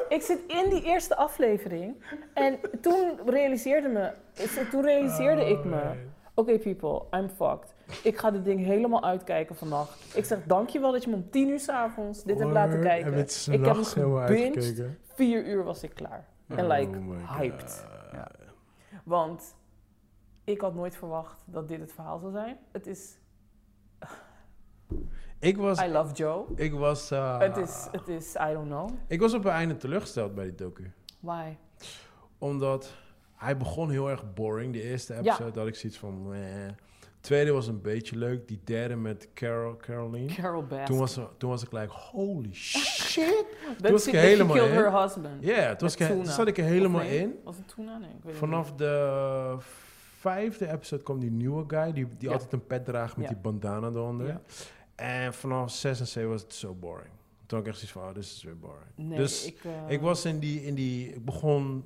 Speaker 3: Ik zit in die eerste aflevering. En toen realiseerde, me,
Speaker 2: Ah.
Speaker 3: toen realiseerde ik me...
Speaker 1: Alright.
Speaker 3: Oké people, I'm fucked. Ik ga dit ding helemaal uitkijken vannacht. Ik zeg dankjewel dat je me om tien uur s'avonds dit hebt laten
Speaker 1: Word,
Speaker 3: kijken.
Speaker 1: En met
Speaker 3: Ik heb hem
Speaker 1: s'nachts helemaal
Speaker 3: gebinged.
Speaker 1: uitgekeken. Oh
Speaker 3: Vier uur was ik klaar. En like, hyped.
Speaker 2: Ja.
Speaker 3: Want ik had nooit verwacht dat dit het verhaal zou zijn. Het is
Speaker 1: Ik was,
Speaker 3: I Love Joe.
Speaker 1: ik was, eh,
Speaker 3: Het is, het is I don't know.
Speaker 1: ik was op het einde teleurgesteld bij die docu.
Speaker 3: Why?
Speaker 1: Omdat hij begon heel erg boring. De eerste episode had ik zoiets van, meh. Tweede was een beetje leuk. Die derde met Carol, Caroline.
Speaker 3: Carol Bass.
Speaker 1: Toen was, toen was ik like, holy shit.
Speaker 3: That
Speaker 1: was
Speaker 3: chick
Speaker 1: ik
Speaker 3: that she
Speaker 1: helemaal
Speaker 3: killed
Speaker 1: in.
Speaker 3: her husband.
Speaker 1: Ja, toen, was ik,
Speaker 3: Met
Speaker 1: toen
Speaker 3: Tuna.
Speaker 1: zat ik er helemaal
Speaker 3: Of nee?
Speaker 1: in.
Speaker 3: Was het Tuna? Nee, ik weet het niet.
Speaker 1: Vanaf de vijfde episode kwam die nieuwe guy, die, die
Speaker 3: Ja.
Speaker 1: altijd een pet draagt met
Speaker 3: Ja.
Speaker 1: die bandana eronder.
Speaker 3: Ja.
Speaker 1: En vanaf 6 en 7 was het zo boring. Toen had ik echt zoiets van, oh, dit is weer boring.
Speaker 3: Nee,
Speaker 1: dus
Speaker 3: ik, eh,
Speaker 1: Ik was in die, in die ik begon,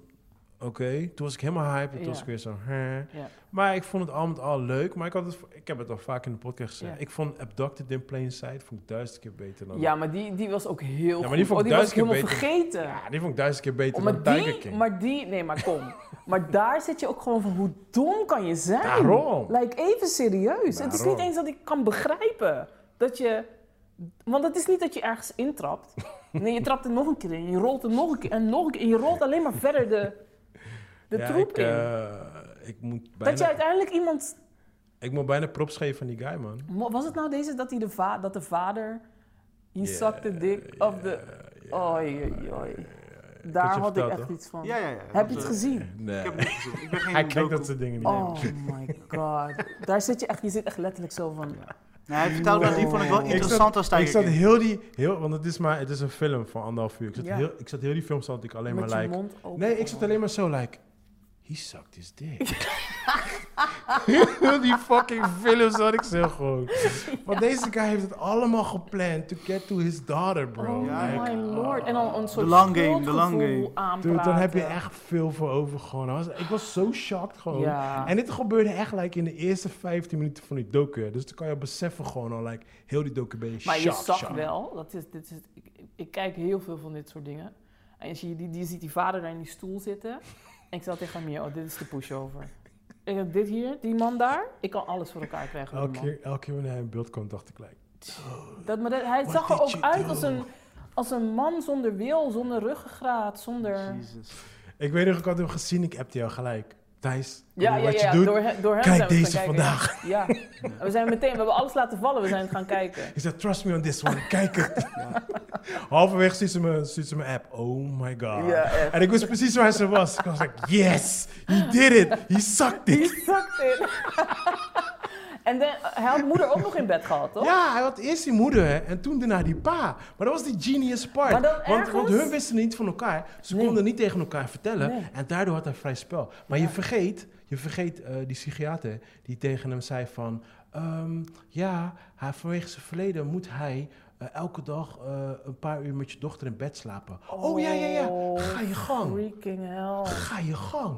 Speaker 1: oké, toen was ik helemaal hyped en toen
Speaker 3: Ja.
Speaker 1: was ik weer zo, hè.
Speaker 3: Ja.
Speaker 1: Maar ik vond het al met al leuk, maar ik, had het, ik heb het al vaak in de podcast gezegd.
Speaker 3: Ja.
Speaker 1: Ik vond Abducted in Plain Sight vond ik duizend keer beter dan...
Speaker 3: Ja, maar die, die was ook heel
Speaker 1: maar
Speaker 3: goed.
Speaker 1: die vond
Speaker 3: oh,
Speaker 1: ik
Speaker 3: die was ik
Speaker 1: duizend
Speaker 3: helemaal
Speaker 1: keer
Speaker 3: vergeten.
Speaker 1: Ja, die vond ik duizend keer beter
Speaker 3: Oh,
Speaker 1: dan
Speaker 3: maar,
Speaker 1: Tiger
Speaker 3: die,
Speaker 1: King.
Speaker 3: maar die, nee, maar kom. maar daar zit je ook gewoon van, hoe dom kan je zijn?
Speaker 1: Daarom.
Speaker 3: Like, even serieus. Het is
Speaker 1: Daarom.
Speaker 3: niet eens dat ik kan begrijpen dat je... Want het is niet dat je ergens intrapt. Nee, je trapt er nog een keer in, je rolt er nog een keer en nog een keer. En je rolt alleen maar verder de, de
Speaker 1: Ja,
Speaker 3: troep
Speaker 1: ik,
Speaker 3: in.
Speaker 1: eh, ik moet
Speaker 3: dat je
Speaker 1: bijna,
Speaker 3: uiteindelijk iemand...
Speaker 1: ik moet bijna props geven aan die guy, man.
Speaker 3: Mo- Was het nou deze dat, hij de, va dat de vader... He
Speaker 1: Je
Speaker 3: sucked the dick of the... Oei, oei, oei. Daar had ik echt iets van.
Speaker 2: Ja, ja, ja.
Speaker 3: Heb je
Speaker 2: Dat,
Speaker 3: het
Speaker 2: eh,
Speaker 3: gezien?
Speaker 1: Nee.
Speaker 2: Ik heb het niet gezien. Ik ben geen
Speaker 1: Hij kijkt
Speaker 2: docu-
Speaker 1: dat soort dingen niet.
Speaker 3: Oh my god. Daar zit je echt, je zit echt letterlijk zo van.
Speaker 2: Nee, hij vertelde dat, die vond ik wel
Speaker 3: Ik
Speaker 2: interessant als
Speaker 1: Ik
Speaker 2: Tiger
Speaker 1: zat
Speaker 2: King.
Speaker 1: heel die, heel, want het is, maar, het is een film van anderhalf uur. Ik zat,
Speaker 3: Ja.
Speaker 1: heel, ik zat heel die film zat ik alleen
Speaker 3: met
Speaker 1: maar
Speaker 3: je
Speaker 1: like...
Speaker 3: mond open.
Speaker 1: Nee, ik zat alleen maar zo like... He sucked his dick. heel die fucking film zat ik zo gewoon. Want deze guy heeft het allemaal gepland to get to his daughter, bro.
Speaker 3: Oh
Speaker 2: Ja,
Speaker 1: Like,
Speaker 3: my lord. En dan een soort
Speaker 2: long game, de long
Speaker 3: schuldgevoel
Speaker 2: game.
Speaker 3: aanpraten.
Speaker 1: Dude, dan heb je echt veel voor over gewoon. Hij was- ik was zo shocked gewoon.
Speaker 3: Ja.
Speaker 1: En dit gebeurde echt like, in de eerste 15 minuten van die docu. Dus dan kan je beseffen gewoon al, like, heel die docu ben je
Speaker 3: Maar je
Speaker 1: shocked,
Speaker 3: zag
Speaker 1: shocked.
Speaker 3: wel, dat is, dit is, ik, ik- ik kijk heel veel van dit soort dingen. En je, ziet die, die ziet die vader daar in die stoel zitten. En ik zat tegen hem hier, oh, dit is de pushover. Ik heb dit hier, die man daar. Ik kan alles voor elkaar krijgen. met
Speaker 1: Elke
Speaker 3: die
Speaker 1: keer, elke keer wanneer hij in beeld kwam, dacht ik, like,
Speaker 3: man. Dat, maar dat- hij
Speaker 1: What
Speaker 3: zag er
Speaker 1: did
Speaker 3: ook
Speaker 1: you
Speaker 3: uit
Speaker 1: do?
Speaker 3: als een, als een man zonder wil, zonder ruggengraat, zonder...
Speaker 2: Jezus.
Speaker 1: Ik weet nog, ik had hem gezien, ik appte jou gelijk. Thijs,
Speaker 3: Ja, ja,
Speaker 1: wat
Speaker 3: ja,
Speaker 1: je doet.
Speaker 3: Door, he- door hem
Speaker 1: Kijk
Speaker 3: zijn we
Speaker 1: deze
Speaker 3: gaan kijken.
Speaker 1: vandaag.
Speaker 3: Ja, En we zijn meteen, we hebben alles laten vallen, we zijn gaan kijken.
Speaker 1: Ik zei, trust me on this one, kijk het. Halverwege ziet ze mijn- ziet ze mijn app, oh my god.
Speaker 3: Ja, echt.
Speaker 1: en ik wist precies waar ze was. Ik was like, yes, he did it, he sucked
Speaker 3: Die
Speaker 1: it.
Speaker 3: zakt in. en dan, hij had moeder ook nog in bed gehad, toch?
Speaker 1: Ja, hij had eerst die moeder hè, en toen daarna die pa. Maar dat was die genius part.
Speaker 3: Maar dan
Speaker 1: want,
Speaker 3: ergens-
Speaker 1: want hun wisten niet van elkaar. Ze
Speaker 3: Nee.
Speaker 1: konden niet tegen elkaar vertellen.
Speaker 3: Nee.
Speaker 1: En daardoor had hij vrij spel. Maar je vergeet, je vergeet eh, die psychiater die tegen hem zei van... ehm, ja, hij, vanwege zijn verleden moet hij eh, elke dag eh, een paar uur met je dochter in bed slapen. Oh, ja, ja, ja.
Speaker 3: Oh,
Speaker 1: Ga je gang.
Speaker 3: Freaking hell.
Speaker 1: Ga je gang.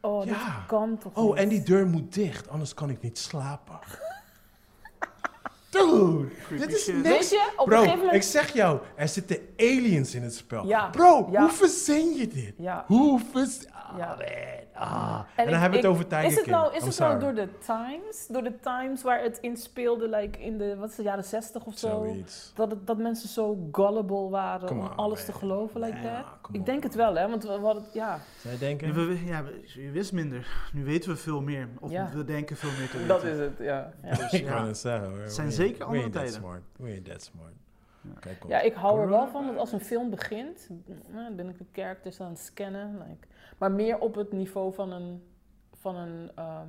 Speaker 3: Oh,
Speaker 1: Ja.
Speaker 3: dat kan toch
Speaker 1: Oh,
Speaker 3: niet?
Speaker 1: en die deur moet dicht, anders kan ik niet slapen. Dude, dit is
Speaker 2: shit.
Speaker 1: niks
Speaker 3: Weet je, op
Speaker 1: Bro,
Speaker 3: een gegeven
Speaker 1: ik
Speaker 3: moment...
Speaker 1: zeg jou, er zitten aliens in het spel.
Speaker 3: Ja,
Speaker 1: Bro,
Speaker 3: ja.
Speaker 1: hoe verzin je dit?
Speaker 3: Ja.
Speaker 1: Hoe verzin... ah,
Speaker 3: Ja.
Speaker 1: man, ah. En,
Speaker 3: ik-
Speaker 1: dan hebben we
Speaker 3: ik-
Speaker 1: het over Tiger
Speaker 3: Is het
Speaker 1: King.
Speaker 3: nou, is
Speaker 1: I'm
Speaker 3: het nou
Speaker 1: sorry.
Speaker 3: door de Times? Door de Times waar het in speelde, like in de wat is het, jaren 60 of zo?
Speaker 4: Zoiets.
Speaker 3: Dat, het- dat mensen zo gullible waren
Speaker 4: Come
Speaker 3: om
Speaker 4: on,
Speaker 3: alles
Speaker 4: man.
Speaker 3: te geloven, like
Speaker 4: Ja,
Speaker 3: that?
Speaker 4: come
Speaker 3: Ik
Speaker 4: on,
Speaker 3: denk het
Speaker 4: man.
Speaker 3: wel, hè? Want we, we hadden, ja,
Speaker 1: Zij denken...
Speaker 2: Nu we, we- ja, we- je wist minder. Nu weten we veel meer. Of
Speaker 3: Ja.
Speaker 2: we denken veel meer te weten.
Speaker 3: dat is het, ja. ja.
Speaker 2: Dus,
Speaker 1: Ik
Speaker 2: ja.
Speaker 1: kan het zeggen hoor.
Speaker 2: zijn
Speaker 1: We-
Speaker 2: zeker
Speaker 1: we
Speaker 2: andere
Speaker 1: ain't that
Speaker 2: tijden.
Speaker 1: Smart. We ain't that smart.
Speaker 2: Ja.
Speaker 1: Kijk op.
Speaker 3: Ja, ik hou er wel van dat
Speaker 1: Corona.
Speaker 3: als een film begint, nou, dan ben ik de characters aan het scannen. Like, maar meer op het niveau van een, van een, ehm,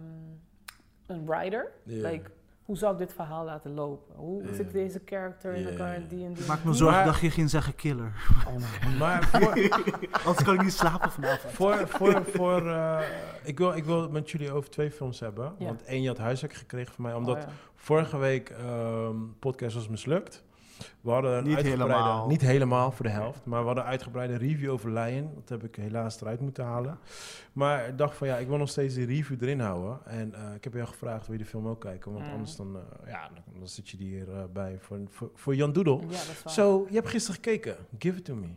Speaker 3: een writer.
Speaker 4: Ja.
Speaker 3: Like, hoe zou ik dit verhaal laten lopen? Hoe
Speaker 4: Ja.
Speaker 3: zit deze character in
Speaker 4: Ja.
Speaker 3: elkaar en die en die?
Speaker 2: Ik maak me zorgen
Speaker 1: Maar-
Speaker 2: dat je ging zeggen killer.
Speaker 1: Maar voor,
Speaker 2: Anders kan ik niet slapen vanavond.
Speaker 1: voor, voor, voor eh, ik, wil, ik wil het met jullie over twee films hebben.
Speaker 3: Ja.
Speaker 1: Want één, je had huiswerk gekregen van mij.
Speaker 3: Oh,
Speaker 1: Omdat
Speaker 3: ja.
Speaker 1: vorige week ehm podcast was mislukt. We hadden een
Speaker 2: Niet
Speaker 1: uitgebreide,
Speaker 2: helemaal.
Speaker 1: niet helemaal voor de helft, maar we hadden een uitgebreide review over Lion. Dat heb ik helaas eruit moeten halen. Maar ik dacht van ja, ik wil nog steeds die review erin houden. En eh, ik heb jou gevraagd, wil je de film ook kijken? Want
Speaker 3: Mm.
Speaker 1: anders dan, eh, ja, dan, dan zit je hier eh, bij voor, voor, voor Jan
Speaker 4: Oh.
Speaker 1: Doedel.
Speaker 3: Ja, dat is
Speaker 1: Zo,
Speaker 3: waar.
Speaker 1: je hebt gisteren gekeken. Give it to me.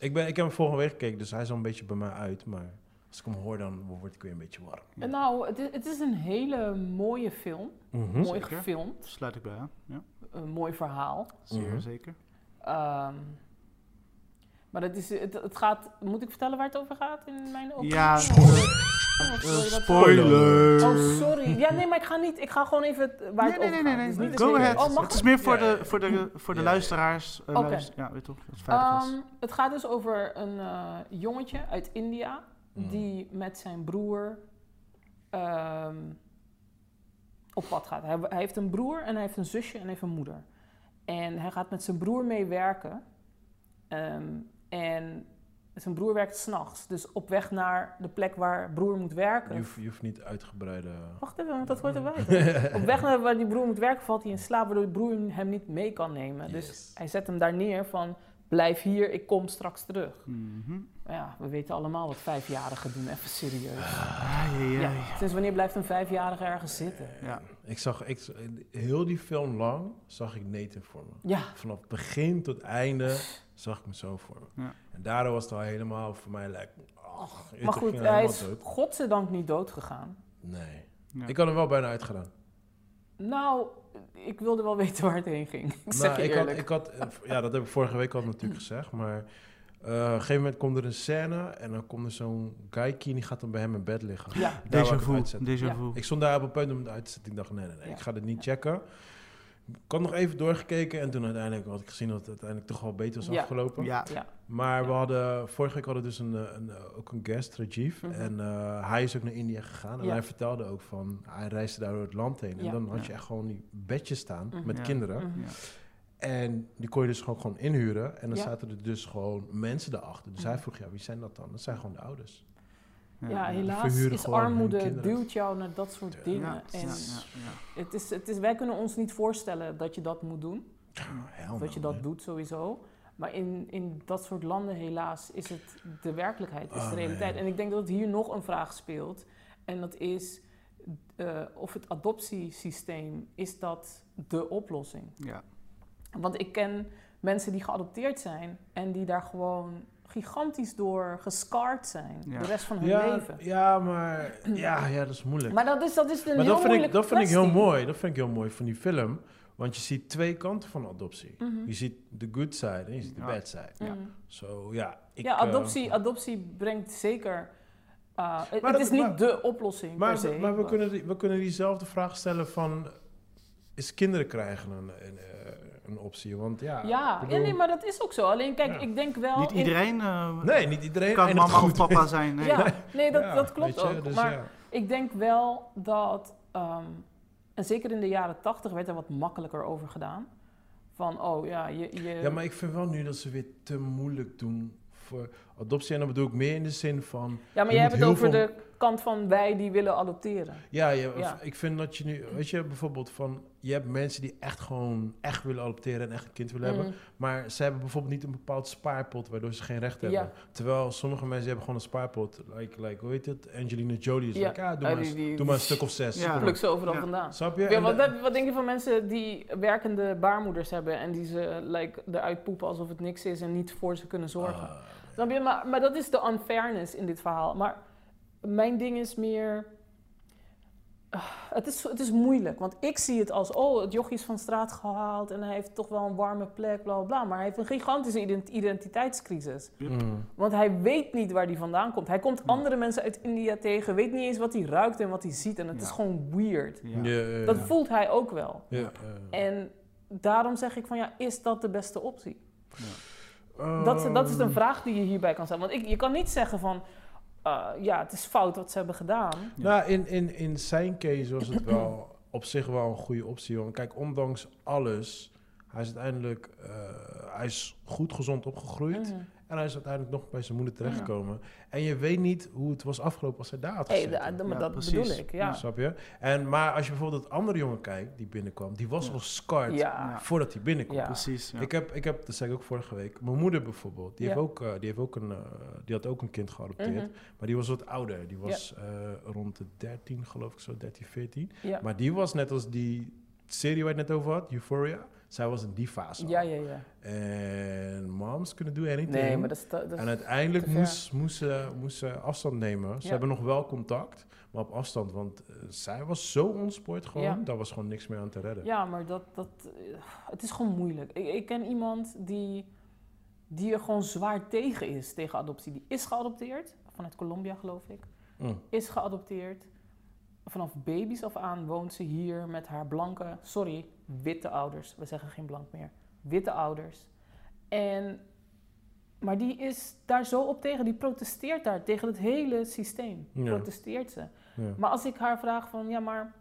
Speaker 1: Ik, ben, ik heb hem vorige week gekeken, dus hij is al een beetje bij mij uit. Maar als ik hem hoor, dan word ik weer een beetje warm.
Speaker 3: En nou, het is, het is een hele mooie film.
Speaker 1: Mhm.
Speaker 3: Mooi
Speaker 2: Hm? Zeker.
Speaker 3: gefilmd.
Speaker 2: Sluit ik bij, hè? Ja,
Speaker 3: Een mooi verhaal.
Speaker 2: zeer
Speaker 1: Mhm.
Speaker 2: zeker.
Speaker 3: Ehm, maar het, is, het, het gaat... Moet ik vertellen waar het over gaat in mijn opinie? Oh,
Speaker 2: Ja,
Speaker 3: Of-
Speaker 2: spoiler.
Speaker 3: of wil
Speaker 2: Eh,
Speaker 3: je dat-
Speaker 1: spoiler.
Speaker 3: Oh, sorry. Ja, nee, maar ik ga niet. Ik ga gewoon even t- waar
Speaker 2: Nee,
Speaker 3: het
Speaker 2: nee, nee,
Speaker 3: over
Speaker 2: nee,
Speaker 3: gaat. Dus
Speaker 2: nee.
Speaker 3: niet
Speaker 2: Go
Speaker 3: een-
Speaker 2: ahead.
Speaker 3: Oh, mag
Speaker 2: het is meer voor
Speaker 1: Ja, ja,
Speaker 2: de, voor de, voor de
Speaker 1: Ja, ja.
Speaker 2: luisteraars. eh,
Speaker 3: Oké.
Speaker 2: luister- ja, weet toch? Dat het
Speaker 3: ik?
Speaker 2: veilig is.
Speaker 3: Ehm, het gaat dus over een eh, jongetje uit India
Speaker 1: Mm.
Speaker 3: die met zijn broer ehm, op pad gaat. Hij, hij heeft een broer en hij heeft een zusje en hij heeft een moeder. En hij gaat met zijn broer mee werken. Ehm, en zijn broer werkt s'nachts. Dus op weg naar de plek waar broer moet
Speaker 1: Je,
Speaker 3: werken.
Speaker 1: hoeft, je hoeft niet uitgebreide...
Speaker 3: Wacht even, want Oh, dat hoort erbij. toch? Op weg naar waar die broer moet werken valt hij in slaap, waardoor de broer hem niet mee kan nemen. Dus
Speaker 1: Yes.
Speaker 3: hij zet hem daar neer van, blijf hier, ik kom straks terug.
Speaker 2: Mhm.
Speaker 3: Maar Ja, we weten allemaal wat vijfjarigen doen, even serieus.
Speaker 2: Ai, ai, ai.
Speaker 3: Ja, sinds wanneer blijft een vijfjarige ergens zitten?
Speaker 2: Ja.
Speaker 1: Ik zag, ik, heel die film lang zag ik Nathan voor me.
Speaker 3: Ja,
Speaker 1: Vanaf begin tot einde zag ik me zo voor me.
Speaker 2: Ja.
Speaker 1: En daardoor was het al helemaal voor mij like, ach, ik
Speaker 3: maar
Speaker 1: ging
Speaker 3: goed, hij
Speaker 1: helemaal
Speaker 3: is
Speaker 1: dood.
Speaker 3: godzijdank niet dood gegaan.
Speaker 1: Nee.
Speaker 2: Ja.
Speaker 1: Ik had hem wel bijna uitgedaan.
Speaker 3: Nou, ik wilde wel weten waar het heen ging. Ik zeg
Speaker 1: Nou,
Speaker 3: je
Speaker 1: ik
Speaker 3: eerlijk. Mm.
Speaker 1: had, ik had, eh, v- ja, dat heb ik vorige week al natuurlijk gezegd, maar eh, op een gegeven moment komt er een scène en dan komt er zo'n geikie en die gaat dan bij hem in bed liggen.
Speaker 3: Ja,
Speaker 1: Daar wou ik
Speaker 2: Déjà
Speaker 1: het
Speaker 2: vu.
Speaker 1: uitzetten.
Speaker 2: Déjà
Speaker 3: Ja.
Speaker 2: vu.
Speaker 1: Ik stond daar op een punt om het uit te zetten. Ik dacht, nee, nee, nee,
Speaker 3: Ja.
Speaker 1: ik ga dit niet checken. Ik had nog even doorgekeken en toen uiteindelijk had ik gezien dat het uiteindelijk toch wel beter was
Speaker 3: Ja.
Speaker 1: afgelopen.
Speaker 2: Ja.
Speaker 1: Maar we
Speaker 3: Ja.
Speaker 1: hadden, vorige week hadden we dus een, eh, een, eh, ook een guest, Rajiv.
Speaker 3: Mhm.
Speaker 1: En eh, hij is ook naar India gegaan. En
Speaker 3: Ja.
Speaker 1: hij vertelde ook van, hij reisde daar door het land heen. En
Speaker 3: Ja.
Speaker 1: dan had je
Speaker 2: Ja.
Speaker 1: echt gewoon die bedjes staan
Speaker 3: Mhm.
Speaker 1: met
Speaker 2: Ja.
Speaker 1: kinderen.
Speaker 3: Mhm.
Speaker 2: Ja.
Speaker 1: En die kon je dus gewoon, gewoon inhuren. En dan
Speaker 3: Ja.
Speaker 1: zaten er dus gewoon mensen daarachter. Dus
Speaker 3: Mhm.
Speaker 1: hij vroeg, ja, wie zijn dat dan? Dat zijn gewoon de ouders.
Speaker 3: Ja, helaas
Speaker 1: verhuren
Speaker 3: is
Speaker 1: gewoon hun
Speaker 3: armoede
Speaker 1: kinderen.
Speaker 3: duwt jou naar dat soort
Speaker 1: Ja.
Speaker 3: dingen.
Speaker 2: Ja,
Speaker 3: En
Speaker 2: ja, ja,
Speaker 3: Het is, het is, wij kunnen ons niet voorstellen dat je dat moet doen.
Speaker 1: Hell
Speaker 3: Of
Speaker 1: no,
Speaker 3: dat je
Speaker 1: man.
Speaker 3: dat doet sowieso. Maar in, in dat soort landen helaas is het de werkelijkheid, is
Speaker 1: Oh,
Speaker 3: de realiteit.
Speaker 1: nee.
Speaker 3: En ik denk dat hier nog een vraag speelt. En dat is eh, of het adoptiesysteem, is dat de oplossing?
Speaker 2: ja.
Speaker 3: Want ik ken mensen die geadopteerd zijn en die daar gewoon gigantisch door gescarred zijn.
Speaker 2: Ja.
Speaker 3: De rest van hun
Speaker 1: ja,
Speaker 3: leven.
Speaker 1: ja, maar ja, ja, dat is moeilijk.
Speaker 3: Maar dat is, dat is een
Speaker 1: Maar
Speaker 3: heel
Speaker 1: dat vind, ik,
Speaker 3: moeilijke
Speaker 1: dat vind ik heel
Speaker 3: kwestie.
Speaker 1: mooi. Dat vind ik heel mooi van die film. Want je ziet twee kanten van adoptie.
Speaker 3: Mhm.
Speaker 1: Je ziet de good side en je ziet de
Speaker 2: Ja.
Speaker 1: bad side.
Speaker 2: Ja.
Speaker 3: Mhm.
Speaker 1: Zo, ja. ik,
Speaker 3: ja,
Speaker 1: eh,
Speaker 3: adoptie, adoptie brengt zeker. eh, het
Speaker 1: Maar dat-
Speaker 3: het is niet
Speaker 1: maar-
Speaker 3: de oplossing.
Speaker 1: maar
Speaker 3: per se,
Speaker 1: maar we, kunnen die, we kunnen diezelfde vraag stellen van... Is kinderen krijgen een, een, eh, een optie? Want ja...
Speaker 3: Ja,
Speaker 1: ik
Speaker 3: ja,
Speaker 1: bedoel-
Speaker 3: nee, maar dat is ook zo. Alleen kijk,
Speaker 1: Ja.
Speaker 3: ik denk wel.
Speaker 2: Niet
Speaker 3: in-
Speaker 2: iedereen eh,
Speaker 1: Nee, niet iedereen
Speaker 2: kan
Speaker 1: eindigt
Speaker 2: mama of
Speaker 1: goed.
Speaker 2: papa zijn. Nee.
Speaker 3: Ja, nee, dat,
Speaker 1: Ja,
Speaker 3: dat klopt
Speaker 1: weet je,
Speaker 3: ook.
Speaker 1: dus
Speaker 3: maar
Speaker 1: ja.
Speaker 3: ik denk wel dat. ehm, en zeker in de jaren tachtig werd er wat makkelijker over gedaan. Van, oh ja, je. je
Speaker 1: ja, maar ik vind wel nu dat ze weer te moeilijk doen voor adoptie. En dan bedoel ik meer in de zin van...
Speaker 3: Ja, maar
Speaker 1: je
Speaker 3: jij
Speaker 1: moet
Speaker 3: hebt het
Speaker 1: heel
Speaker 3: over
Speaker 1: veel-
Speaker 3: de kant van wij die willen adopteren.
Speaker 1: Ja, je-
Speaker 3: Ja.
Speaker 1: ik vind dat je nu, weet je, bijvoorbeeld van, je hebt mensen die echt gewoon echt willen adopteren en echt een kind willen hebben,
Speaker 3: Mm.
Speaker 1: maar ze hebben bijvoorbeeld niet een bepaald spaarpot waardoor ze geen recht
Speaker 3: Ja.
Speaker 1: hebben. Terwijl sommige mensen hebben gewoon een spaarpot, like, like hoe heet het, Angelina Jolie is
Speaker 3: Ja.
Speaker 1: like, ah, doe,
Speaker 3: Ah,
Speaker 1: maar,
Speaker 3: die- die-
Speaker 1: doe maar een stuk of zes.
Speaker 2: Ja.
Speaker 3: Pluk ze overal
Speaker 2: Ja.
Speaker 3: vandaan.
Speaker 1: Snap je?
Speaker 3: Ja,
Speaker 1: En
Speaker 3: wat,
Speaker 1: de-
Speaker 3: wat- wat denk je van mensen die werkende baarmoeders hebben en die ze like, eruit poepen alsof het niks is en niet voor ze kunnen zorgen?
Speaker 1: Ah,
Speaker 3: Snap je? Maar, maar dat is de unfairness in dit verhaal. Maar mijn ding is meer... Ah, het, is, het is moeilijk, want ik zie het als... Oh, het jochie is van straat gehaald en hij heeft toch wel een warme plek, bla bla bla. Maar hij heeft een gigantische ident- identiteitscrisis.
Speaker 1: Mm.
Speaker 3: Want hij weet niet waar hij vandaan komt. Hij komt
Speaker 2: Ja.
Speaker 3: andere mensen uit India tegen, weet niet eens wat hij ruikt en wat hij ziet. En het
Speaker 2: Ja.
Speaker 3: is gewoon weird.
Speaker 2: Ja.
Speaker 3: Dat voelt hij ook wel.
Speaker 1: Ja.
Speaker 3: En daarom zeg ik van ja, is dat de beste optie? Dat, is- dat is
Speaker 1: Um, Mm.
Speaker 3: een vraag die je hierbij kan stellen. Want ik, je kan niet zeggen van eh, ja, het is fout wat ze hebben gedaan.
Speaker 2: Ja.
Speaker 1: Nou, in, in, in zijn case was het wel op zich wel een goede optie. Want kijk, ondanks alles, hij is uiteindelijk eh, hij is goed gezond opgegroeid.
Speaker 3: Mhm.
Speaker 1: En hij is uiteindelijk nog bij zijn moeder terechtgekomen. En je weet niet hoe het was afgelopen als hij daar had
Speaker 3: Hey,
Speaker 1: gezeten.
Speaker 3: da- da- maar
Speaker 2: Ja,
Speaker 3: dat
Speaker 2: precies.
Speaker 3: bedoel ik. Ja.
Speaker 1: Snap je? En, maar als je bijvoorbeeld dat andere jongen kijkt die binnenkwam, die was
Speaker 2: Ja.
Speaker 1: al scarred
Speaker 3: Ja.
Speaker 1: voordat hij binnenkwam. Dus
Speaker 3: Ja.
Speaker 2: Precies. Ja.
Speaker 1: Ik, heb, ik heb, dat zei ik ook vorige week, mijn moeder bijvoorbeeld, die,
Speaker 3: Ja.
Speaker 1: heeft ook, eh, die, heeft ook een, eh, die had ook een kind geadopteerd.
Speaker 3: Mhm.
Speaker 1: Maar die was wat ouder. Die was eh, rond de 13, geloof ik zo, 13, 14.
Speaker 3: Ja.
Speaker 1: Maar die was net als die serie waar je het net over had, Euphoria. Zij was in die fase. al.
Speaker 3: ja, ja, ja.
Speaker 1: En moms kunnen do anything.
Speaker 3: Nee, maar dat is... te- dat is-
Speaker 1: en uiteindelijk
Speaker 3: te ver.
Speaker 1: moest, moest, ze, moest ze afstand nemen. Ze
Speaker 3: Ja.
Speaker 1: hebben nog wel contact, maar op afstand. Want eh, zij was zo onsport gewoon,
Speaker 3: Ja.
Speaker 1: daar was gewoon niks meer aan te redden.
Speaker 3: Ja, maar dat, dat, eh, het is gewoon moeilijk. Ik, ik ken iemand die, die er gewoon zwaar tegen is, tegen adoptie. Die is geadopteerd, vanuit Colombia geloof ik.
Speaker 1: Mm.
Speaker 3: Is geadopteerd. Vanaf baby's af aan woont ze hier met haar blanke, sorry, witte ouders. We zeggen geen blank meer. Witte ouders. En, maar die is daar zo op tegen. Die protesteert daar tegen het hele systeem.
Speaker 1: Ja.
Speaker 3: Protesteert ze.
Speaker 1: Ja.
Speaker 3: Maar als ik haar vraag van, ja, maar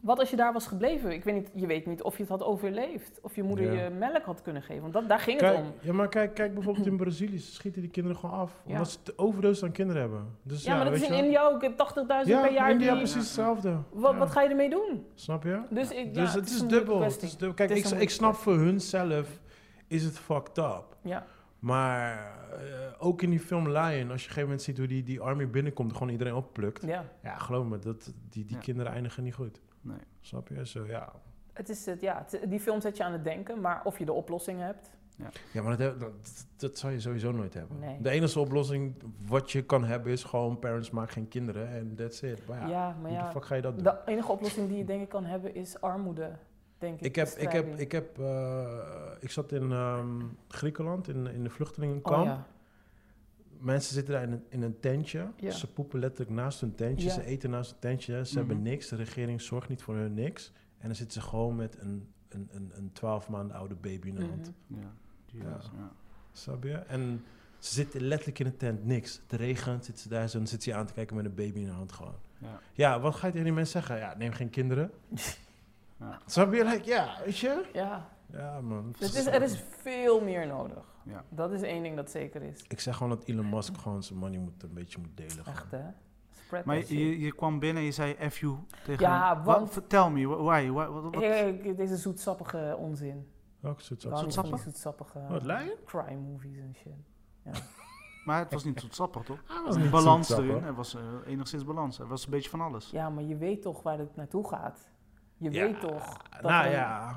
Speaker 3: wat als je daar was gebleven? Ik weet niet, je weet niet of je het had overleefd. Of je moeder
Speaker 1: Ja.
Speaker 3: je melk had kunnen geven. Want dat, daar ging het
Speaker 1: Kijk,
Speaker 3: om.
Speaker 1: ja, maar kijk, kijk bijvoorbeeld in Brazilië, ze schieten die kinderen gewoon af.
Speaker 3: Ja.
Speaker 1: Omdat ze te overdoos aan kinderen hebben. Dus,
Speaker 3: Ja, maar dat
Speaker 1: weet
Speaker 3: is
Speaker 1: je
Speaker 3: in
Speaker 1: wel.
Speaker 3: India ook. 80.000
Speaker 1: Ja,
Speaker 3: per jaar.
Speaker 1: India
Speaker 3: die-
Speaker 1: precies hetzelfde.
Speaker 3: wat,
Speaker 1: Ja.
Speaker 3: wat ga je ermee doen?
Speaker 1: Snap je?
Speaker 3: Dus, ik,
Speaker 1: dus
Speaker 3: ja,
Speaker 1: het, is
Speaker 3: een
Speaker 1: dubbel,
Speaker 3: moeilijke
Speaker 1: het is
Speaker 3: kwestie.
Speaker 1: dubbel. Kijk,
Speaker 3: Het is
Speaker 1: ik,
Speaker 3: een
Speaker 1: ik snap
Speaker 3: moeilijke
Speaker 1: voor hun zelf is het fucked up.
Speaker 3: Ja.
Speaker 1: Maar eh, ook in die film Lion, als je op een gegeven moment ziet hoe die, die army binnenkomt, gewoon iedereen opplukt.
Speaker 3: ja,
Speaker 1: Ja, geloof me, dat, die, die
Speaker 2: Ja.
Speaker 1: kinderen eindigen niet goed.
Speaker 2: Nee.
Speaker 1: Snap je? Zo, ja.
Speaker 3: het is het, ja. het- die film zet je aan het denken, maar of je de oplossing hebt.
Speaker 1: ja, maar dat, heb- dat, dat zou je sowieso nooit hebben.
Speaker 3: Nee.
Speaker 1: De enige oplossing wat je kan hebben is gewoon parents maken geen kinderen en that's it. Maar
Speaker 3: Ja,
Speaker 1: ja,
Speaker 3: maar
Speaker 1: hoe de
Speaker 3: ja,
Speaker 1: fuck ga je dat doen?
Speaker 3: de enige oplossing die je denk ik kan hebben is armoede, denk ik.
Speaker 1: Ik heb, ik heb,
Speaker 3: bestrijding.
Speaker 1: ik heb, eh, ik zat in ehm, Griekenland in, in de vluchtelingenkamp.
Speaker 3: Oh, ja.
Speaker 1: Mensen zitten daar in een, in een tentje.
Speaker 3: Ja.
Speaker 1: Ze poepen letterlijk naast hun tentje.
Speaker 3: Ja.
Speaker 1: Ze eten naast hun tentje. Ze
Speaker 2: Mhm.
Speaker 1: hebben niks. De regering zorgt niet voor hun niks. En dan zitten ze gewoon met een, een, een, een 12 maanden oude baby in de hand.
Speaker 3: Mhm.
Speaker 2: Ja. Jezus, ja.
Speaker 1: Snap je? En ze zitten letterlijk in een tent. Niks. Het regent. Zitten ze daar zo. En dan zitten ze je aan te kijken met een baby in de hand gewoon.
Speaker 2: Ja.
Speaker 1: Ja, wat ga je tegen die mensen zeggen? Ja, neem geen kinderen.
Speaker 2: Ja.
Speaker 1: Snap je? Like, ja, weet je?
Speaker 3: Ja,
Speaker 1: Ja, man.
Speaker 3: het is, er is veel meer nodig.
Speaker 2: Ja.
Speaker 3: Dat is één ding dat zeker is.
Speaker 1: Ik zeg gewoon dat Elon Musk gewoon zijn money moet een beetje moet delen. gewoon.
Speaker 3: Echt, hè? Spread
Speaker 2: Maar
Speaker 3: that
Speaker 2: je,
Speaker 3: shit.
Speaker 2: je, je kwam binnen en je zei F you tegen
Speaker 3: Ja,
Speaker 2: hem.
Speaker 3: want- Eh.
Speaker 2: Wat- Vertel me, wh- why? Wat, wat, wat?
Speaker 3: Hey, hey, deze zoetsappige onzin.
Speaker 1: Welke soort
Speaker 3: Waarom
Speaker 1: zakken?
Speaker 3: van die
Speaker 2: sappig?
Speaker 3: zoetsappige eh,
Speaker 1: Wat, Lion?
Speaker 3: crime movies en shit.
Speaker 2: Maar het was niet tot sappig, toch?
Speaker 1: Hij was Oh, niet
Speaker 2: balans
Speaker 1: zoetsappig.
Speaker 2: erin. Er was eh, enigszins balans. Er was een beetje van alles.
Speaker 3: Ja, maar je weet toch waar het naartoe gaat. Je
Speaker 1: Ja,
Speaker 3: weet toch. dat
Speaker 1: Nou
Speaker 3: er-
Speaker 1: ja.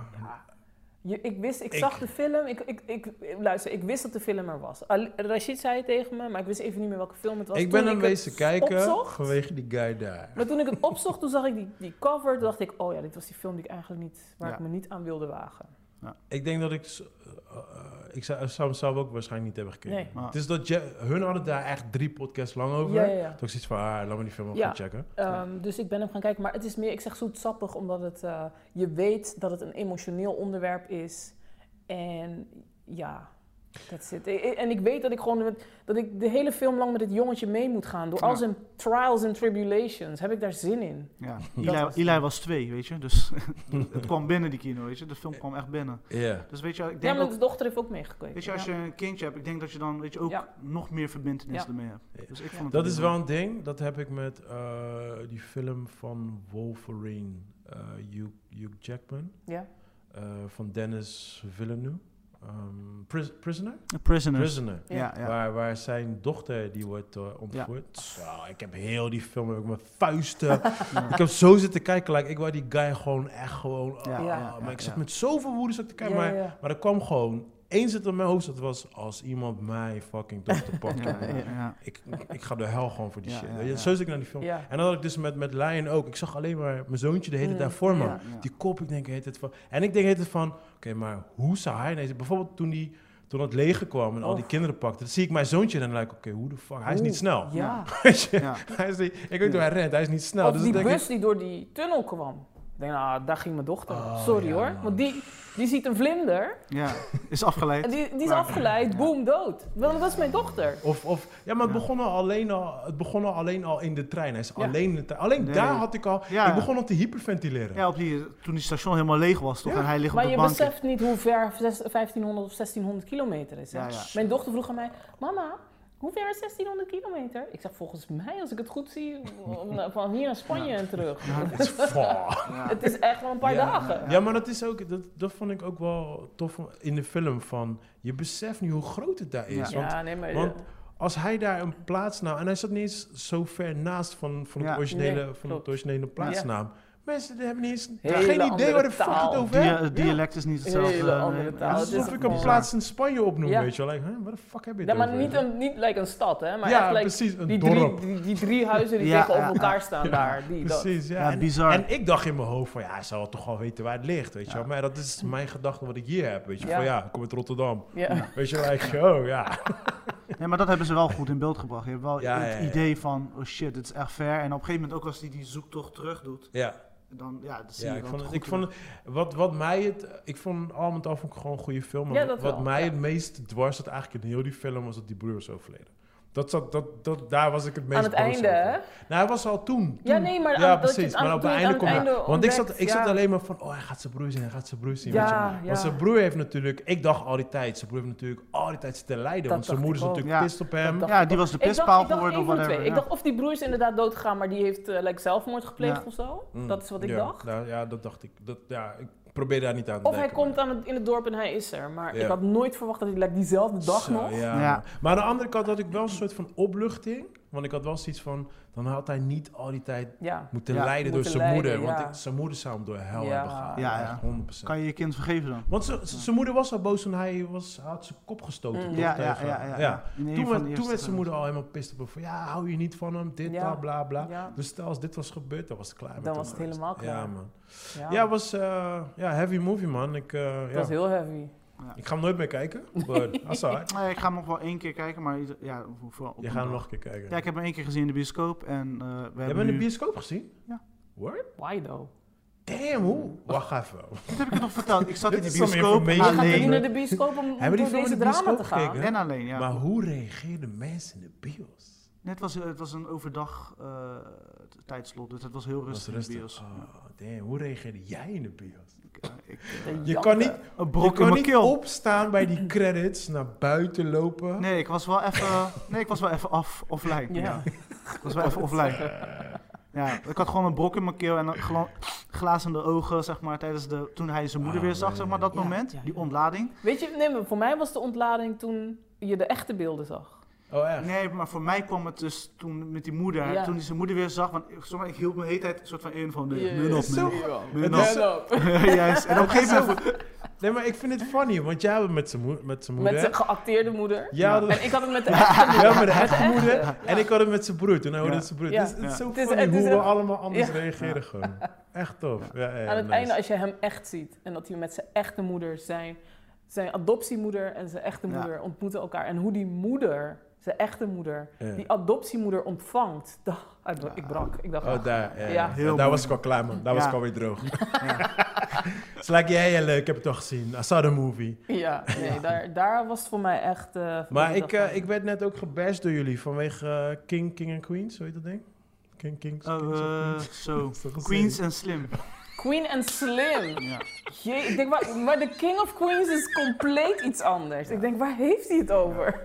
Speaker 3: Je, ik wist, ik,
Speaker 1: Ik-
Speaker 3: zag de film. Ik, ik, ik, luister, ik wist dat de film er was. Al- Rashid zei het tegen me, maar ik wist even niet meer welke film het was.
Speaker 1: Ik
Speaker 3: Toen
Speaker 1: ben hem
Speaker 3: het
Speaker 1: wezen kijken
Speaker 3: opzocht-
Speaker 1: vanwege die guy daar.
Speaker 3: Maar toen ik het opzocht, toen zag ik die, die cover. Toen dacht ik, oh ja, dit was die film die ik eigenlijk niet, waar
Speaker 2: Ja.
Speaker 3: ik me niet aan wilde wagen.
Speaker 1: Ik denk dat ik... s- eh, eh, ik zou, zou hem zelf ook waarschijnlijk niet hebben gekeken.
Speaker 2: Nee.
Speaker 1: Het is dat je- hun hadden daar echt drie podcasts lang over.
Speaker 3: Ja, ja, ja.
Speaker 1: Toen ik zoiets van, ah, laat me die film ook
Speaker 3: Ja.
Speaker 1: gaan checken.
Speaker 3: Ehm, dus ik ben hem gaan kijken. Maar het is meer, ik zeg zoetsappig, omdat het, eh, je weet dat het een emotioneel onderwerp is. En ja, dat zit. e, En ik weet dat ik gewoon met- dat ik de hele film lang met dit jongetje mee moet gaan. Door al
Speaker 2: Ja.
Speaker 3: zijn trials en tribulations heb ik daar zin in.
Speaker 2: Ja.
Speaker 3: Dat
Speaker 2: Eli,
Speaker 3: was-
Speaker 2: Eli was twee, weet je. Dus het kwam binnen die kino, weet je. De film kwam echt binnen.
Speaker 1: Ja.
Speaker 2: Dus weet je, ik
Speaker 3: Ja,
Speaker 2: denk
Speaker 3: mijn
Speaker 2: ook...
Speaker 3: dochter heeft ook meegekeken.
Speaker 2: Weet je, als je
Speaker 3: Ja.
Speaker 2: een kindje hebt, ik denk dat je dan weet je, ook
Speaker 3: Ja.
Speaker 2: nog meer verbindenis
Speaker 3: Ja.
Speaker 2: ermee
Speaker 1: Ja.
Speaker 2: hebt. Dus ik
Speaker 3: Ja.
Speaker 2: vond het
Speaker 1: Dat is
Speaker 2: leuk.
Speaker 1: wel een ding. Dat heb ik met eh, die film van Wolverine. eh, Hugh, Hugh Jackman.
Speaker 3: Ja.
Speaker 1: eh, van Dennis Villeneuve. Ehm, Pris- Prisoner?
Speaker 2: A Prisoners.
Speaker 1: Prisoner.
Speaker 2: Ja, ja.
Speaker 1: Waar, waar zijn dochter die wordt eh, ontvoerd. Zo, ik heb heel die film heb ik mijn vuisten. ik heb zo zitten kijken. Like, ik wou die guy gewoon echt gewoon. ah,
Speaker 2: Ja,
Speaker 3: ja,
Speaker 1: maar
Speaker 2: ja,
Speaker 1: ik zat
Speaker 2: ja.
Speaker 1: met zoveel woede zat ik te kijken.
Speaker 3: Ja,
Speaker 1: maar,
Speaker 3: ja, ja.
Speaker 1: maar er kwam gewoon eens het in mijn hoofd zat was, als iemand mij fucking tot de pak
Speaker 2: Ja, ja,
Speaker 1: kan.
Speaker 2: ja.
Speaker 1: Ik, ik ga de hel gewoon voor die
Speaker 2: Ja,
Speaker 1: shit.
Speaker 2: ja,
Speaker 1: Weet je,
Speaker 2: ja.
Speaker 1: Zo zit ik naar die film.
Speaker 3: Ja.
Speaker 1: En dat had ik dus met, met Lion ook. Ik zag alleen maar mijn zoontje de hele
Speaker 3: Mm,
Speaker 1: tijd voor me.
Speaker 3: ja.
Speaker 1: Die kop, ik denk, heet het van. En ik denk, heet het van. Oké, maar hoe zou hij ineens. Bijvoorbeeld toen, die, toen het leger kwam en al die
Speaker 3: Oh.
Speaker 1: kinderen pakte. Dan zie ik mijn zoontje en dan denk ik, oké, hoe de fuck. Hij is
Speaker 3: Oeh,
Speaker 1: niet snel.
Speaker 3: Ja.
Speaker 1: Weet je?
Speaker 2: Ja.
Speaker 1: hij is niet, ik weet niet hoe hij rent, hij is niet snel.
Speaker 3: Of
Speaker 1: dus
Speaker 3: die
Speaker 1: dan denk
Speaker 3: bus
Speaker 1: ik,
Speaker 3: die door die tunnel kwam. Ik denk, nou, daar ging mijn dochter.
Speaker 1: Oh,
Speaker 3: Sorry
Speaker 1: ja,
Speaker 3: hoor.
Speaker 1: man.
Speaker 3: Want die, die ziet een vlinder.
Speaker 2: Ja, is
Speaker 3: En
Speaker 2: afgeleid.
Speaker 3: die, die is
Speaker 2: Maar-
Speaker 3: afgeleid.
Speaker 2: Ja.
Speaker 3: Boom, dood. Want dat is mijn dochter.
Speaker 1: of, of, ja, maar het,
Speaker 2: Ja.
Speaker 1: Begon al alleen al, het begon al alleen al in de trein. Hij is
Speaker 3: Ja.
Speaker 1: alleen in de trein. Alleen
Speaker 2: Nee.
Speaker 1: daar had ik al.
Speaker 2: Ja.
Speaker 1: Ik begon al te hyperventileren.
Speaker 2: Ja, op die, toen die station helemaal leeg was, toch?
Speaker 1: Ja.
Speaker 2: En hij ligt
Speaker 3: Maar
Speaker 2: op
Speaker 3: je
Speaker 2: de bank.
Speaker 3: beseft niet hoe ver zes- 1500 of 1600 kilometer is. hè?
Speaker 2: Ja, ja.
Speaker 3: Mijn dochter vroeg aan mij, mama, hoe ver is 1600 kilometer? Ik zeg, volgens mij, als ik het goed zie, van- van hier naar Spanje en terug.
Speaker 1: Het is fuck.
Speaker 2: Ja.
Speaker 3: Het is echt wel een paar
Speaker 1: Ja.
Speaker 3: dagen.
Speaker 1: Ja, maar dat is ook, dat, dat vond ik ook wel tof in de film van, je beseft nu hoe groot het daar is.
Speaker 2: Ja.
Speaker 1: Want
Speaker 3: Ja, nee, maar...
Speaker 1: want- als hij daar een plaatsnaam, en hij zat niet eens zo ver naast van, van,
Speaker 2: Ja.
Speaker 1: het, originele,
Speaker 3: Nee,
Speaker 1: van
Speaker 3: klopt.
Speaker 1: het originele plaatsnaam. Mensen die hebben niet eens
Speaker 3: Hele
Speaker 1: geen idee
Speaker 3: andere
Speaker 1: waar de fuck
Speaker 3: taal.
Speaker 1: het over
Speaker 2: Dia-
Speaker 1: heeft.
Speaker 2: het dialect is niet
Speaker 3: Hele
Speaker 2: hetzelfde.
Speaker 3: andere
Speaker 2: nee.
Speaker 3: taal.
Speaker 2: Het is
Speaker 1: Alsof
Speaker 3: echt
Speaker 1: ik een
Speaker 3: bizar.
Speaker 1: plaats in Spanje opnoem,
Speaker 3: Ja.
Speaker 1: weet je wel. Like, huh, waar de fuck heb je het
Speaker 3: Ja, maar
Speaker 1: over?
Speaker 3: niet, een, niet like een stad, hè? Maar
Speaker 1: ja,
Speaker 3: echt like
Speaker 1: precies, een
Speaker 3: die,
Speaker 1: dorp.
Speaker 3: drie, die, die drie huizen die
Speaker 2: Ja, ja,
Speaker 3: tegenover
Speaker 2: ja.
Speaker 3: elkaar staan daar. Die, dat.
Speaker 1: Precies, ja.
Speaker 2: Ja,
Speaker 1: en,
Speaker 2: bizar.
Speaker 1: en ik dacht in mijn hoofd van, ja, hij zal toch wel weten waar het ligt, weet je
Speaker 2: Ja.
Speaker 1: wel. Maar dat is mijn gedachte wat ik hier heb, weet je.
Speaker 3: Ja.
Speaker 1: Van ja, ik kom uit Rotterdam.
Speaker 3: Ja.
Speaker 1: Weet je, like, oh ja.
Speaker 2: Nee, maar dat hebben ze wel goed in beeld gebracht. Je hebt wel
Speaker 1: Ja,
Speaker 2: het
Speaker 1: ja, ja.
Speaker 2: idee van, oh shit, dit is echt ver. En op een gegeven moment, ook als hij die zoektocht terug doet,
Speaker 1: Ja,
Speaker 2: dan ja, dat zie
Speaker 1: Ja,
Speaker 2: je
Speaker 1: ik
Speaker 2: wel
Speaker 1: vond, het,
Speaker 2: goed
Speaker 1: ik vond
Speaker 2: in-
Speaker 1: het, wat, wat mij het, ik vond al met al vond ik gewoon een goede film. maar
Speaker 3: Ja, dat
Speaker 1: wat
Speaker 3: wel,
Speaker 1: mij
Speaker 3: ja.
Speaker 1: het meest dwars zat eigenlijk in heel die film was dat die broer was overleden. Dat zat, dat, dat, daar was ik het meest
Speaker 3: Aan het
Speaker 1: boos
Speaker 3: einde,
Speaker 1: over.
Speaker 3: hè?
Speaker 1: Nou, hij was al toen.
Speaker 3: Ja,
Speaker 1: toen.
Speaker 3: nee, maar
Speaker 1: ja,
Speaker 3: aan- dat je
Speaker 1: precies.
Speaker 3: het aan-
Speaker 1: maar op
Speaker 3: toen
Speaker 1: het
Speaker 3: je
Speaker 1: einde
Speaker 3: het
Speaker 1: komt
Speaker 3: aan het
Speaker 1: hij-
Speaker 3: einde
Speaker 1: Want ik zat,
Speaker 3: ontdekt,
Speaker 1: ik zat
Speaker 3: ja.
Speaker 1: alleen maar van, oh, hij gaat zijn broer zien, hij gaat zijn broer zien.
Speaker 3: Ja,
Speaker 1: weet je.
Speaker 3: ja.
Speaker 1: Want zijn broer heeft natuurlijk, ik dacht al die tijd, zijn broer heeft natuurlijk al die tijd zitten lijden.
Speaker 3: Dat
Speaker 1: want zijn
Speaker 3: dacht
Speaker 1: moeder is
Speaker 3: ik ook.
Speaker 1: natuurlijk
Speaker 2: Ja.
Speaker 1: pist op hem.
Speaker 3: dacht
Speaker 2: Ja,
Speaker 3: ik
Speaker 2: die
Speaker 3: ook.
Speaker 2: was de
Speaker 3: Ik dacht,
Speaker 2: pistpaal
Speaker 3: ik dacht
Speaker 2: geworden of
Speaker 3: één van de
Speaker 2: whatever.
Speaker 3: twee. Ik
Speaker 2: ja.
Speaker 3: dacht of die broer is inderdaad doodgegaan, maar die heeft eh, like, zelfmoord gepleegd
Speaker 2: Ja.
Speaker 3: of zo.
Speaker 1: Mm,
Speaker 3: Dat is wat ik
Speaker 1: ja,
Speaker 3: dacht.
Speaker 1: nou, ja, dat dacht ik. Dat, ja, ik probeer daar niet aan te
Speaker 3: Of hij
Speaker 1: denken, maar-
Speaker 3: komt aan het, in het dorp en hij is er. Maar
Speaker 1: Ja.
Speaker 3: ik had nooit verwacht dat hij like, diezelfde dag
Speaker 1: Zo,
Speaker 3: nog...
Speaker 1: Ja.
Speaker 2: Ja.
Speaker 1: Maar aan de andere kant had ik wel een soort van opluchting. Want ik had wel zoiets van, dan had hij niet al die tijd
Speaker 3: Ja.
Speaker 1: moeten
Speaker 2: Ja.
Speaker 1: lijden
Speaker 3: Moeten
Speaker 1: door zijn
Speaker 3: lijden,
Speaker 1: moeder.
Speaker 3: ja.
Speaker 1: Want ik, zijn moeder zou hem door hel
Speaker 3: Ja.
Speaker 1: hebben gehaald.
Speaker 2: Ja,
Speaker 1: Echt
Speaker 2: ja.
Speaker 1: 100%.
Speaker 2: Kan je je kind vergeven dan?
Speaker 1: Want ze- ze- zijn moeder was al boos toen hij, was, hij had zijn kop gestoten.
Speaker 3: Mm.
Speaker 1: toch?
Speaker 2: Ja, ja,
Speaker 1: Tegen-
Speaker 2: ja. ja, In een
Speaker 1: Toen,
Speaker 2: van
Speaker 1: werd,
Speaker 2: de
Speaker 1: toen werd
Speaker 2: eerste
Speaker 1: zijn
Speaker 2: films.
Speaker 1: moeder al helemaal pist op hem. Van, ja, hou je niet van hem, dit,
Speaker 3: Ja.
Speaker 1: bla, bla, bla.
Speaker 3: Ja.
Speaker 1: Dus stel, als dit was gebeurd, dan was het klaar. met
Speaker 3: Dan
Speaker 1: hem
Speaker 3: was het
Speaker 1: geweest.
Speaker 3: helemaal klaar.
Speaker 1: Ja, man. Ja, het was eh, ja, heavy movie, man. Ik, eh,
Speaker 3: dat
Speaker 1: ja.
Speaker 3: was heel heavy.
Speaker 1: ik ga hem nooit meer kijken. But, that's alright.
Speaker 2: Nee, ik ga hem nog wel één keer kijken, maar ieder- ja, voor- voor- op
Speaker 1: Je
Speaker 2: een
Speaker 1: gaat hem
Speaker 2: dag.
Speaker 1: nog een keer kijken.
Speaker 2: Ja, ik heb hem één keer gezien in de bioscoop en eh, we
Speaker 1: Jij
Speaker 2: hebben
Speaker 1: bent in de
Speaker 2: nu...
Speaker 1: bioscoop gezien?
Speaker 2: Ja.
Speaker 1: Word?
Speaker 3: Why though?
Speaker 1: Damn, hoe? Wacht even.
Speaker 2: Dat heb ik je toch verteld? Ik zat
Speaker 1: Dit
Speaker 2: in de
Speaker 1: is allemaal
Speaker 2: bioscoop
Speaker 1: information.
Speaker 3: Je gaat toch
Speaker 1: nee.
Speaker 3: niet naar
Speaker 2: alleen.
Speaker 3: de bioscoop om, om
Speaker 1: Hebben die
Speaker 3: door
Speaker 1: film in
Speaker 3: deze
Speaker 1: de
Speaker 3: drama
Speaker 1: bioscoop
Speaker 3: te gaan?
Speaker 1: gekeken?
Speaker 2: En alleen, ja.
Speaker 1: Maar hoe reageerden mensen in de bios?
Speaker 2: Net was, eh, het was een overdag eh, tijdslot, dus het was heel
Speaker 1: Was
Speaker 2: rustig, in de bios.
Speaker 1: rustig. Oh, damn, hoe reageerde jij in de bios?
Speaker 2: Ik, eh, ik, eh,
Speaker 3: Te
Speaker 1: Je
Speaker 3: janken.
Speaker 1: kan niet,
Speaker 2: een
Speaker 1: je
Speaker 2: brok in
Speaker 1: kan
Speaker 2: mijn
Speaker 1: niet
Speaker 2: keel.
Speaker 1: opstaan bij die credits, naar buiten lopen.
Speaker 2: Nee, ik was wel even, nee, ik was wel even af, offline. Ja.
Speaker 3: Ja.
Speaker 2: Ik was wel even offline. Ja, ik had gewoon een brok in mijn keel en een gla glazende ogen, zeg maar, tijdens de, toen hij zijn moeder
Speaker 1: Ah,
Speaker 2: weer zag,
Speaker 1: nee.
Speaker 2: zeg maar, dat
Speaker 3: Ja,
Speaker 2: moment,
Speaker 3: ja, ja.
Speaker 2: die ontlading.
Speaker 3: Weet je, nee, maar voor mij was de ontlading toen je de echte beelden zag.
Speaker 1: Oh, echt?
Speaker 2: Nee, maar voor mij kwam het dus toen met die moeder, hè,
Speaker 3: Ja.
Speaker 2: toen hij zijn moeder weer zag, want ik- zeg maar, ik hield me de hele tijd een soort van in van, nee,
Speaker 3: Je-
Speaker 2: nu nog,
Speaker 1: Is zo-
Speaker 2: nu
Speaker 1: Het is-
Speaker 2: nog. Juist, en op een gegeven moment...
Speaker 1: Nee, maar ik vind het funny, want jij had het met zijn moe- met zijn
Speaker 3: Met
Speaker 1: moeder.
Speaker 3: zijn geacteerde moeder.
Speaker 1: Jij had het
Speaker 3: En ik had hem met de echte moeder.
Speaker 1: ja, met de
Speaker 3: echte.
Speaker 1: echte moeder. En ik had het met zijn broer. Toen hij hoorde
Speaker 2: Ja.
Speaker 1: het zijn broer.
Speaker 3: Ja.
Speaker 1: Dus het is
Speaker 2: Ja.
Speaker 1: zo
Speaker 3: Het is-
Speaker 1: funny
Speaker 3: het is
Speaker 1: hoe we
Speaker 3: echt-
Speaker 1: allemaal anders
Speaker 3: Ja.
Speaker 1: reageren gewoon. Echt tof. Ja, ja, ja,
Speaker 3: Aan het
Speaker 1: nice.
Speaker 3: einde, als je hem echt ziet en dat hij met zijn echte moeder, zijn, zijn adoptiemoeder en zijn echte
Speaker 2: Ja.
Speaker 3: moeder ontmoeten elkaar. En hoe die moeder, zijn echte moeder,
Speaker 1: Ja.
Speaker 3: die adoptiemoeder ontvangt. Da- ik, bra- ik brak. Ik dacht, ah,
Speaker 1: Oh,
Speaker 3: ach,
Speaker 1: daar. Ja,
Speaker 3: Ja.
Speaker 1: ja.
Speaker 2: Heel
Speaker 1: daar
Speaker 2: mooi.
Speaker 1: was ik al klaar, man. Daar was
Speaker 2: Ja.
Speaker 1: ik alweer droog. It's like, ja, ja, leuk. Ik heb het al gezien. I saw the movie.
Speaker 3: ja, nee, Daar, daar was het voor mij echt... eh, van
Speaker 1: Maar
Speaker 3: die
Speaker 1: ik,
Speaker 3: dag
Speaker 1: eh,
Speaker 3: van-
Speaker 1: ik werd net ook gebashed door jullie vanwege eh, King, King and Queens. Zo heet dat ding? King, Kings.
Speaker 2: Oh,
Speaker 1: Kings of
Speaker 2: eh,
Speaker 1: Queens.
Speaker 2: zo.
Speaker 1: Is dat een
Speaker 2: Queens
Speaker 1: serie?
Speaker 2: en Slim.
Speaker 3: Queen en Slim.
Speaker 2: Ja.
Speaker 3: Jee, ik denk, maar, maar de King of Queens is compleet iets anders. Ik denk, waar heeft hij het over?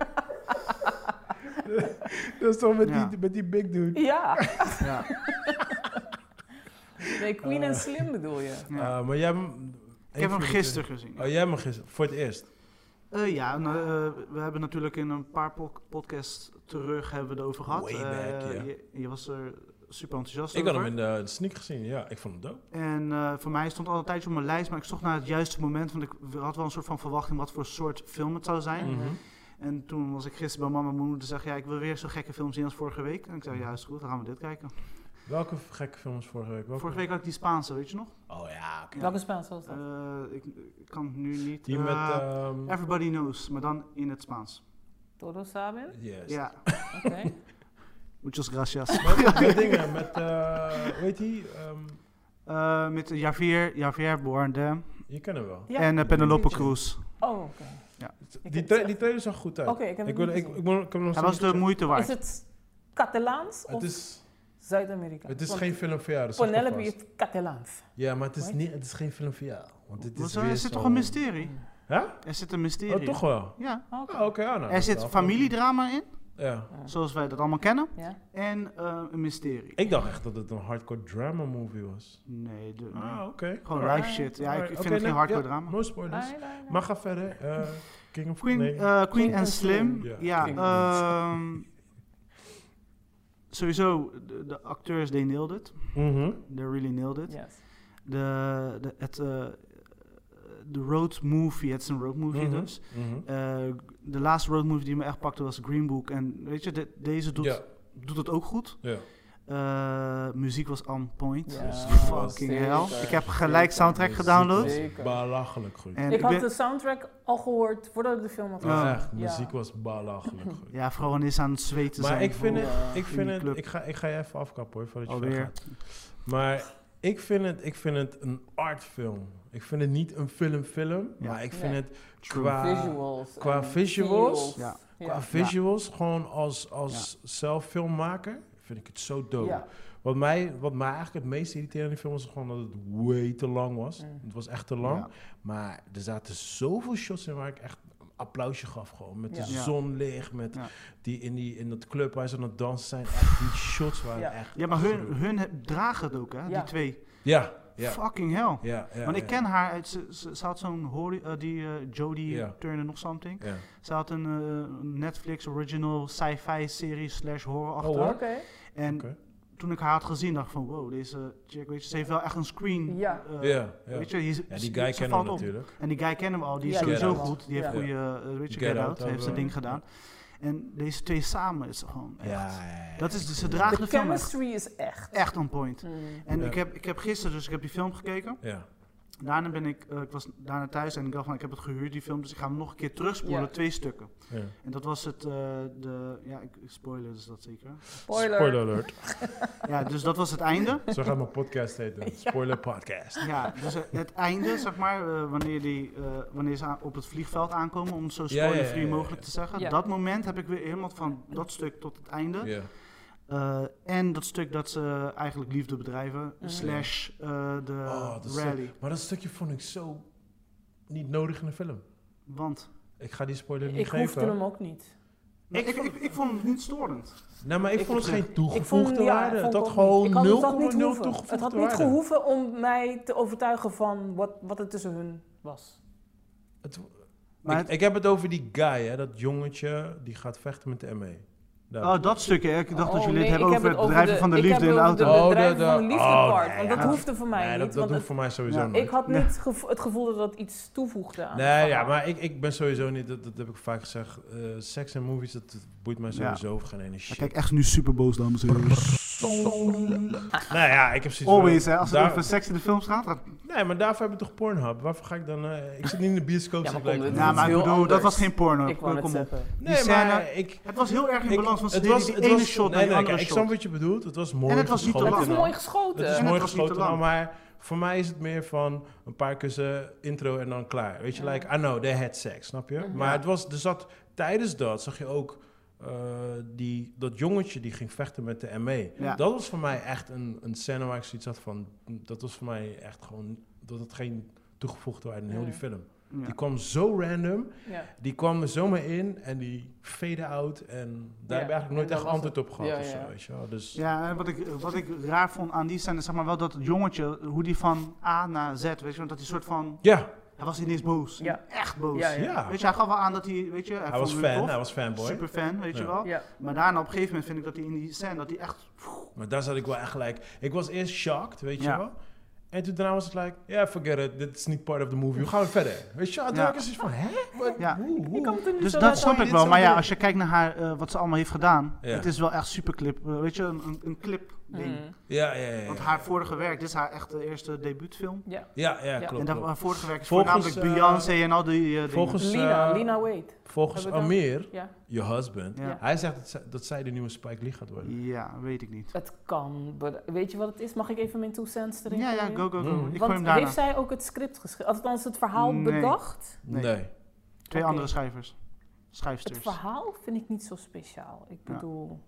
Speaker 1: Dat is toch met,
Speaker 2: Ja.
Speaker 1: die, met die big dude.
Speaker 3: Ja.
Speaker 2: Ja.
Speaker 3: Nee, Queen en Slim bedoel je.
Speaker 2: Ja.
Speaker 1: Eh, maar jij...
Speaker 2: Ik heb hem gisteren gezien.
Speaker 1: Oh, jij hebt hem gisteren. Voor het eerst.
Speaker 2: Eh, ja, nou, eh, we hebben natuurlijk in een paar po- podcasts terug hebben we het over gehad.
Speaker 1: Way
Speaker 2: Eh,
Speaker 1: back, ja.
Speaker 2: je, je was er super enthousiast
Speaker 1: Ik had hem
Speaker 2: over.
Speaker 1: in de sneak gezien, ja. Ik vond hem dope.
Speaker 2: En eh, voor mij stond al een tijdje op mijn lijst, maar ik zocht naar het juiste moment, want ik had wel een soort van verwachting wat voor soort film het zou zijn.
Speaker 3: Mhm.
Speaker 2: En toen was ik gisteren bij mama en mijn moeder en zei, ja, ik wil weer zo'n gekke film zien als vorige week. En ik zei, ja, is goed, dan gaan we dit kijken.
Speaker 1: Welke gekke films vorige week? Welke-
Speaker 2: Vorige week had ik die Spaanse, weet je nog?
Speaker 1: Oh ja, oké.
Speaker 3: Welke Spaans was dat?
Speaker 2: Eh, ik, ik kan het nu niet.
Speaker 1: Die
Speaker 2: eh,
Speaker 1: met... ehm
Speaker 2: Everybody Knows, maar dan in het Spaans.
Speaker 3: Todo saben?
Speaker 1: yes.
Speaker 2: Ja,
Speaker 3: Oké.
Speaker 2: muchas gracias.
Speaker 1: Maar die dingen met... eh weet je, ehm
Speaker 2: Eh, met Javier, Javier Bardem
Speaker 1: je kent hem wel.
Speaker 3: Ja,
Speaker 2: en eh, Penelope
Speaker 3: weet je.
Speaker 2: Cruz.
Speaker 3: Oh, oké.
Speaker 1: Die, tra die trailer zag goed uit.
Speaker 3: Oké, ik heb
Speaker 1: Ik,
Speaker 3: het
Speaker 1: wil,
Speaker 3: niet
Speaker 1: ik,
Speaker 3: gezien.
Speaker 1: ik, moet- ik heb hem nog
Speaker 2: Hij
Speaker 1: steeds niet
Speaker 2: was de
Speaker 1: gezien.
Speaker 2: moeite
Speaker 3: Is
Speaker 2: waard.
Speaker 3: het Catalaans
Speaker 1: Het
Speaker 3: of
Speaker 1: is,
Speaker 3: Zuid-Amerika?
Speaker 1: het is
Speaker 3: Want
Speaker 1: geen film voor jou. dat zeg ik
Speaker 3: Penelope
Speaker 1: alvast.
Speaker 3: is Catalaans.
Speaker 1: Ja, maar het is,
Speaker 3: Wat?
Speaker 1: niet, het is geen film voor jou. Want dit is
Speaker 2: Maar
Speaker 1: weer
Speaker 2: eh, er zit toch
Speaker 1: zo'n-
Speaker 2: een mysterie?
Speaker 1: Ja?
Speaker 2: Er zit een mysterie.
Speaker 1: Oh, toch wel.
Speaker 2: Ja.
Speaker 3: Oké.
Speaker 1: Ah, oké, ah, nou, dat
Speaker 2: Er
Speaker 1: is
Speaker 2: zit
Speaker 1: wel
Speaker 2: familiedrama in,
Speaker 1: goed. Ja.
Speaker 3: Ja.
Speaker 2: zoals wij dat allemaal kennen,
Speaker 3: Ja?
Speaker 2: en eh, een mysterie.
Speaker 1: Ik dacht echt dat het een hardcore drama movie was.
Speaker 2: Nee, de, nee.
Speaker 1: Ah, oké.
Speaker 2: gewoon
Speaker 1: Alright.
Speaker 2: live shit. Ja, ik
Speaker 1: Alright,
Speaker 2: vind
Speaker 1: oké,
Speaker 2: het geen
Speaker 1: nee,
Speaker 2: hardcore
Speaker 1: ja,
Speaker 2: drama.
Speaker 1: No spoilers.
Speaker 3: Nee, nee, nee.
Speaker 1: Maar ga verder. eh, King of
Speaker 2: Queen,
Speaker 1: nee.
Speaker 2: eh, Queen
Speaker 3: Queen
Speaker 2: en
Speaker 3: and
Speaker 2: Slim.
Speaker 3: Slim.
Speaker 1: Ja.
Speaker 2: Ja,
Speaker 1: King
Speaker 2: ehm, sowieso, de, de acteurs, they nailed it.
Speaker 1: Mhm.
Speaker 2: They really nailed it.
Speaker 3: Yes.
Speaker 2: De, de, het, eh, de road movie, het is een road movie
Speaker 1: Mhm.
Speaker 2: dus.
Speaker 1: Mhm.
Speaker 2: Eh, de laatste road movie die me echt pakte was Green Book. En weet je, de- deze doet,
Speaker 1: Ja,
Speaker 2: doet het ook goed.
Speaker 1: ja.
Speaker 2: Eh, muziek was on point.
Speaker 3: Ja,
Speaker 2: Dus fucking
Speaker 3: zeker,
Speaker 2: hell. Ik heb gelijk
Speaker 3: zeker.
Speaker 2: soundtrack
Speaker 1: Muziek
Speaker 2: gedownload.
Speaker 1: was
Speaker 3: Zeker.
Speaker 1: Belachelijk goed.
Speaker 2: En
Speaker 3: Ik
Speaker 2: ik
Speaker 3: had
Speaker 2: ben,
Speaker 3: de soundtrack al gehoord voordat ik de film had
Speaker 2: Oh, Ja.
Speaker 3: gezien.
Speaker 1: Echt,
Speaker 3: Ja.
Speaker 1: muziek was belachelijk goed.
Speaker 2: ja, vooral wanneer ze aan het zweten
Speaker 1: Maar
Speaker 2: zijn.
Speaker 1: ik vind
Speaker 2: Oh,
Speaker 1: het, ik
Speaker 2: in
Speaker 1: vind
Speaker 2: die
Speaker 1: het,
Speaker 2: club.
Speaker 1: ik ga, ik ga je even afkappen hoor, voordat je
Speaker 2: Alweer.
Speaker 1: weggaat. Maar ik vind het, ik vind het een artfilm. Ik vind het niet een film-film,
Speaker 2: Ja.
Speaker 1: maar ik vind
Speaker 3: Nee.
Speaker 1: het
Speaker 2: True.
Speaker 1: qua
Speaker 3: visuals.
Speaker 1: qua
Speaker 3: en
Speaker 1: visuals,
Speaker 3: feels.
Speaker 2: Ja.
Speaker 1: Qua visuals, gewoon als, als zelffilmmaker, vind ik het zo dope.
Speaker 3: Ja.
Speaker 1: Wat, mij, wat mij eigenlijk het meest irriteerde in die film was gewoon dat het way te lang was.
Speaker 3: Mm.
Speaker 1: Het was echt te lang.
Speaker 2: Ja.
Speaker 1: Maar er zaten zoveel shots in waar ik echt een applausje gaf gewoon. Met de
Speaker 3: Ja.
Speaker 2: Ja.
Speaker 1: zonlicht, met
Speaker 2: Ja.
Speaker 1: die, in, die, in dat club waar ze aan het dansen zijn. Echt, die shots waren
Speaker 3: Ja.
Speaker 1: echt...
Speaker 2: Ja, maar hun,
Speaker 1: gruwelijk.
Speaker 2: hun he- dragen het ook, hè? Die
Speaker 3: Ja.
Speaker 2: twee.
Speaker 1: Ja, ja,
Speaker 2: Fucking hell.
Speaker 1: ja, ja.
Speaker 2: Want ik
Speaker 1: ja.
Speaker 2: ken haar, uit, ze, ze, ze had zo'n hori- eh, die eh, Jodie
Speaker 1: Ja.
Speaker 2: Turner nog something.
Speaker 1: Ja.
Speaker 2: Ze had een eh, Netflix original sci-fi serie slash horror achter.
Speaker 1: hoor.
Speaker 3: Oké.
Speaker 2: en
Speaker 1: Oké.
Speaker 2: toen ik haar had gezien, dacht ik van wow, deze chick, weet je, ze heeft wel echt een screen.
Speaker 3: Ja.
Speaker 2: eh,
Speaker 1: ja, ja.
Speaker 2: Weet je, die,
Speaker 1: Ja, die guy kennen we natuurlijk.
Speaker 2: En die guy kennen we al, die is
Speaker 3: Ja,
Speaker 1: Get
Speaker 2: sowieso
Speaker 1: Out.
Speaker 2: goed. Die heeft
Speaker 3: Ja.
Speaker 2: goede, eh, weet je,
Speaker 1: Get
Speaker 2: Get,
Speaker 1: Out
Speaker 2: Out, heeft zijn
Speaker 1: hebben
Speaker 2: ding
Speaker 1: we.
Speaker 2: gedaan. En deze twee samen is gewoon echt...
Speaker 1: Ja,
Speaker 2: Dat is, dus ze
Speaker 1: draag.
Speaker 2: dragen
Speaker 3: De
Speaker 2: de film echt,
Speaker 3: chemistry is echt.
Speaker 2: echt on point.
Speaker 3: Mm.
Speaker 2: En
Speaker 1: Ja.
Speaker 2: ik, heb, ik heb gisteren, dus ik heb die film gekeken.
Speaker 1: Ja,
Speaker 2: Daarna ben ik, eh, ik was daarna thuis en ik dacht van, ik heb het gehuurd, die film. Dus ik ga hem nog een keer terugspoelen,
Speaker 3: Ja.
Speaker 2: twee stukken.
Speaker 1: ja.
Speaker 2: En dat was het, eh, de, ja, ik, ik spoiler is dat zeker.
Speaker 3: Spoiler.
Speaker 1: alert.
Speaker 2: Ja, dus dat was het einde.
Speaker 1: Zo gaat mijn podcast heten. Spoiler podcast.
Speaker 2: Ja, dus eh, het einde, zeg maar, eh, wanneer, die, eh, wanneer ze aan- op het vliegveld aankomen, om het zo
Speaker 1: Ja, ja, ja,
Speaker 2: spoilerfree
Speaker 1: ja, ja.
Speaker 2: mogelijk te zeggen.
Speaker 3: Ja.
Speaker 2: Dat moment heb ik weer helemaal van dat stuk tot het einde.
Speaker 1: Ja.
Speaker 2: Eh, en dat stuk dat ze eigenlijk liefde bedrijven,
Speaker 3: Mhm.
Speaker 2: slash eh, de
Speaker 1: Oh, dat is zo-
Speaker 2: rally.
Speaker 1: Maar dat stukje vond ik zo niet nodig in de film.
Speaker 2: Want
Speaker 1: Ik ga die spoiler niet
Speaker 3: Ik hoefde
Speaker 1: geven.
Speaker 3: hem ook niet.
Speaker 2: ik, ik, ik, ik vond het niet storend.
Speaker 1: Nee, Nou, maar ik,
Speaker 2: Ik
Speaker 1: vond het
Speaker 2: vond-
Speaker 1: geen
Speaker 3: Ik vond
Speaker 1: toegevoegde
Speaker 3: hem- ja,
Speaker 1: waarde.
Speaker 3: vond
Speaker 1: Het
Speaker 3: ik
Speaker 1: had
Speaker 3: ook niet.
Speaker 1: gewoon 0,0
Speaker 3: Ik had het had niet
Speaker 1: toegevoegde
Speaker 3: hoeven. Het had niet
Speaker 1: waarde.
Speaker 3: gehoeven om mij te overtuigen van wat, wat er tussen hun was.
Speaker 1: Het-
Speaker 2: Maar
Speaker 1: ik,
Speaker 2: het-
Speaker 1: ik heb het over die guy, hè, dat jongetje die gaat vechten met de E. ME. Daar.
Speaker 2: Oh, dat stuk, hè. ik dacht
Speaker 3: Oh,
Speaker 2: dat jullie
Speaker 3: nee,
Speaker 2: het hebben
Speaker 3: ik
Speaker 2: over
Speaker 3: heb
Speaker 2: het bedrijven van de
Speaker 3: ik
Speaker 2: liefde
Speaker 3: heb
Speaker 2: in de
Speaker 3: het over
Speaker 2: auto.
Speaker 1: de-
Speaker 3: Het bedrijven
Speaker 1: Oh,
Speaker 3: van de
Speaker 1: de-
Speaker 3: liefde
Speaker 1: oh,
Speaker 3: part.
Speaker 1: nee,
Speaker 3: want dat
Speaker 2: ja.
Speaker 3: hoefde voor mij
Speaker 1: nee,
Speaker 3: niet.
Speaker 1: dat, dat
Speaker 3: want
Speaker 1: doet voor mij sowieso
Speaker 2: Ja,
Speaker 3: het-
Speaker 1: nooit.
Speaker 3: ik had
Speaker 2: Nee.
Speaker 3: niet gevo- het gevoel dat dat iets toevoegde aan.
Speaker 1: Nee, ja, maar ik, ik ben sowieso niet, dat, dat heb ik vaak gezegd, eh, seks en movies, dat boeit mij sowieso over geen ene
Speaker 2: Maar
Speaker 1: shit.
Speaker 2: Kijk, echt nu super boos, dames en heren.
Speaker 1: nou ja, ik heb zoiets
Speaker 2: Always,
Speaker 1: van-
Speaker 2: hè. Als het
Speaker 1: daar-
Speaker 2: over seks in de films gaat, dan
Speaker 1: Nee, maar daarvoor heb ik toch Pornhub? Waarvoor ga ik dan... eh, ik zit niet in de bioscoop.
Speaker 3: Ja,
Speaker 1: zit
Speaker 3: maar kom,
Speaker 1: lijkt
Speaker 3: dit
Speaker 1: me.
Speaker 3: is
Speaker 2: Ja, maar ik
Speaker 3: heel
Speaker 2: bedoel, dat
Speaker 3: anders.
Speaker 2: was geen porno.
Speaker 3: Ik wou
Speaker 2: Kom
Speaker 3: net
Speaker 2: op.
Speaker 3: zeggen.
Speaker 1: Nee,
Speaker 2: die
Speaker 1: maar ik...
Speaker 2: Het was heel erg in
Speaker 1: ik-
Speaker 2: balans, want ze
Speaker 1: het
Speaker 2: deden
Speaker 1: was-
Speaker 2: die
Speaker 1: het
Speaker 2: ene
Speaker 1: was- nee,
Speaker 2: shot naar die
Speaker 1: nee,
Speaker 2: andere
Speaker 1: kijk, Ik
Speaker 2: shot.
Speaker 1: snap wat je bedoelt. Het was mooi
Speaker 2: En het was niet te
Speaker 1: geschoten
Speaker 3: Het
Speaker 2: lang.
Speaker 3: is
Speaker 1: en al.
Speaker 3: mooi
Speaker 1: Het
Speaker 3: geschoten.
Speaker 1: is
Speaker 2: En
Speaker 1: mooi
Speaker 2: het was niet te
Speaker 1: geschoten, al,
Speaker 2: lang.
Speaker 1: maar voor mij is het meer van een paar kussen, intro en dan klaar. Weet je,
Speaker 3: Ja.
Speaker 1: like, I know, they had sex, snap je?
Speaker 3: Mhm.
Speaker 1: Maar
Speaker 2: Ja.
Speaker 1: het was, er zat, tijdens dat zag je ook eh, die, dat jongetje die ging vechten met de ME.
Speaker 2: Ja.
Speaker 1: Dat was voor mij echt een, een scène waar ik zoiets had van, dat was voor mij echt gewoon, dat had geen toegevoegde waarde in heel die
Speaker 3: Ja.
Speaker 1: film.
Speaker 2: Ja.
Speaker 1: Die kwam zo random.
Speaker 3: Ja.
Speaker 1: Die kwam er zomaar in en die fade out. En daar
Speaker 3: Ja,
Speaker 1: heb ik eigenlijk nooit
Speaker 3: en dat
Speaker 1: echt
Speaker 3: was
Speaker 1: antwoord op gehad
Speaker 3: Ja,
Speaker 1: of zo,
Speaker 3: ja.
Speaker 1: weet je wel. Dus
Speaker 2: Ja, en wat ik, wat ik raar vond aan die scène, is zeg maar wel dat het jongetje, hoe die van A naar Z, weet je, want dat die soort van,
Speaker 1: ja,
Speaker 2: het Hij was ineens boos.
Speaker 3: Ja.
Speaker 2: Echt boos.
Speaker 3: Ja, ja.
Speaker 1: Ja,
Speaker 2: Weet je, hij gaf wel aan dat hij, weet je, hij,
Speaker 1: hij was
Speaker 2: vond het
Speaker 1: fan,
Speaker 2: tof.
Speaker 1: hij was fanboy.
Speaker 2: Super fan, weet je
Speaker 1: Ja.
Speaker 2: wel.
Speaker 3: Ja.
Speaker 2: Maar daarna op een gegeven moment vind ik dat hij in die scène, dat hij echt...
Speaker 1: Maar daar zat ik wel echt gelijk. Ik was eerst shocked, weet
Speaker 2: Ja.
Speaker 1: je wel. En toen daarna was het like, yeah, forget it, dit is niet part of the movie, we gaan weer verder. Weet je, wel? En toen
Speaker 2: Ja.
Speaker 1: had ik zoiets van, hè? Wat?
Speaker 2: Ja.
Speaker 1: Hoe, hoe?
Speaker 3: Ik kan het er niet
Speaker 2: Dus
Speaker 3: zo
Speaker 2: dat
Speaker 3: laten
Speaker 2: snap
Speaker 1: je
Speaker 2: ik
Speaker 1: dit
Speaker 2: wel.
Speaker 1: zo
Speaker 2: Maar ja,
Speaker 1: doen?
Speaker 2: als je kijkt naar haar, eh, wat ze allemaal heeft gedaan.
Speaker 1: Ja.
Speaker 2: Het is wel echt superclip. eh, weet je, een, een, een clip
Speaker 3: horen.
Speaker 2: ding.
Speaker 3: Mm.
Speaker 1: Ja, ja, ja, ja.
Speaker 2: Want haar vorige werk, dit is haar echte eerste debuutfilm.
Speaker 1: Ja, ja,
Speaker 3: Ja.
Speaker 1: klopt.
Speaker 2: en dat,
Speaker 1: klopt.
Speaker 2: haar vorige werk is
Speaker 1: Volgens,
Speaker 2: voornamelijk
Speaker 1: eh,
Speaker 2: Beyoncé en al die eh, dingen.
Speaker 1: volgens- Dus,
Speaker 3: Lina,
Speaker 1: eh,
Speaker 3: Lina Wade.
Speaker 1: Volgens
Speaker 3: hebben we dat?
Speaker 1: Amir,
Speaker 3: Ja,
Speaker 1: je husband,
Speaker 2: Ja.
Speaker 1: hij zegt dat zij, dat zij de nieuwe Spike Lee gaat worden.
Speaker 2: Ja, weet ik niet.
Speaker 3: het kan. maar Weet je wat het is? Mag ik even mijn two cents erin
Speaker 2: Ja, ja,
Speaker 3: gooien?
Speaker 2: go, go, go.
Speaker 1: Mhm.
Speaker 2: Ik gooi
Speaker 3: Want
Speaker 2: hem daarna.
Speaker 3: heeft zij ook het script geschreven? Althans, het verhaal
Speaker 2: Nee.
Speaker 3: bedacht?
Speaker 2: Nee.
Speaker 1: Nee.
Speaker 2: Twee
Speaker 3: Oké.
Speaker 2: andere schrijvers.
Speaker 3: Het
Speaker 2: Schrijfsters.
Speaker 3: verhaal vind ik niet zo speciaal. Ik
Speaker 2: Ja.
Speaker 3: bedoel,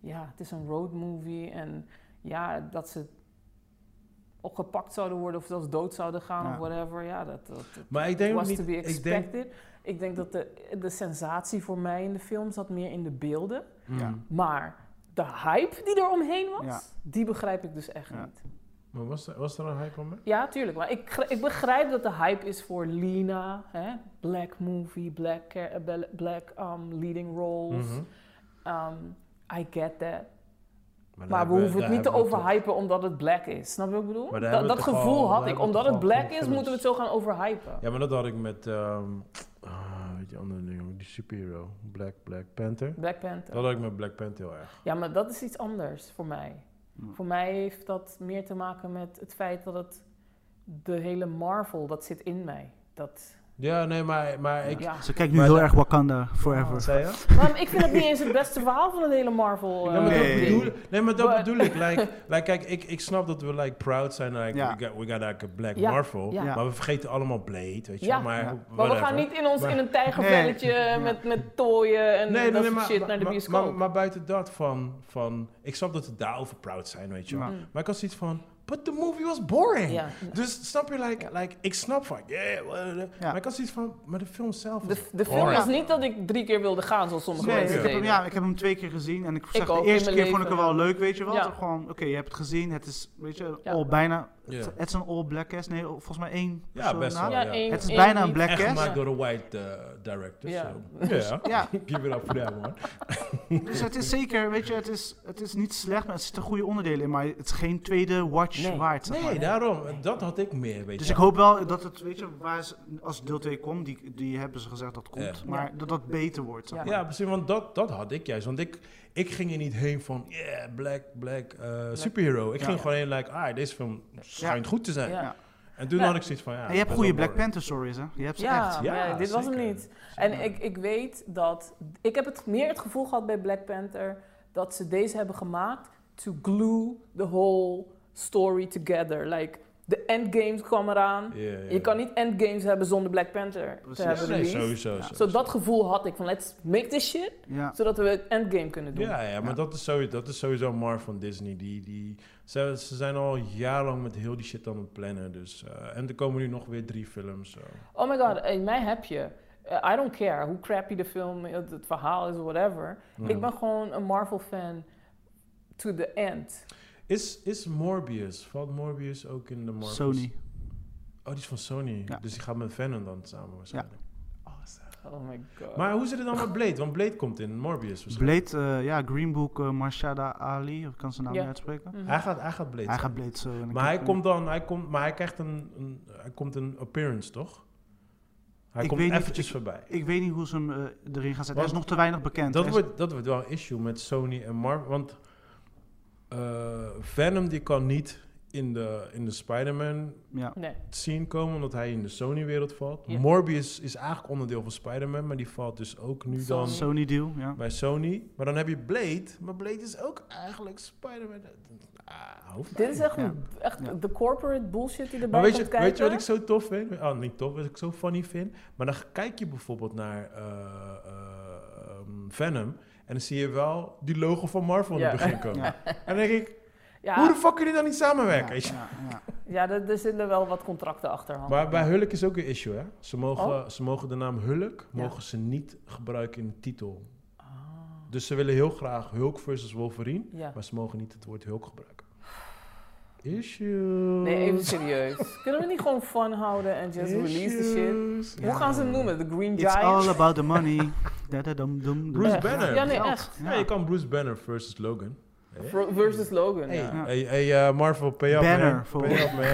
Speaker 3: ja, het is een roadmovie en ja, dat ze opgepakt zouden worden of zelfs dood zouden gaan
Speaker 2: Ja.
Speaker 3: of whatever. Ja, dat, dat, dat
Speaker 1: Maar ik denk ook
Speaker 3: was
Speaker 1: niet...
Speaker 3: to be
Speaker 1: Ik denk,
Speaker 3: expected. Ik denk, dat de, de sensatie voor mij in de film zat meer in de beelden.
Speaker 2: Ja.
Speaker 1: Mm.
Speaker 3: Maar de hype die er omheen was,
Speaker 2: Ja.
Speaker 3: die begrijp ik dus echt
Speaker 2: Ja.
Speaker 3: niet.
Speaker 1: Maar was er, was er een hype om me?
Speaker 3: Ja, tuurlijk. Maar ik, gr- ik begrijp dat de hype is voor Lina. Hè? Black movie, black, care- eh, bel- black um, leading roles.
Speaker 1: Mhm.
Speaker 3: Um, I get that.
Speaker 1: daar
Speaker 3: Maar we
Speaker 1: hebben
Speaker 3: hoeven het
Speaker 1: daar
Speaker 3: niet te
Speaker 1: hebben we het
Speaker 3: overhypen omdat het black is. Snap je wat ik bedoel?
Speaker 1: Maar daar
Speaker 3: dat
Speaker 1: hebben we toch
Speaker 3: dat
Speaker 1: al-
Speaker 3: gevoel
Speaker 1: daar
Speaker 3: had ik.
Speaker 1: hebben we
Speaker 3: Omdat
Speaker 1: toch
Speaker 3: het
Speaker 1: al
Speaker 3: black
Speaker 1: genoeg
Speaker 3: is, moeten we het zo gaan overhypen.
Speaker 1: toch- Ja, maar dat had ik met... ehm ah, weet je, andere dingen, die superhero. Black, Black Panther.
Speaker 3: Black Panther.
Speaker 1: Dat had ik met Black Panther heel erg.
Speaker 3: Ja, maar dat is iets anders voor mij.
Speaker 2: Hmm.
Speaker 3: Voor mij heeft dat meer te maken met het feit dat het de hele Marvel, dat zit in mij. Dat,
Speaker 1: Ja, nee, maar, maar ik...
Speaker 3: ja.
Speaker 2: Ze kijkt nu
Speaker 1: Maar
Speaker 2: heel
Speaker 1: dat-
Speaker 2: erg Wakanda
Speaker 1: Wat
Speaker 2: Forever.
Speaker 1: zei je?
Speaker 3: Maar ik vind het niet eens het beste verhaal van het hele Marvel.
Speaker 1: Ja, maar
Speaker 3: eh,
Speaker 1: dat
Speaker 2: Nee.
Speaker 3: ding.
Speaker 1: bedoel, nee, maar dat
Speaker 3: But-
Speaker 1: bedoel ik. Like, like, kijk, ik, ik snap dat we like, proud zijn. Like,
Speaker 2: Ja.
Speaker 1: we, got, we got like a Black
Speaker 3: Ja,
Speaker 1: Marvel.
Speaker 3: ja.
Speaker 1: Maar we vergeten allemaal Blade, weet je
Speaker 3: Ja.
Speaker 1: wel, Maar,
Speaker 2: Ja.
Speaker 3: Maar we
Speaker 1: whatever.
Speaker 3: gaan niet in ons
Speaker 1: Maar-
Speaker 3: in een tijgervelletje met, met tooien en dat soort shit naar de bioscoop.
Speaker 1: Maar, maar buiten dat van, van... Ik snap dat we daarover proud zijn, weet je wel.
Speaker 2: Ja.
Speaker 3: Mm.
Speaker 1: Maar ik had zoiets van... But the movie was boring.
Speaker 3: Ja.
Speaker 1: Dus snap je, like, like, ik snap van... Yeah, blah, blah, blah.
Speaker 2: Ja.
Speaker 1: Maar ik had zoiets van... Maar de film zelf was
Speaker 3: De, de film
Speaker 1: boring.
Speaker 3: was niet dat ik drie keer wilde gaan, zoals sommige
Speaker 2: Nee, ik
Speaker 3: mensen
Speaker 2: heb, hem,
Speaker 3: deden.
Speaker 2: ja, ik heb hem twee keer gezien en ik zeg,
Speaker 3: ook,
Speaker 2: de
Speaker 3: in
Speaker 2: eerste
Speaker 3: mijn
Speaker 2: keer vond ik hem
Speaker 3: leven,
Speaker 2: wel
Speaker 3: ja.
Speaker 2: leuk, weet je wel.
Speaker 3: Ja.
Speaker 2: Toch Gewoon, oké, je hebt het gezien, het is, weet je,
Speaker 3: Ja.
Speaker 2: al bijna,
Speaker 1: Ja.
Speaker 2: het is een all black cast, nee, volgens mij één. of
Speaker 1: Ja,
Speaker 2: zo
Speaker 1: best
Speaker 2: na.
Speaker 1: wel. ja.
Speaker 3: één-
Speaker 2: Het is
Speaker 3: één
Speaker 2: bijna een
Speaker 3: niet.
Speaker 2: black
Speaker 1: Echt
Speaker 2: cast.
Speaker 1: gemaakt door een white eh, director.
Speaker 3: Ja.
Speaker 1: so, yeah.
Speaker 2: Ja,
Speaker 1: Give it up for that one.
Speaker 2: dus het is zeker, weet je, het is, het is niet slecht, maar er zitten goede onderdelen in, maar het is geen tweede watch
Speaker 3: Nee.
Speaker 2: waard. zeg maar.
Speaker 1: Nee, daarom. Dat had ik meer, weet
Speaker 2: Dus
Speaker 1: je.
Speaker 2: ik hoop wel dat het, weet je, waar ze- als deel 2 komt, die, die hebben ze gezegd dat komt,
Speaker 1: Ja.
Speaker 2: maar dat dat beter wordt. Zeg
Speaker 3: Ja.
Speaker 2: maar.
Speaker 1: Ja, precies, want dat, dat had ik juist. Want ik, ik ging er niet heen van, yeah, black, black, eh, superhero. Ik
Speaker 2: Ja.
Speaker 1: ging gewoon heen, like, ah, deze film schijnt goed te zijn.
Speaker 3: Ja.
Speaker 2: Ja.
Speaker 1: En toen
Speaker 3: Ja.
Speaker 1: had ik zoiets van, ja...
Speaker 2: En je hebt
Speaker 1: best
Speaker 2: goede
Speaker 1: wel
Speaker 2: Black
Speaker 1: boring.
Speaker 2: Panther stories, hè? Je hebt ze
Speaker 3: Ja,
Speaker 2: echt.
Speaker 3: maar ja, dit was hem
Speaker 1: zeker.
Speaker 3: niet. En ik, ik weet dat... Ik heb het meer het gevoel gehad bij Black Panther... dat ze deze hebben gemaakt... to glue the whole story together. Like, de endgame kwam eraan.
Speaker 1: Ja, ja,
Speaker 3: Je kan niet endgames hebben zonder Black Panther
Speaker 2: Precies.
Speaker 3: te
Speaker 1: ja.
Speaker 3: hebben
Speaker 1: Nee,
Speaker 3: released.
Speaker 1: sowieso.
Speaker 2: Ja.
Speaker 3: Zo
Speaker 1: sowieso.
Speaker 3: dat gevoel had ik van let's make this shit...
Speaker 2: Ja.
Speaker 3: zodat we het endgame kunnen doen.
Speaker 1: Ja, ja, maar
Speaker 2: Ja.
Speaker 1: Dat, is sowieso, dat is sowieso een mark van Disney. Die, die, ze, ze zijn al jarenlang met heel die shit aan het plannen. Dus, eh, en er komen nu nog weer drie films. zo.
Speaker 3: Oh my god, in mij heb je... eh, I don't care hoe crappy de film, het, het verhaal is, whatever. Ik ben gewoon een Marvel-fan to the end.
Speaker 1: Is, is Morbius, valt Morbius ook in de Marvel?
Speaker 2: Sony.
Speaker 1: Oh, die is van Sony.
Speaker 2: Ja.
Speaker 1: Dus die gaat met Venom dan samen waarschijnlijk.
Speaker 3: Oh my god.
Speaker 1: Maar hoe zit het dan met Blade? Want Blade komt in Morbius waarschijnlijk.
Speaker 2: Blade, eh, ja, Green Book, eh, Marshada Ali, ik kan zijn naam
Speaker 3: Ja.
Speaker 2: niet uitspreken.
Speaker 3: Mhm.
Speaker 1: Hij gaat, hij gaat Blade zijn.
Speaker 2: Hij gaat Blade zo. en ik
Speaker 1: Maar hij
Speaker 2: heb-
Speaker 1: komt dan, hij komt, maar hij krijgt een, een, hij komt een appearance, toch? Hij
Speaker 2: Ik
Speaker 1: komt
Speaker 2: weet niet,
Speaker 1: eventjes
Speaker 2: ik-
Speaker 1: voorbij.
Speaker 2: Ik weet niet hoe ze hem eh, erin gaan zetten. Hij is
Speaker 1: Want
Speaker 2: nog te weinig bekend.
Speaker 1: dat,
Speaker 2: Hij is-
Speaker 1: wordt, dat wordt wel een issue met Sony en Marvel. Want eh, Venom die kan niet in de, in de Spider-Man
Speaker 2: Ja.
Speaker 3: Nee.
Speaker 1: scene komen, omdat hij in de Sony-wereld valt.
Speaker 3: Ja.
Speaker 1: Morbius is eigenlijk onderdeel van Spider-Man, maar die valt dus ook nu dan
Speaker 3: Sony.
Speaker 2: Sony deal, ja.
Speaker 1: bij Sony. Maar dan heb je Blade, maar Blade is ook eigenlijk Spider-Man. Ah, hoeft
Speaker 3: Dit is echt,
Speaker 2: Ja.
Speaker 3: echt
Speaker 2: Ja.
Speaker 3: de corporate bullshit die erbij
Speaker 1: Maar weet
Speaker 3: komt
Speaker 1: je,
Speaker 3: kijken.
Speaker 1: weet je wat ik zo tof vind? Oh, niet tof, wat ik zo funny vind. Maar dan kijk je bijvoorbeeld naar eh, eh, ehm, Venom. En dan zie je wel die logo van Marvel
Speaker 3: Ja.
Speaker 1: in het begin komen.
Speaker 2: Ja.
Speaker 1: En dan denk ik, hoe de
Speaker 3: ja,
Speaker 1: fuck kunnen die dan niet samenwerken? Weet je?
Speaker 2: Ja, ja,
Speaker 3: ja, er er zitten wel wat contracten achter. Han.
Speaker 1: Maar bij Hulk is ook een issue, hè? Ze mogen,
Speaker 3: Oh.
Speaker 1: ze mogen de naam Hulk
Speaker 3: Ja.
Speaker 1: mogen ze niet gebruiken in de titel.
Speaker 3: Ah,
Speaker 1: Dus ze willen heel graag Hulk versus Wolverine.
Speaker 3: ja.
Speaker 1: Maar ze mogen niet het woord Hulk gebruiken. Issues.
Speaker 3: Nee, even serieus. Mm. Kunnen we niet gewoon fun houden en just release the shit?
Speaker 1: Issues.
Speaker 3: Hoe gaan ze het noemen? The Green
Speaker 2: It's
Speaker 3: Giant?
Speaker 2: all about the money. Dadadam, dum, dum.
Speaker 1: Bruce
Speaker 3: Echt.
Speaker 1: Banner.
Speaker 3: Ja, nee,
Speaker 2: Geld.
Speaker 3: echt.
Speaker 2: Ja.
Speaker 1: Ja, je kan Bruce Banner versus Logan. Hey.
Speaker 3: Ver- Versus Logan.
Speaker 1: Hey,
Speaker 3: ja.
Speaker 2: Ja.
Speaker 1: hey, hey, eh, Marvel, pay up,
Speaker 2: Banner
Speaker 1: man.
Speaker 2: voor-
Speaker 1: Pay up, man.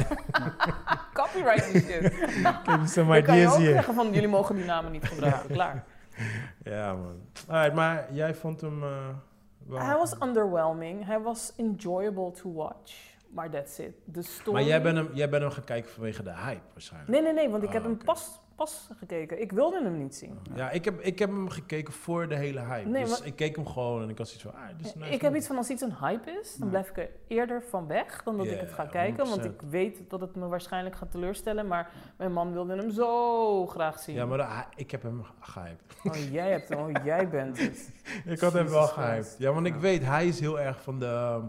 Speaker 3: Copyright die shit.
Speaker 1: Give me some
Speaker 3: Dan kan je
Speaker 1: ideas
Speaker 3: ook
Speaker 1: here.
Speaker 3: zeggen van jullie mogen die namen niet gebruiken. Klaar.
Speaker 1: Ja, man. Alright, maar jij vond hem eh, wel...
Speaker 3: Hij was underwhelming. Hij was enjoyable to watch. Maar that's it. De story...
Speaker 1: Maar jij bent, hem, jij bent hem gaan kijken vanwege de hype waarschijnlijk.
Speaker 3: Nee, nee, nee. Want ik
Speaker 1: Ah,
Speaker 3: heb hem
Speaker 1: oké.
Speaker 3: pas, pas gekeken. Ik wilde hem niet zien.
Speaker 1: Ja, ik heb, ik heb hem gekeken voor de hele hype.
Speaker 3: Nee,
Speaker 1: dus
Speaker 3: maar-
Speaker 1: ik keek hem gewoon en ik had zoiets van... Ah, dit is een nice
Speaker 3: ik heb
Speaker 1: movie.
Speaker 3: iets van als iets een hype is, dan
Speaker 2: Ja.
Speaker 3: blijf ik er eerder van weg dan dat ik
Speaker 1: Ja,
Speaker 3: het ga kijken. Want
Speaker 1: 100%.
Speaker 3: ik weet dat het me waarschijnlijk gaat teleurstellen. Maar mijn man wilde hem zo graag zien.
Speaker 1: Ja, maar de hy- ik heb hem gehyped.
Speaker 3: Oh, jij hebt hem. Oh, jij bent het.
Speaker 1: Ik had hem
Speaker 2: Jesus
Speaker 1: wel
Speaker 2: Christ.
Speaker 1: gehyped. Ja, want ik
Speaker 2: Ja.
Speaker 1: weet, hij is heel erg van de ehm,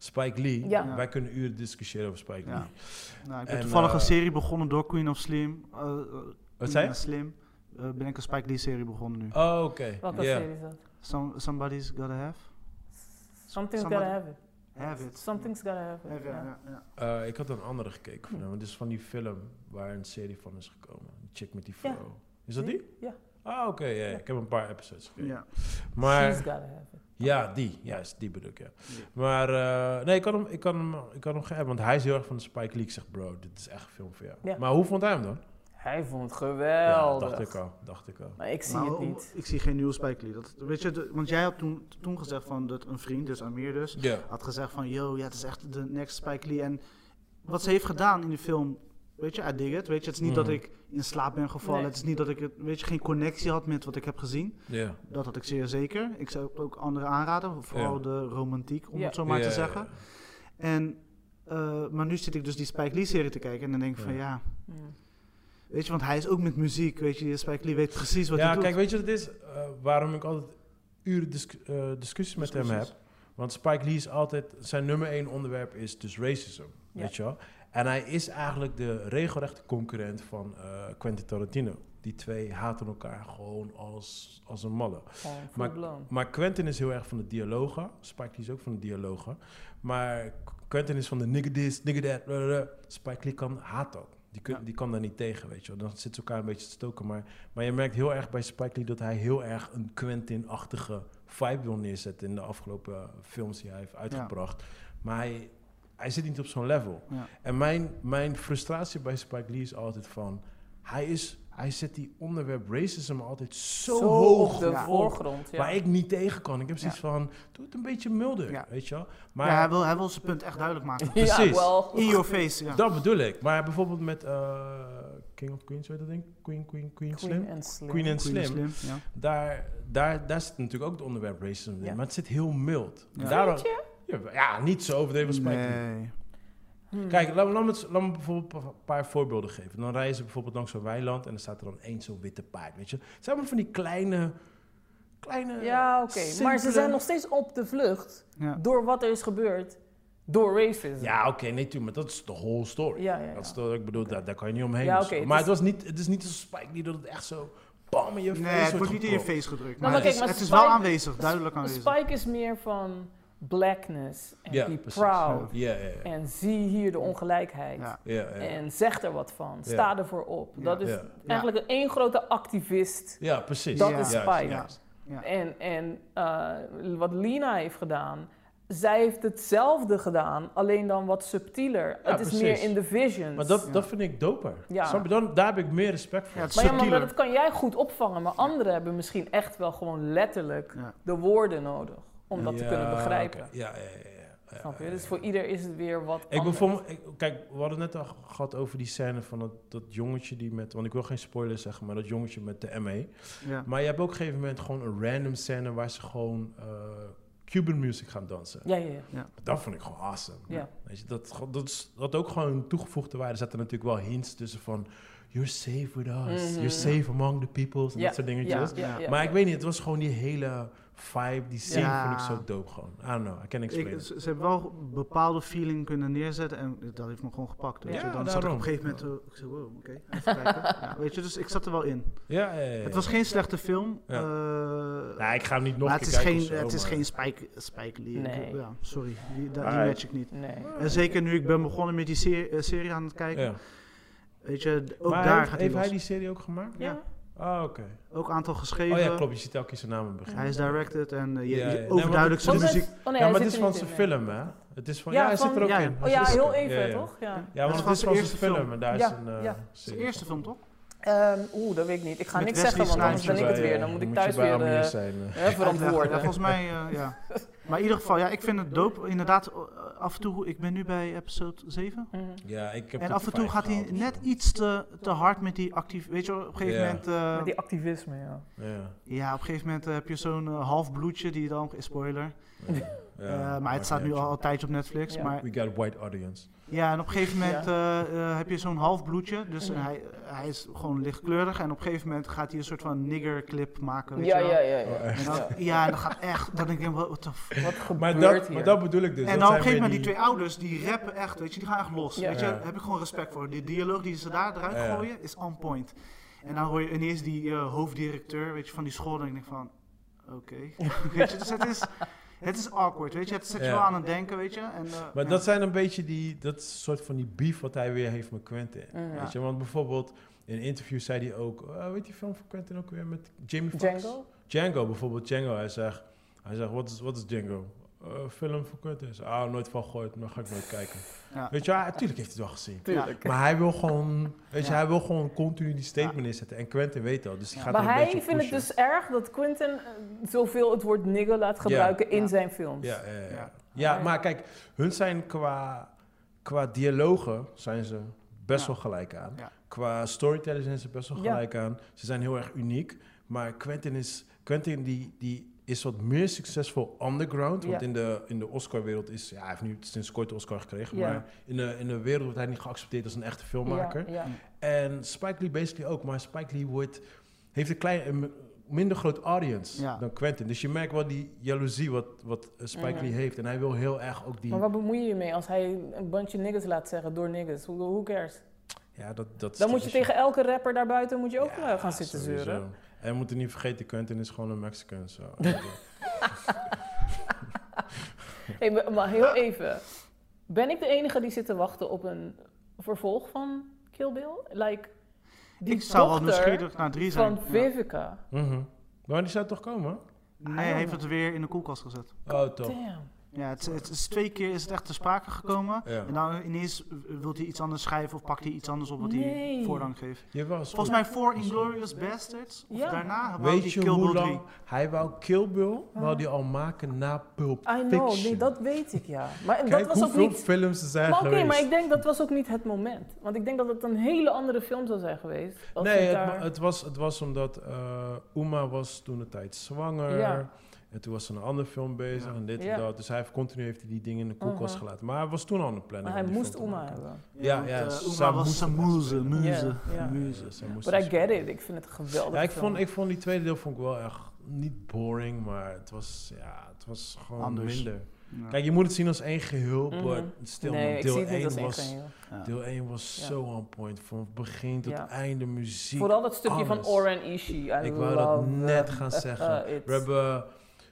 Speaker 1: Spike Lee.
Speaker 3: Ja.
Speaker 2: Ja.
Speaker 1: Wij kunnen uren discussiëren over Spike
Speaker 2: Ja.
Speaker 1: Lee.
Speaker 2: Nou, ik ben
Speaker 1: En,
Speaker 2: toevallig
Speaker 1: eh,
Speaker 2: een serie begonnen door Queen of Slim. eh, eh, Queen
Speaker 1: Wat zei
Speaker 2: of
Speaker 1: je?
Speaker 2: Slim. Eh, ben ik een Spike Lee serie begonnen nu.
Speaker 1: Oh, oké.
Speaker 3: Wat
Speaker 1: Ja.
Speaker 3: dat serie is dat?
Speaker 2: Some- somebody's gotta have.
Speaker 3: Something's
Speaker 2: Somebody-
Speaker 3: gotta have it.
Speaker 2: Have it.
Speaker 3: Something's gotta have it.
Speaker 2: Have, ja,
Speaker 3: ja.
Speaker 2: ja, ja.
Speaker 1: Eh, ik had een andere gekeken van
Speaker 3: Hm.
Speaker 1: hem. Het is van die film waar een serie van is gekomen. Die chick met die
Speaker 3: Ja. Hm?
Speaker 1: vrouw. Is dat die?
Speaker 3: Ja.
Speaker 1: Ah, oké. ja, ja.
Speaker 3: Ja.
Speaker 1: Ik heb een paar episodes gekeken.
Speaker 2: Ja.
Speaker 1: Maar...
Speaker 3: She's gotta have it.
Speaker 1: Ja, die. Juist, die bedoel ik, ja.
Speaker 2: Ja.
Speaker 1: Maar eh, nee, ik kan hem, ik kan hem, ik kan hem geven, want hij is heel erg van de Spike Lee. Ik zeg, bro, dit is echt een film voor jou.
Speaker 3: Ja.
Speaker 1: Maar hoe vond hij hem dan?
Speaker 3: Hij vond het
Speaker 1: ja,
Speaker 3: geweldig.
Speaker 1: dacht ik al, dacht ik al.
Speaker 3: Maar ik zie
Speaker 2: Maar
Speaker 3: het
Speaker 2: om-
Speaker 3: niet.
Speaker 2: Ik zie geen nieuwe Spike Lee. Dat, weet je, de- want jij had toen, toen gezegd van dat een vriend, dus Amir dus,
Speaker 1: Ja.
Speaker 2: had gezegd van, yo, ja, het is echt de next Spike Lee. En wat ze heeft gedaan in die film, weet je, I dig it. Weet je, het is niet
Speaker 1: Mhm.
Speaker 2: dat ik in slaap ben gevallen.
Speaker 3: Nee.
Speaker 2: Het is niet dat ik, het- weet je, geen connectie had met wat ik heb gezien.
Speaker 1: Ja.
Speaker 2: Dat had ik zeer zeker. Ik zou het ook anderen aanraden, vooral
Speaker 1: Ja.
Speaker 2: de romantiek, om
Speaker 3: Ja.
Speaker 2: het zo maar
Speaker 1: Ja,
Speaker 2: te
Speaker 1: ja,
Speaker 2: zeggen.
Speaker 1: ja.
Speaker 2: En, eh, maar nu zit ik dus die Spike Lee serie te kijken en dan denk ik van,
Speaker 1: Ja.
Speaker 2: ja,
Speaker 3: Mm.
Speaker 2: weet je, want hij is ook met muziek, weet je. die Spike Lee weet precies wat
Speaker 1: Ja,
Speaker 2: hij doet.
Speaker 1: kijk, weet je wat het is? Eh, waarom ik altijd uren disc- eh, discussies met hem heb.
Speaker 2: Discussies.
Speaker 1: Want Spike Lee is altijd, zijn nummer één onderwerp is dus racism,
Speaker 3: Ja.
Speaker 1: weet je wel. En hij is eigenlijk de regelrechte concurrent van eh, Quentin Tarantino. Die twee haten elkaar gewoon als, als een malle.
Speaker 3: Gewoon full
Speaker 1: Maar-
Speaker 3: blown.
Speaker 1: Maar Quentin is heel erg van de dialogen. Spike Lee is ook van de dialogen. Maar Qu- Quentin is van de nigga this, nigga that. blah, blah, blah. Spike Lee kan, haat dat. Die, kun-
Speaker 2: Ja.
Speaker 1: die kan daar niet tegen, weet je wel. Dan zitten ze elkaar een beetje te stoken. Maar, maar je merkt heel erg bij Spike Lee dat hij heel erg een Quentin-achtige vibe wil neerzetten... in de afgelopen eh, films die hij heeft uitgebracht. Maar hij, hij zit niet op zo'n level.
Speaker 2: Ja.
Speaker 1: En mijn, mijn frustratie bij Spike Lee is altijd van... Hij, is, hij zet die onderwerp racism altijd zo, hoog
Speaker 3: op de
Speaker 2: ja.
Speaker 3: voorgrond. Ja.
Speaker 1: Waar ik niet tegen kan. Ik heb zoiets van, doe het een beetje milder,
Speaker 2: Ja.
Speaker 1: weet je wel. Maar
Speaker 2: ja, hij wil, hij wil zijn punt echt duidelijk maken.
Speaker 3: Ja,
Speaker 1: precies.
Speaker 3: wel.
Speaker 2: In your face, ja.
Speaker 1: dat bedoel ik. Maar bijvoorbeeld met eh, King of Queens, weet je dat ding? Queen, Queen, Queen, Slim?
Speaker 3: Queen and Slim.
Speaker 1: Queen and
Speaker 2: Queen
Speaker 1: Slim.
Speaker 2: is slim, ja.
Speaker 1: Daar, daar, daar zit natuurlijk ook het onderwerp racism in.
Speaker 3: Ja.
Speaker 1: Maar het zit heel mild.
Speaker 2: Ja.
Speaker 1: Daarom, ja, ja, niet zo overdreven als Spike Lee.
Speaker 2: Nee.
Speaker 3: Hmm.
Speaker 1: Kijk, laat me, laat, me, het- laat me bijvoorbeeld een paar voorbeelden geven. Dan rijden ze bijvoorbeeld langs zo'n weiland en dan staat er dan één zo'n witte paard, weet je. Het zijn allemaal van die kleine... kleine
Speaker 3: Ja, oké. Maar ze
Speaker 1: simpele-
Speaker 3: zijn nog steeds op de vlucht
Speaker 2: Ja.
Speaker 3: door wat er is gebeurd door racism.
Speaker 1: Ja, oké, nee, tuurlijk, maar dat is de whole story.
Speaker 3: ja, ja. ja.
Speaker 1: Dat is toch, ik bedoel, daar, daar kan je niet omheen.
Speaker 3: Ja,
Speaker 1: of
Speaker 3: oké,
Speaker 1: zo.
Speaker 3: het
Speaker 1: maar
Speaker 3: is-
Speaker 1: het, was niet, het is niet zo Spike Lee dat het echt zo bam in je face
Speaker 2: Nee, het
Speaker 1: wordt
Speaker 2: wordt niet in je
Speaker 1: gepropt.
Speaker 2: face gedrukt.
Speaker 3: maar
Speaker 2: Maar het
Speaker 3: kijk,
Speaker 2: is,
Speaker 3: maar
Speaker 2: het is
Speaker 3: Spike-
Speaker 2: wel aanwezig, duidelijk aanwezig.
Speaker 3: Spike is meer van blackness en
Speaker 1: Ja,
Speaker 3: be
Speaker 1: precies.
Speaker 3: proud.
Speaker 1: Ja, ja, ja.
Speaker 3: En zie hier de ongelijkheid.
Speaker 2: Ja.
Speaker 1: Ja, ja.
Speaker 3: En zeg er wat van. Sta ervoor op.
Speaker 2: Ja.
Speaker 3: Dat is
Speaker 1: Ja.
Speaker 3: eigenlijk een één grote activist.
Speaker 1: Ja, precies.
Speaker 3: Dat
Speaker 2: Ja.
Speaker 3: is
Speaker 1: Juist,
Speaker 3: Spike.
Speaker 2: Ja. Ja.
Speaker 3: En, en eh, wat Lina heeft gedaan, zij heeft hetzelfde gedaan, alleen dan wat subtieler.
Speaker 1: Ja,
Speaker 3: het is
Speaker 1: precies.
Speaker 3: meer in de visions.
Speaker 1: Maar dat,
Speaker 2: Ja.
Speaker 1: dat vind ik doper.
Speaker 3: Ja.
Speaker 1: Snap je? Dan, daar heb ik meer respect voor.
Speaker 2: Ja, het is
Speaker 3: maar ja, maar
Speaker 2: subtieler.
Speaker 3: dat kan jij goed opvangen, maar anderen hebben misschien echt wel gewoon letterlijk
Speaker 2: Ja.
Speaker 3: de woorden nodig om dat te
Speaker 1: Ja,
Speaker 3: kunnen begrijpen.
Speaker 1: oké. Ja, ja, ja, ja. ja.
Speaker 3: Snap je?
Speaker 1: ja,
Speaker 3: Dus
Speaker 1: ja.
Speaker 3: voor ieder is het weer wat
Speaker 1: Ik
Speaker 3: anders.
Speaker 1: bijvoorbeeld, ik- kijk, we hadden het net al gehad over die scène van dat, dat jongetje die met, want ik wil geen spoilers zeggen, maar dat jongetje met de ME.
Speaker 2: Ja.
Speaker 1: Maar je hebt ook op een gegeven moment gewoon een random scène waar ze gewoon eh, Cuban music gaan dansen.
Speaker 3: Ja, ja, ja.
Speaker 1: Dat vond ik gewoon awesome.
Speaker 3: Ja.
Speaker 1: Weet je, dat, ge- dat, is- dat ook gewoon een toegevoegde waarde. Er zaten natuurlijk wel hints tussen van... You're safe with us.
Speaker 3: Mhm.
Speaker 1: You're safe among the peoples. En
Speaker 3: Ja,
Speaker 1: dat soort dingetjes.
Speaker 3: Ja, ja, ja.
Speaker 1: Maar ik weet niet, het was gewoon die hele vibe, die scene
Speaker 2: Ja.
Speaker 1: vind ik zo dope gewoon. I don't know, I can explain
Speaker 2: Ik,
Speaker 1: it.
Speaker 2: ze, ze hebben wel een bepaalde feeling kunnen neerzetten en dat heeft me gewoon gepakt. Weet
Speaker 1: Ja,
Speaker 2: je. Dan zat ik op
Speaker 1: daarom.
Speaker 2: een gegeven moment, eh, ik zei, wow, oké, even kijken. Ja, weet je, dus ik zat er wel in.
Speaker 1: Ja, ja, ja, ja.
Speaker 2: Het was geen slechte film.
Speaker 1: Ja.
Speaker 2: eh,
Speaker 1: Nou, ik ga hem niet nog
Speaker 2: maar
Speaker 1: een keer
Speaker 2: het is,
Speaker 1: kijken
Speaker 2: geen,
Speaker 1: of zo,
Speaker 2: het is
Speaker 1: maar-
Speaker 2: geen Spike, spike Lee. Ik-
Speaker 3: Nee.
Speaker 2: Ja, sorry, die, da- die
Speaker 1: Maar-
Speaker 2: match ik niet.
Speaker 3: Nee.
Speaker 2: En zeker nu ik ben begonnen met die serie, eh, serie aan het kijken.
Speaker 1: Ja.
Speaker 2: Weet je, d- ook
Speaker 1: maar
Speaker 2: daar
Speaker 1: heeft,
Speaker 2: gaat hij
Speaker 1: heeft
Speaker 2: los.
Speaker 1: hij die serie ook gemaakt?
Speaker 2: Ja.
Speaker 3: Ja.
Speaker 1: Ah, oké.
Speaker 2: Ook aantal geschreven.
Speaker 1: Oh ja, klopt. Je ziet elke keer zijn naam in het begin.
Speaker 2: Hij is directed en eh, je,
Speaker 1: Ja, ja.
Speaker 2: je-
Speaker 1: Nee,
Speaker 2: overduidelijk
Speaker 1: maar
Speaker 2: zijn
Speaker 1: dit-
Speaker 3: Oh, dat-
Speaker 2: muziek.
Speaker 3: Oh, nee,
Speaker 1: ja,
Speaker 3: hij
Speaker 1: maar
Speaker 3: zit
Speaker 1: dit is
Speaker 3: er
Speaker 1: van
Speaker 3: niet
Speaker 1: zijn
Speaker 3: in, nee.
Speaker 1: film, hè? Het is van,
Speaker 3: Ja,
Speaker 1: ja, hij
Speaker 3: van-
Speaker 1: zit er ook
Speaker 2: ja,
Speaker 1: in.
Speaker 2: ja.
Speaker 3: Oh
Speaker 1: Hij
Speaker 3: ja,
Speaker 1: zit er
Speaker 3: heel
Speaker 1: ook in.
Speaker 3: even,
Speaker 1: ja, ja.
Speaker 3: toch? Ja.
Speaker 1: Ja,
Speaker 2: Dat
Speaker 1: want
Speaker 2: is
Speaker 1: het is
Speaker 2: gewoon
Speaker 1: van
Speaker 2: zijn
Speaker 1: zijn
Speaker 2: eerste
Speaker 1: film en daar
Speaker 3: Ja,
Speaker 1: is een eh,
Speaker 3: ja.
Speaker 2: Het is
Speaker 1: serie
Speaker 2: de eerste
Speaker 1: van.
Speaker 2: film, toch? Nou,
Speaker 3: Ehm, Oeh, dat weet ik niet. Ik ga
Speaker 2: Met
Speaker 3: niks
Speaker 2: Wesley
Speaker 3: zeggen, want anders ben
Speaker 2: Snipes
Speaker 3: ik het
Speaker 2: erbij,
Speaker 3: weer.
Speaker 2: ja.
Speaker 3: Dan moet ik
Speaker 1: je
Speaker 3: thuis
Speaker 1: bij
Speaker 3: weer
Speaker 1: Amir
Speaker 3: eh,
Speaker 1: zijn, eh.
Speaker 3: hè,
Speaker 2: Uitleggen. Ja,
Speaker 3: verantwoorden.
Speaker 2: volgens mij, eh, ja. Maar in ieder geval, ja, ik vind het dope. Inderdaad, eh, af en toe, ik ben nu bij episode 7.
Speaker 3: Mhm.
Speaker 1: Ja, ik heb
Speaker 2: En
Speaker 1: het
Speaker 2: af en toe
Speaker 1: vijf
Speaker 2: gaat hij
Speaker 1: gehaald of
Speaker 2: net
Speaker 1: zo.
Speaker 2: iets te, te hard met die actief. Weet je, wel, op een gegeven
Speaker 1: Ja.
Speaker 2: moment.
Speaker 3: Met
Speaker 2: eh,
Speaker 3: die activisme, ja.
Speaker 1: Ja,
Speaker 2: ja, op een gegeven moment eh, heb je zo'n eh, half bloedje die dan. Spoiler.
Speaker 1: ja,
Speaker 2: Eh, maar
Speaker 1: maakt
Speaker 2: het staat
Speaker 1: niet
Speaker 2: nu
Speaker 1: uit,
Speaker 2: al een tijdje op Netflix.
Speaker 3: Ja.
Speaker 2: Maar
Speaker 1: joh. We got a wide audience.
Speaker 2: Ja, en op een gegeven moment eh, eh, heb je zo'n half bloedje. Dus hij, hij is gewoon lichtkleurig. En op een gegeven moment gaat hij een soort van nigger clip maken. Weet
Speaker 3: Ja,
Speaker 2: je wel.
Speaker 3: ja, ja. ja.
Speaker 1: Oh, echt?
Speaker 2: En dan, ja. en dan gaat echt. Dan denk ik, wat de f.
Speaker 3: Wat gebeurt
Speaker 1: Maar dat,
Speaker 3: hier?
Speaker 1: maar dat bedoel ik dus.
Speaker 2: En
Speaker 1: dat
Speaker 2: dan op
Speaker 1: zijn
Speaker 2: een gegeven moment die
Speaker 1: weer
Speaker 2: twee ouders, die rappen echt, weet je, die gaan echt los.
Speaker 3: Ja.
Speaker 2: Weet je,
Speaker 1: Ja.
Speaker 2: daar heb ik gewoon respect voor. Die dialoog die ze daar eruit
Speaker 1: Ja.
Speaker 2: gooien, is on point. En dan hoor je ineens die eh, hoofddirecteur, weet je, van die school, en ik denk van, oké. weet je, dus het is, het is awkward, weet je. Het zet je
Speaker 1: Ja.
Speaker 2: wel aan het denken, weet je. En, eh,
Speaker 1: Maar
Speaker 2: ja.
Speaker 1: dat zijn een beetje die, dat soort van die beef wat hij weer heeft met Quentin.
Speaker 3: Mhm.
Speaker 1: Weet je, want bijvoorbeeld in een interview zei hij ook, eh, weet die film van Quentin ook weer met Jamie Foxx?
Speaker 3: Django?
Speaker 1: Django bijvoorbeeld, Django, hij zegt, hij zegt, wat is, wat is Django? Eh, film van Quentin. Hij zegt, ah, nooit van gehoord, maar ga ik nooit kijken.
Speaker 2: Ja.
Speaker 1: Weet je, ah, natuurlijk heeft hij het wel gezien.
Speaker 3: Tuurlijk.
Speaker 1: Maar hij wil gewoon, weet je,
Speaker 2: Ja.
Speaker 1: hij wil gewoon continu die statement inzetten. En Quentin weet dat, dus die
Speaker 2: Ja.
Speaker 1: gaat
Speaker 3: Maar
Speaker 1: er een
Speaker 3: hij
Speaker 1: beetje op
Speaker 3: vindt het
Speaker 1: pushen.
Speaker 3: dus erg dat Quentin eh, zoveel het woord nigger laat gebruiken in
Speaker 2: Ja.
Speaker 3: zijn films.
Speaker 1: Ja, ja, ja, ja.
Speaker 2: Ja.
Speaker 1: ja, maar kijk, hun zijn qua, qua dialogen zijn ze best
Speaker 2: Ja.
Speaker 1: wel gelijk aan.
Speaker 2: Ja.
Speaker 1: Qua storytelling zijn ze best wel
Speaker 3: Ja.
Speaker 1: gelijk aan. Ze zijn heel erg uniek. Maar Quentin is, Quentin die, die is wat meer succesvol underground. Want
Speaker 3: Ja.
Speaker 1: in de, in de Oscar-wereld is... Ja, hij heeft nu sinds kort de Oscar gekregen.
Speaker 3: Ja.
Speaker 1: Maar in de, in de wereld wordt hij niet geaccepteerd als een echte filmmaker.
Speaker 3: Ja, ja.
Speaker 1: En Spike Lee basically ook, maar Spike Lee wordt, heeft een klein, een minder groot audience
Speaker 2: Ja.
Speaker 1: dan Quentin. Dus je merkt wel die jaloezie wat, wat eh, Spike
Speaker 3: Mhm.
Speaker 1: Lee heeft. En hij wil heel erg ook die...
Speaker 3: Maar wat bemoei je je mee als hij een bandje niggers laat zeggen door niggers? Who, who cares?
Speaker 1: Ja, dat, dat is
Speaker 3: Dan
Speaker 1: de
Speaker 3: moet je
Speaker 1: issue.
Speaker 3: tegen elke rapper daarbuiten moet je ook
Speaker 1: Ja,
Speaker 3: eh, gaan zitten
Speaker 1: sowieso.
Speaker 3: zeuren.
Speaker 1: En we moeten niet vergeten, Quentin is gewoon een Mexican. zo.
Speaker 3: Hey, maar- maar heel even. Ben ik de enige die zit te wachten op een vervolg van Kill Bill? Like, die
Speaker 2: ik zou wel
Speaker 3: dochter
Speaker 2: nieuwsgierig naar drie zijn.
Speaker 3: van
Speaker 2: Ja.
Speaker 3: Vivica.
Speaker 1: Mhm. Maar die zou toch komen?
Speaker 2: Nee, hij heeft het weer in de koelkast gezet.
Speaker 1: Oh, toch.
Speaker 3: Damn.
Speaker 2: Ja, het, het is twee keer is het echt te sprake gekomen.
Speaker 1: Ja.
Speaker 2: En dan ineens wil hij iets anders schrijven of pakt hij iets anders op wat hij
Speaker 3: Nee.
Speaker 2: voorrang geeft.
Speaker 1: Jawel, is
Speaker 2: Volgens
Speaker 1: goed.
Speaker 2: mij voor Inglorious Bastards. Of
Speaker 3: Ja.
Speaker 2: daarna wou hij
Speaker 1: Weet je
Speaker 2: Kill Bill Ah.
Speaker 1: hoe
Speaker 2: 3.
Speaker 1: lang? Hij wou Kill Bill, wou die al maken na Pulp
Speaker 3: I
Speaker 1: Fiction.
Speaker 3: know, nee, dat weet ik ja. Maar
Speaker 1: Kijk
Speaker 3: dat was ook
Speaker 1: hoeveel
Speaker 3: niet.
Speaker 1: films er zijn
Speaker 3: Maar oké,
Speaker 1: geweest.
Speaker 3: maar ik denk dat was ook niet het moment. Want ik denk dat het een hele andere film zou zijn geweest. als
Speaker 1: nee,
Speaker 3: het
Speaker 1: het,
Speaker 3: daar-
Speaker 1: ma- het was, het was omdat eh Uma was toen de tijd zwanger.
Speaker 3: Ja.
Speaker 1: En toen was ze een andere film bezig
Speaker 2: Ja.
Speaker 1: en dit
Speaker 3: Ja.
Speaker 1: en dat. Dus hij heeft continu heeft hij die dingen in de koelkast
Speaker 3: Mhm.
Speaker 1: gelaten. Maar hij was toen al aan de
Speaker 3: maar
Speaker 1: planning.
Speaker 3: hij
Speaker 1: om die
Speaker 3: moest
Speaker 1: film te
Speaker 3: Uma
Speaker 1: maken.
Speaker 3: hebben.
Speaker 1: Ja, ja,
Speaker 2: want, eh,
Speaker 1: ze
Speaker 2: Uma was
Speaker 1: moesten-
Speaker 2: zijn moeze, muze.
Speaker 3: Ja, ja.
Speaker 1: Ja, ze moest
Speaker 3: But I
Speaker 1: dus-
Speaker 3: get it, ik vind het geweldig.
Speaker 1: Ja, ik, vond, ik vond die tweede deel vond ik wel echt niet boring, maar het was, ja, het was gewoon
Speaker 2: Anders.
Speaker 1: minder.
Speaker 2: Ja.
Speaker 1: Kijk, je moet het zien als één geheel,
Speaker 3: Mhm.
Speaker 1: maar stil,
Speaker 3: nee, ik
Speaker 1: deel
Speaker 3: zie het niet
Speaker 1: 1
Speaker 3: als één
Speaker 1: was...
Speaker 3: geheel.
Speaker 2: Ja.
Speaker 1: Deel 1 was
Speaker 3: Ja.
Speaker 1: zo on point, van begin tot
Speaker 3: Ja.
Speaker 1: einde muziek.
Speaker 3: Vooral dat stukje van
Speaker 1: alles.
Speaker 3: Oren Ishii. I
Speaker 1: Ik wou dat
Speaker 3: love Uh,
Speaker 1: net gaan zeggen. We hebben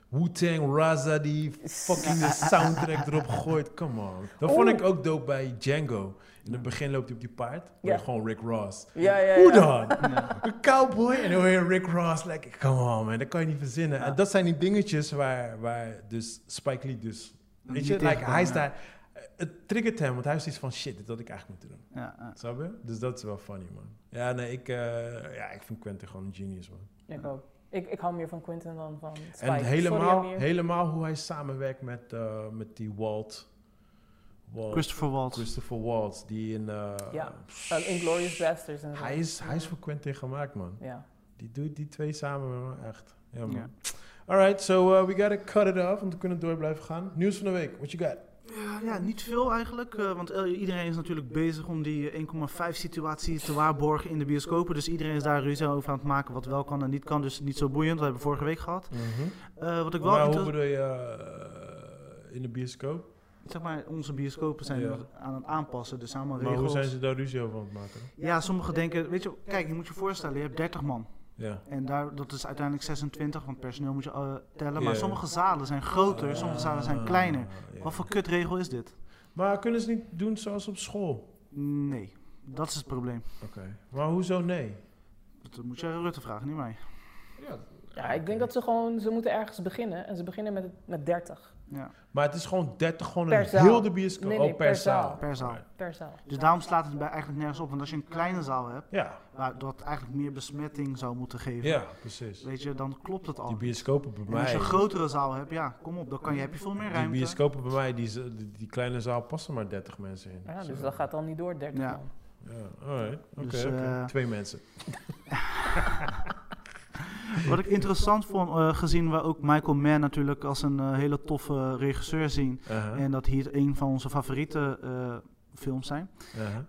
Speaker 1: Wu-Tang, Raza die fucking de soundtrack erop gooit. Come on. Dat vond
Speaker 3: Oeh.
Speaker 1: ik ook dope bij Django. In het begin loopt hij op die paard. hoor je
Speaker 3: Ja.
Speaker 1: Gewoon Rick Ross.
Speaker 3: Ja, ja,
Speaker 1: Hoe
Speaker 3: ja.
Speaker 1: dan? Een cowboy en dan hoor je Rick Ross. Like, come on man, dat kan je niet verzinnen. En dat zijn die dingetjes waar, waar dus Spike Lee dus... Weet
Speaker 2: Niet
Speaker 1: je, like,
Speaker 2: tegenkomen,
Speaker 1: hij is
Speaker 2: ja.
Speaker 1: daar... Het triggert hem, want hij is iets van shit, dit had ik eigenlijk moeten doen.
Speaker 2: Ja, ja.
Speaker 1: Snap je? Dus dat is wel funny, man. Ja, nee, ik, eh, ja, ik vind Quentin gewoon een genius, man.
Speaker 3: Ik ook. Ik, ik hou meer van Quentin dan van Spike.
Speaker 1: En
Speaker 3: Sorry,
Speaker 1: helemaal,
Speaker 3: Amir.
Speaker 1: helemaal hoe hij samenwerkt met, eh, met die Walt. Walt-
Speaker 2: Christopher Waltz.
Speaker 1: Christopher Walt, die in... eh,
Speaker 3: Ja, eh, Inglourious Basterds en zo.
Speaker 1: hij, is, hij is voor Quentin gemaakt, man.
Speaker 3: Ja.
Speaker 1: Die doet die twee samen, man. Echt. Ja, man. eh,
Speaker 2: Ja.
Speaker 1: Alright, so uh, we gotta cut it off, want we kunnen door blijven gaan. Nieuws van de week, what you got?
Speaker 2: Ja, ja, niet veel eigenlijk, eh, want eh, iedereen is natuurlijk bezig om die eh, 1,5 situatie te waarborgen in de bioscopen. Dus iedereen is daar ruzie over aan het maken wat wel kan en niet kan. Dus niet zo boeiend, dat hebben we vorige week gehad. Eh, wat ik wel
Speaker 1: Maar hoe
Speaker 2: inter-
Speaker 1: bedoel je eh, in de bioscoop?
Speaker 2: zeg maar, onze bioscopen zijn
Speaker 1: Ja.
Speaker 2: nog aan het aanpassen, dus allemaal
Speaker 1: Maar
Speaker 2: regels.
Speaker 1: hoe zijn ze daar ruzie over aan het maken?
Speaker 2: Ja, sommigen denken, weet je, kijk, je moet je voorstellen, je hebt 30 man.
Speaker 1: Ja.
Speaker 2: En daar, dat is uiteindelijk 26, want personeel moet je eh, tellen. Maar
Speaker 1: Ja.
Speaker 2: sommige zalen zijn groter, sommige zalen zijn kleiner.
Speaker 1: Ah, ja.
Speaker 2: Wat voor kutregel is dit?
Speaker 1: Maar kunnen ze niet doen zoals op school?
Speaker 2: Nee, dat is het probleem.
Speaker 1: Oké. Maar hoezo nee?
Speaker 2: Dat moet je aan Rutte vragen, niet mij.
Speaker 3: Ja, ik denk dat ze gewoon, ze moeten ergens beginnen. En ze beginnen met, met 30
Speaker 2: Ja,
Speaker 1: Maar het is gewoon 30, gewoon
Speaker 3: Per
Speaker 1: een
Speaker 3: zaal.
Speaker 1: heel de bioscoop.
Speaker 3: Nee, nee,
Speaker 1: oh, per,
Speaker 3: per
Speaker 1: zaal.
Speaker 3: zaal.
Speaker 2: per zaal.
Speaker 3: per zaal.
Speaker 2: Dus daarom slaat het bij eigenlijk nergens op. Want als je een kleine zaal hebt,
Speaker 1: Ja,
Speaker 2: waar dat eigenlijk meer besmetting zou moeten geven,
Speaker 1: ja, precies.
Speaker 2: weet je, dan klopt het
Speaker 1: Die
Speaker 2: al.
Speaker 1: bioscopen bij
Speaker 2: En als
Speaker 1: mij.
Speaker 2: je een grotere zaal hebt, ja, kom op, dan kan je, heb je veel meer
Speaker 1: Die
Speaker 2: ruimte.
Speaker 1: bioscopen bij mij, die, z- die, die kleine zaal passen maar 30 mensen in.
Speaker 3: Ja, dus
Speaker 1: Zo.
Speaker 3: dat gaat al niet door, 30
Speaker 2: Ja.
Speaker 3: man.
Speaker 1: Ja, alright. Oké,
Speaker 2: Dus,
Speaker 1: oké.
Speaker 2: eh,
Speaker 1: twee mensen.
Speaker 2: Wat ik interessant vond, eh, gezien we ook Michael Mann natuurlijk als een eh, hele toffe regisseur zien.
Speaker 1: Aha,
Speaker 2: En dat hier een van onze favoriete eh, films zijn.
Speaker 1: aha.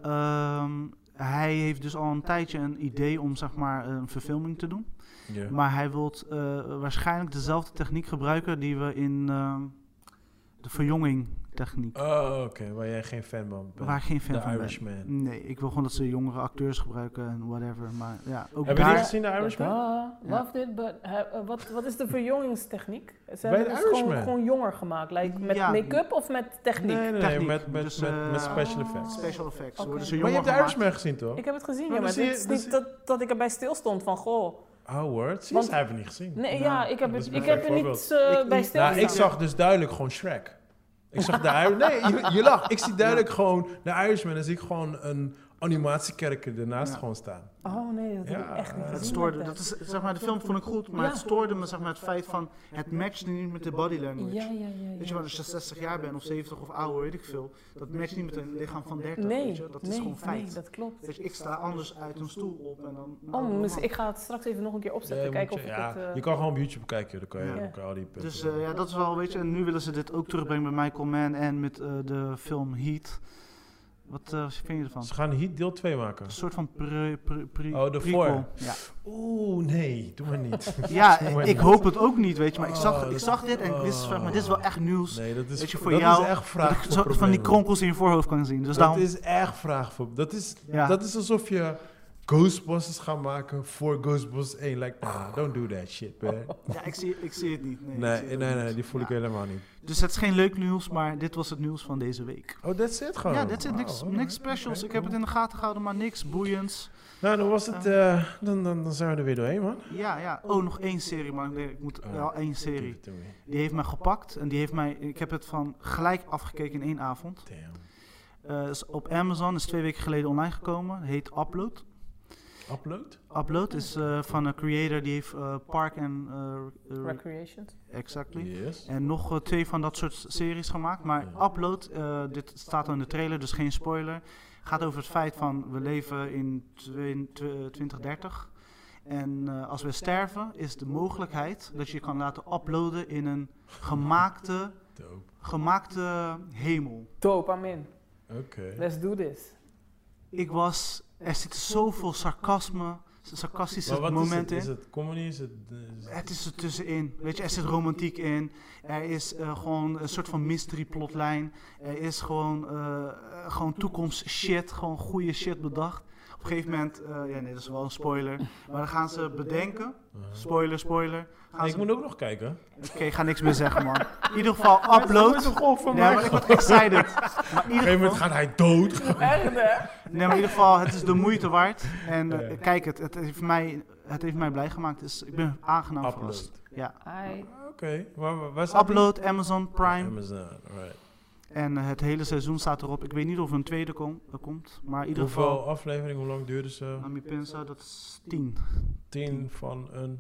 Speaker 2: Ehm, hij heeft dus al een tijdje een idee om zeg maar een verfilming te doen.
Speaker 1: Ja.
Speaker 2: Maar hij wil waarschijnlijk dezelfde techniek gebruiken die we in ehm, de verjonging techniek.
Speaker 1: Oh, oké, waar jij geen fan van bent.
Speaker 2: waar ik geen fan
Speaker 1: The
Speaker 2: van Mm, ben.
Speaker 1: Irishman.
Speaker 2: Nee, ik wil gewoon dat ze jongere acteurs gebruiken en whatever. Maar ja, ook
Speaker 1: Heb je die
Speaker 2: daar...
Speaker 1: gezien, de Irishman?
Speaker 3: Ja, duh, "Ah, loved it, but eh, eh, wat, wat is de verjongingstechniek? Ze
Speaker 1: Bij
Speaker 3: hebben
Speaker 1: de
Speaker 3: het dus gewoon,
Speaker 1: Irishman.
Speaker 3: gewoon jonger gemaakt. Like, met
Speaker 2: Ja.
Speaker 3: make-up of met techniek?
Speaker 1: nee, nee, nee,
Speaker 2: techniek.
Speaker 1: met, met,
Speaker 2: Dus,
Speaker 1: met,
Speaker 2: eh,
Speaker 1: met special effects.
Speaker 2: Special effects.
Speaker 3: Oké.
Speaker 2: Worden ze
Speaker 1: Maar je
Speaker 2: jonger
Speaker 1: hebt de
Speaker 2: gemaakt.
Speaker 1: Irishman gezien, toch?
Speaker 3: Ik heb het gezien,
Speaker 1: Maar dan
Speaker 3: ja, maar
Speaker 1: zie je-
Speaker 3: het is
Speaker 1: dan
Speaker 3: niet
Speaker 1: zie-
Speaker 3: dat, dat ik erbij stilstond van, goh.
Speaker 1: Oh, word. Zie je,
Speaker 3: Want-
Speaker 1: ze hebben niet gezien.
Speaker 3: Nee, ja,
Speaker 2: Nou,
Speaker 3: ik heb,
Speaker 1: dat is
Speaker 3: het,
Speaker 1: een
Speaker 3: ik heb
Speaker 1: perfect
Speaker 3: er niet
Speaker 1: voorbeeld.
Speaker 3: eh,
Speaker 2: Ik
Speaker 3: bij
Speaker 2: niet.
Speaker 3: stilgestaan.
Speaker 1: Nou, ik zag dus duidelijk gewoon Shrek. Ik zag de Irishman. Nee, je, je lacht. Ik zie duidelijk gewoon de Irishman. Dan zie ik gewoon een animatiekerker ernaast
Speaker 2: Ja.
Speaker 1: gewoon staan.
Speaker 3: Oh nee, dat heb
Speaker 1: Ja,
Speaker 3: ik echt niet
Speaker 1: dat
Speaker 3: gezien.
Speaker 2: Het stoorde,
Speaker 3: met
Speaker 2: dat is, zeg maar, de film vond ik goed, maar
Speaker 3: Ja.
Speaker 2: het stoorde me zeg maar, het feit van het matchte niet met de body language.
Speaker 3: Ja, ja, ja. ja.
Speaker 2: Weet je wel, als je 60 jaar bent of 70 of ouder, weet ik veel, dat matcht niet met een lichaam van 30.
Speaker 3: nee,
Speaker 2: weet je? Dat is
Speaker 3: nee,
Speaker 2: gewoon feit.
Speaker 3: nee, dat klopt.
Speaker 2: Weet je, ik sta anders uit een stoel op en dan. nou,
Speaker 3: Oh,
Speaker 2: normaal.
Speaker 3: dus ik ga het straks Dus even nog een keer opzetten,
Speaker 1: Nee,
Speaker 3: kijken
Speaker 1: moet
Speaker 3: of
Speaker 1: je,
Speaker 3: ik
Speaker 1: ja,
Speaker 3: het... eh,
Speaker 1: je kan gewoon op YouTube kijken. joh. Dan kan je,
Speaker 2: Ja.
Speaker 1: dan kan je al die punten.
Speaker 2: Dus eh, ja, dat is wel, weet je, en nu willen ze dit ook terugbrengen bij Michael Mann en met eh, de film Heat. Wat eh, vind je ervan?
Speaker 1: Ze gaan Heat deel 2 maken.
Speaker 2: Een soort van pre, pre, pre,
Speaker 1: Oh, de
Speaker 2: prequel.
Speaker 1: voor.
Speaker 2: Ja.
Speaker 1: Oeh, nee. Doe maar niet.
Speaker 2: Ja,
Speaker 1: Mooi
Speaker 2: ik
Speaker 1: man.
Speaker 2: hoop het ook niet, weet je. Maar ik
Speaker 1: Oh,
Speaker 2: zag, ik
Speaker 1: dat- Oh.
Speaker 2: zag dit en ik wist zeg maar, dit is wel echt nieuws.
Speaker 1: Nee, dat is,
Speaker 2: Weet je, voor
Speaker 1: dat
Speaker 2: jou,
Speaker 1: is echt
Speaker 2: dat
Speaker 1: vraag voor
Speaker 2: ik zo van die
Speaker 1: problemen.
Speaker 2: kronkels in je voorhoofd kan zien. Dus
Speaker 1: dat
Speaker 2: daarom,
Speaker 1: is echt vraag voor... Dat is,
Speaker 2: Ja.
Speaker 1: dat is alsof je Ghostbusters gaat maken voor Ghostbusters 1. Like, nah, don't do that shit, man.
Speaker 2: ja, ik zie, ik zie het niet. Nee, ik
Speaker 1: Nee,
Speaker 2: zie het
Speaker 1: nee, nee,
Speaker 2: ook Oh, niet.
Speaker 1: die voel ik
Speaker 2: Ja.
Speaker 1: helemaal niet.
Speaker 2: Dus het is geen leuk nieuws, maar dit was het nieuws van deze week.
Speaker 1: Oh, that's it gewoon?
Speaker 2: Ja, dit is
Speaker 1: Wauw,
Speaker 2: niks,
Speaker 1: alright.
Speaker 2: niks specials.
Speaker 1: Oké,
Speaker 2: Ik heb het in de gaten gehouden, maar niks boeiends.
Speaker 1: Nou, dan was het... eh, dan, dan, dan zijn we er weer doorheen, man.
Speaker 2: Ja, ja. Oh, nog één serie, maar nee, ik moet
Speaker 1: Oh.
Speaker 2: wel één serie.
Speaker 1: Give it to me.
Speaker 2: Die heeft mij gepakt en die heeft mij, ik heb het van gelijk afgekeken in één avond.
Speaker 1: Damn.
Speaker 2: Eh, is op Amazon, is twee weken geleden online gekomen. Heet Upload.
Speaker 1: Upload?
Speaker 2: Upload is eh, van een creator die heeft eh, Park en... eh, eh,
Speaker 3: Recreations.
Speaker 2: exactly.
Speaker 1: Yes.
Speaker 2: En nog eh, twee van dat soort series gemaakt. Maar
Speaker 1: Ja.
Speaker 2: Upload, eh, dit staat al in de trailer, dus geen spoiler. Gaat over het feit van we leven in twen- tw- 2030. En eh, als we sterven, is de mogelijkheid dat je je kan laten uploaden in een gemaakte,
Speaker 1: Dope.
Speaker 2: gemaakte hemel.
Speaker 3: Dope, I'm in.
Speaker 1: Oké.
Speaker 3: Let's do this.
Speaker 2: Ik was. Er zit zoveel sarcasme, sarcastische
Speaker 1: Maar wat is het?
Speaker 2: momenten in.
Speaker 1: Is het comedy? Is het... eh, is het-
Speaker 2: Het is er tussenin. Weet je, er zit romantiek in. Er is eh, gewoon een soort van mystery plotlijn. Er is gewoon, eh, eh, gewoon toekomst shit. Gewoon goede shit bedacht. Op een gegeven moment, eh, ja nee, dat is wel een spoiler. Maar dan gaan ze bedenken.
Speaker 1: Uh-huh.
Speaker 2: Spoiler, spoiler. Gaan
Speaker 1: Nee, ik
Speaker 2: ze-
Speaker 1: moet ook nog kijken.
Speaker 2: Oké, ik ga niks meer zeggen, man. In ieder geval, upload.
Speaker 1: Op
Speaker 2: Nee, maar ik word excited. Maar in
Speaker 1: een
Speaker 2: ieder
Speaker 1: gegeven moment
Speaker 2: geval,
Speaker 1: gaat hij dood.
Speaker 3: Echt, hè?
Speaker 2: nee, maar in ieder geval, het is de moeite waard. En eh,
Speaker 1: Ja.
Speaker 2: kijk, het, het, heeft mij, het heeft mij blij gemaakt. Dus ik ben aangenaam verrast.
Speaker 1: Upload.
Speaker 2: Ja.
Speaker 3: Hi.
Speaker 1: Oké. Waar, waar- waar staat die?
Speaker 2: Upload, Amazon Prime.
Speaker 1: Amazon, alright.
Speaker 2: En eh, het hele seizoen staat erop. Ik weet niet of er een tweede kom- eh, komt. Maar in ieder
Speaker 1: Hoeveel
Speaker 2: geval,
Speaker 1: aflevering, hoe lang duurde ze?
Speaker 2: Ami Pinsa, dat is tien.
Speaker 1: Tien van een...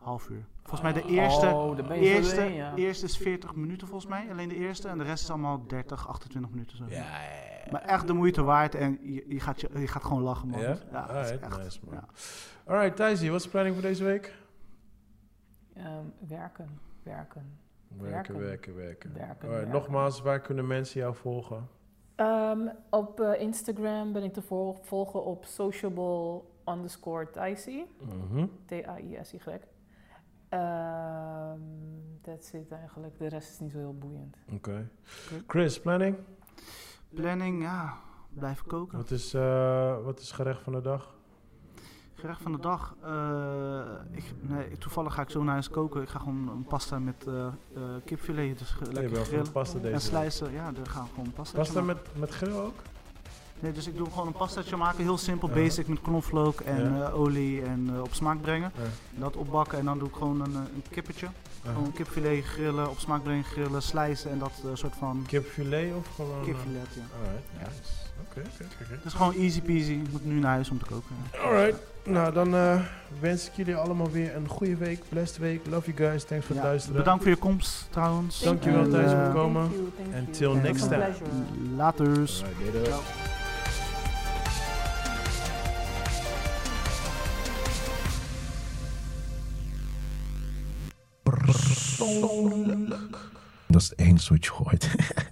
Speaker 2: Half uur. Volgens mij de
Speaker 1: Ah.
Speaker 2: eerste,
Speaker 3: Oh, daar ben je
Speaker 2: eerste,
Speaker 3: doorheen, ja.
Speaker 2: eerste is 40 minuten volgens mij. Alleen de eerste. En de rest is allemaal 30, 28 minuten. Zo.
Speaker 1: Ja, ja,
Speaker 2: Maar echt de moeite waard. En je, je, gaat, je, je gaat gewoon lachen, man.
Speaker 1: Ja?
Speaker 2: dat is
Speaker 1: Alright,
Speaker 2: echt.
Speaker 1: nice, man.
Speaker 2: ja.
Speaker 1: Alright, Thijsie, wat is de planning voor deze week?
Speaker 3: Ehm, werken, werken,
Speaker 1: Werken,
Speaker 3: Werken.
Speaker 1: werken, werken.
Speaker 3: Werken,
Speaker 1: Alright,
Speaker 3: werken.
Speaker 1: Nogmaals, waar kunnen mensen jou volgen?
Speaker 3: Ehm, op eh, Instagram ben ik te vol- volgen op sociable underscore Thaisi.
Speaker 1: Mhm.
Speaker 3: T-A-I-S-Y. E Ehm that's it eigenlijk. De rest is niet zo heel boeiend.
Speaker 1: Oké. Chris, planning?
Speaker 2: Planning, ja, blijven koken.
Speaker 1: Wat is, eh, wat is gerecht van de dag?
Speaker 2: Gerecht van de dag. eh, ik, nee, toevallig ga ik zo naar huis koken. Ik ga gewoon een pasta met eh eh, kipfilet. Dus ge-
Speaker 1: je
Speaker 2: lekker
Speaker 1: bent van
Speaker 2: grillen.
Speaker 1: de pasta deze
Speaker 2: En
Speaker 1: week.
Speaker 2: slijzen, ja, daar gaan we gewoon een pasta
Speaker 1: Pasta met, met grill ook?
Speaker 2: Nee, dus ik doe gewoon een pastaatje maken, heel simpel,
Speaker 1: Ja.
Speaker 2: basic, met knoflook en
Speaker 1: Ja.
Speaker 2: eh, olie en eh, op smaak brengen.
Speaker 1: Ja.
Speaker 2: Dat opbakken en dan doe ik gewoon een, eh, een kippetje. Gewoon een kipfilet grillen, op smaak brengen, grillen, slijzen en dat eh, soort
Speaker 1: Oh,
Speaker 2: van
Speaker 1: Kipfilet of gewoon... eh,
Speaker 2: kipfilet, ja.
Speaker 1: Alright,
Speaker 2: Ja.
Speaker 1: nice. Oké, oké, oké, oké.
Speaker 2: Het is gewoon easy peasy, ik moet nu naar huis om te koken. ja.
Speaker 1: Alright, nou dan eh, wens ik jullie allemaal weer een goede week, blessed week. Love you guys, thanks voor
Speaker 2: Ja,
Speaker 1: het luisteren.
Speaker 2: Bedankt voor je komst trouwens.
Speaker 1: Dankjewel,
Speaker 2: En,
Speaker 1: Thijs, voor
Speaker 2: eh,
Speaker 1: het komen.
Speaker 3: Thank you, thank you.
Speaker 1: Until
Speaker 3: It was
Speaker 2: next
Speaker 3: a
Speaker 2: time.
Speaker 3: pleasure.
Speaker 2: Laters.
Speaker 4: Alright, later. Persoonlijk. Dat is het enige wat je gooit.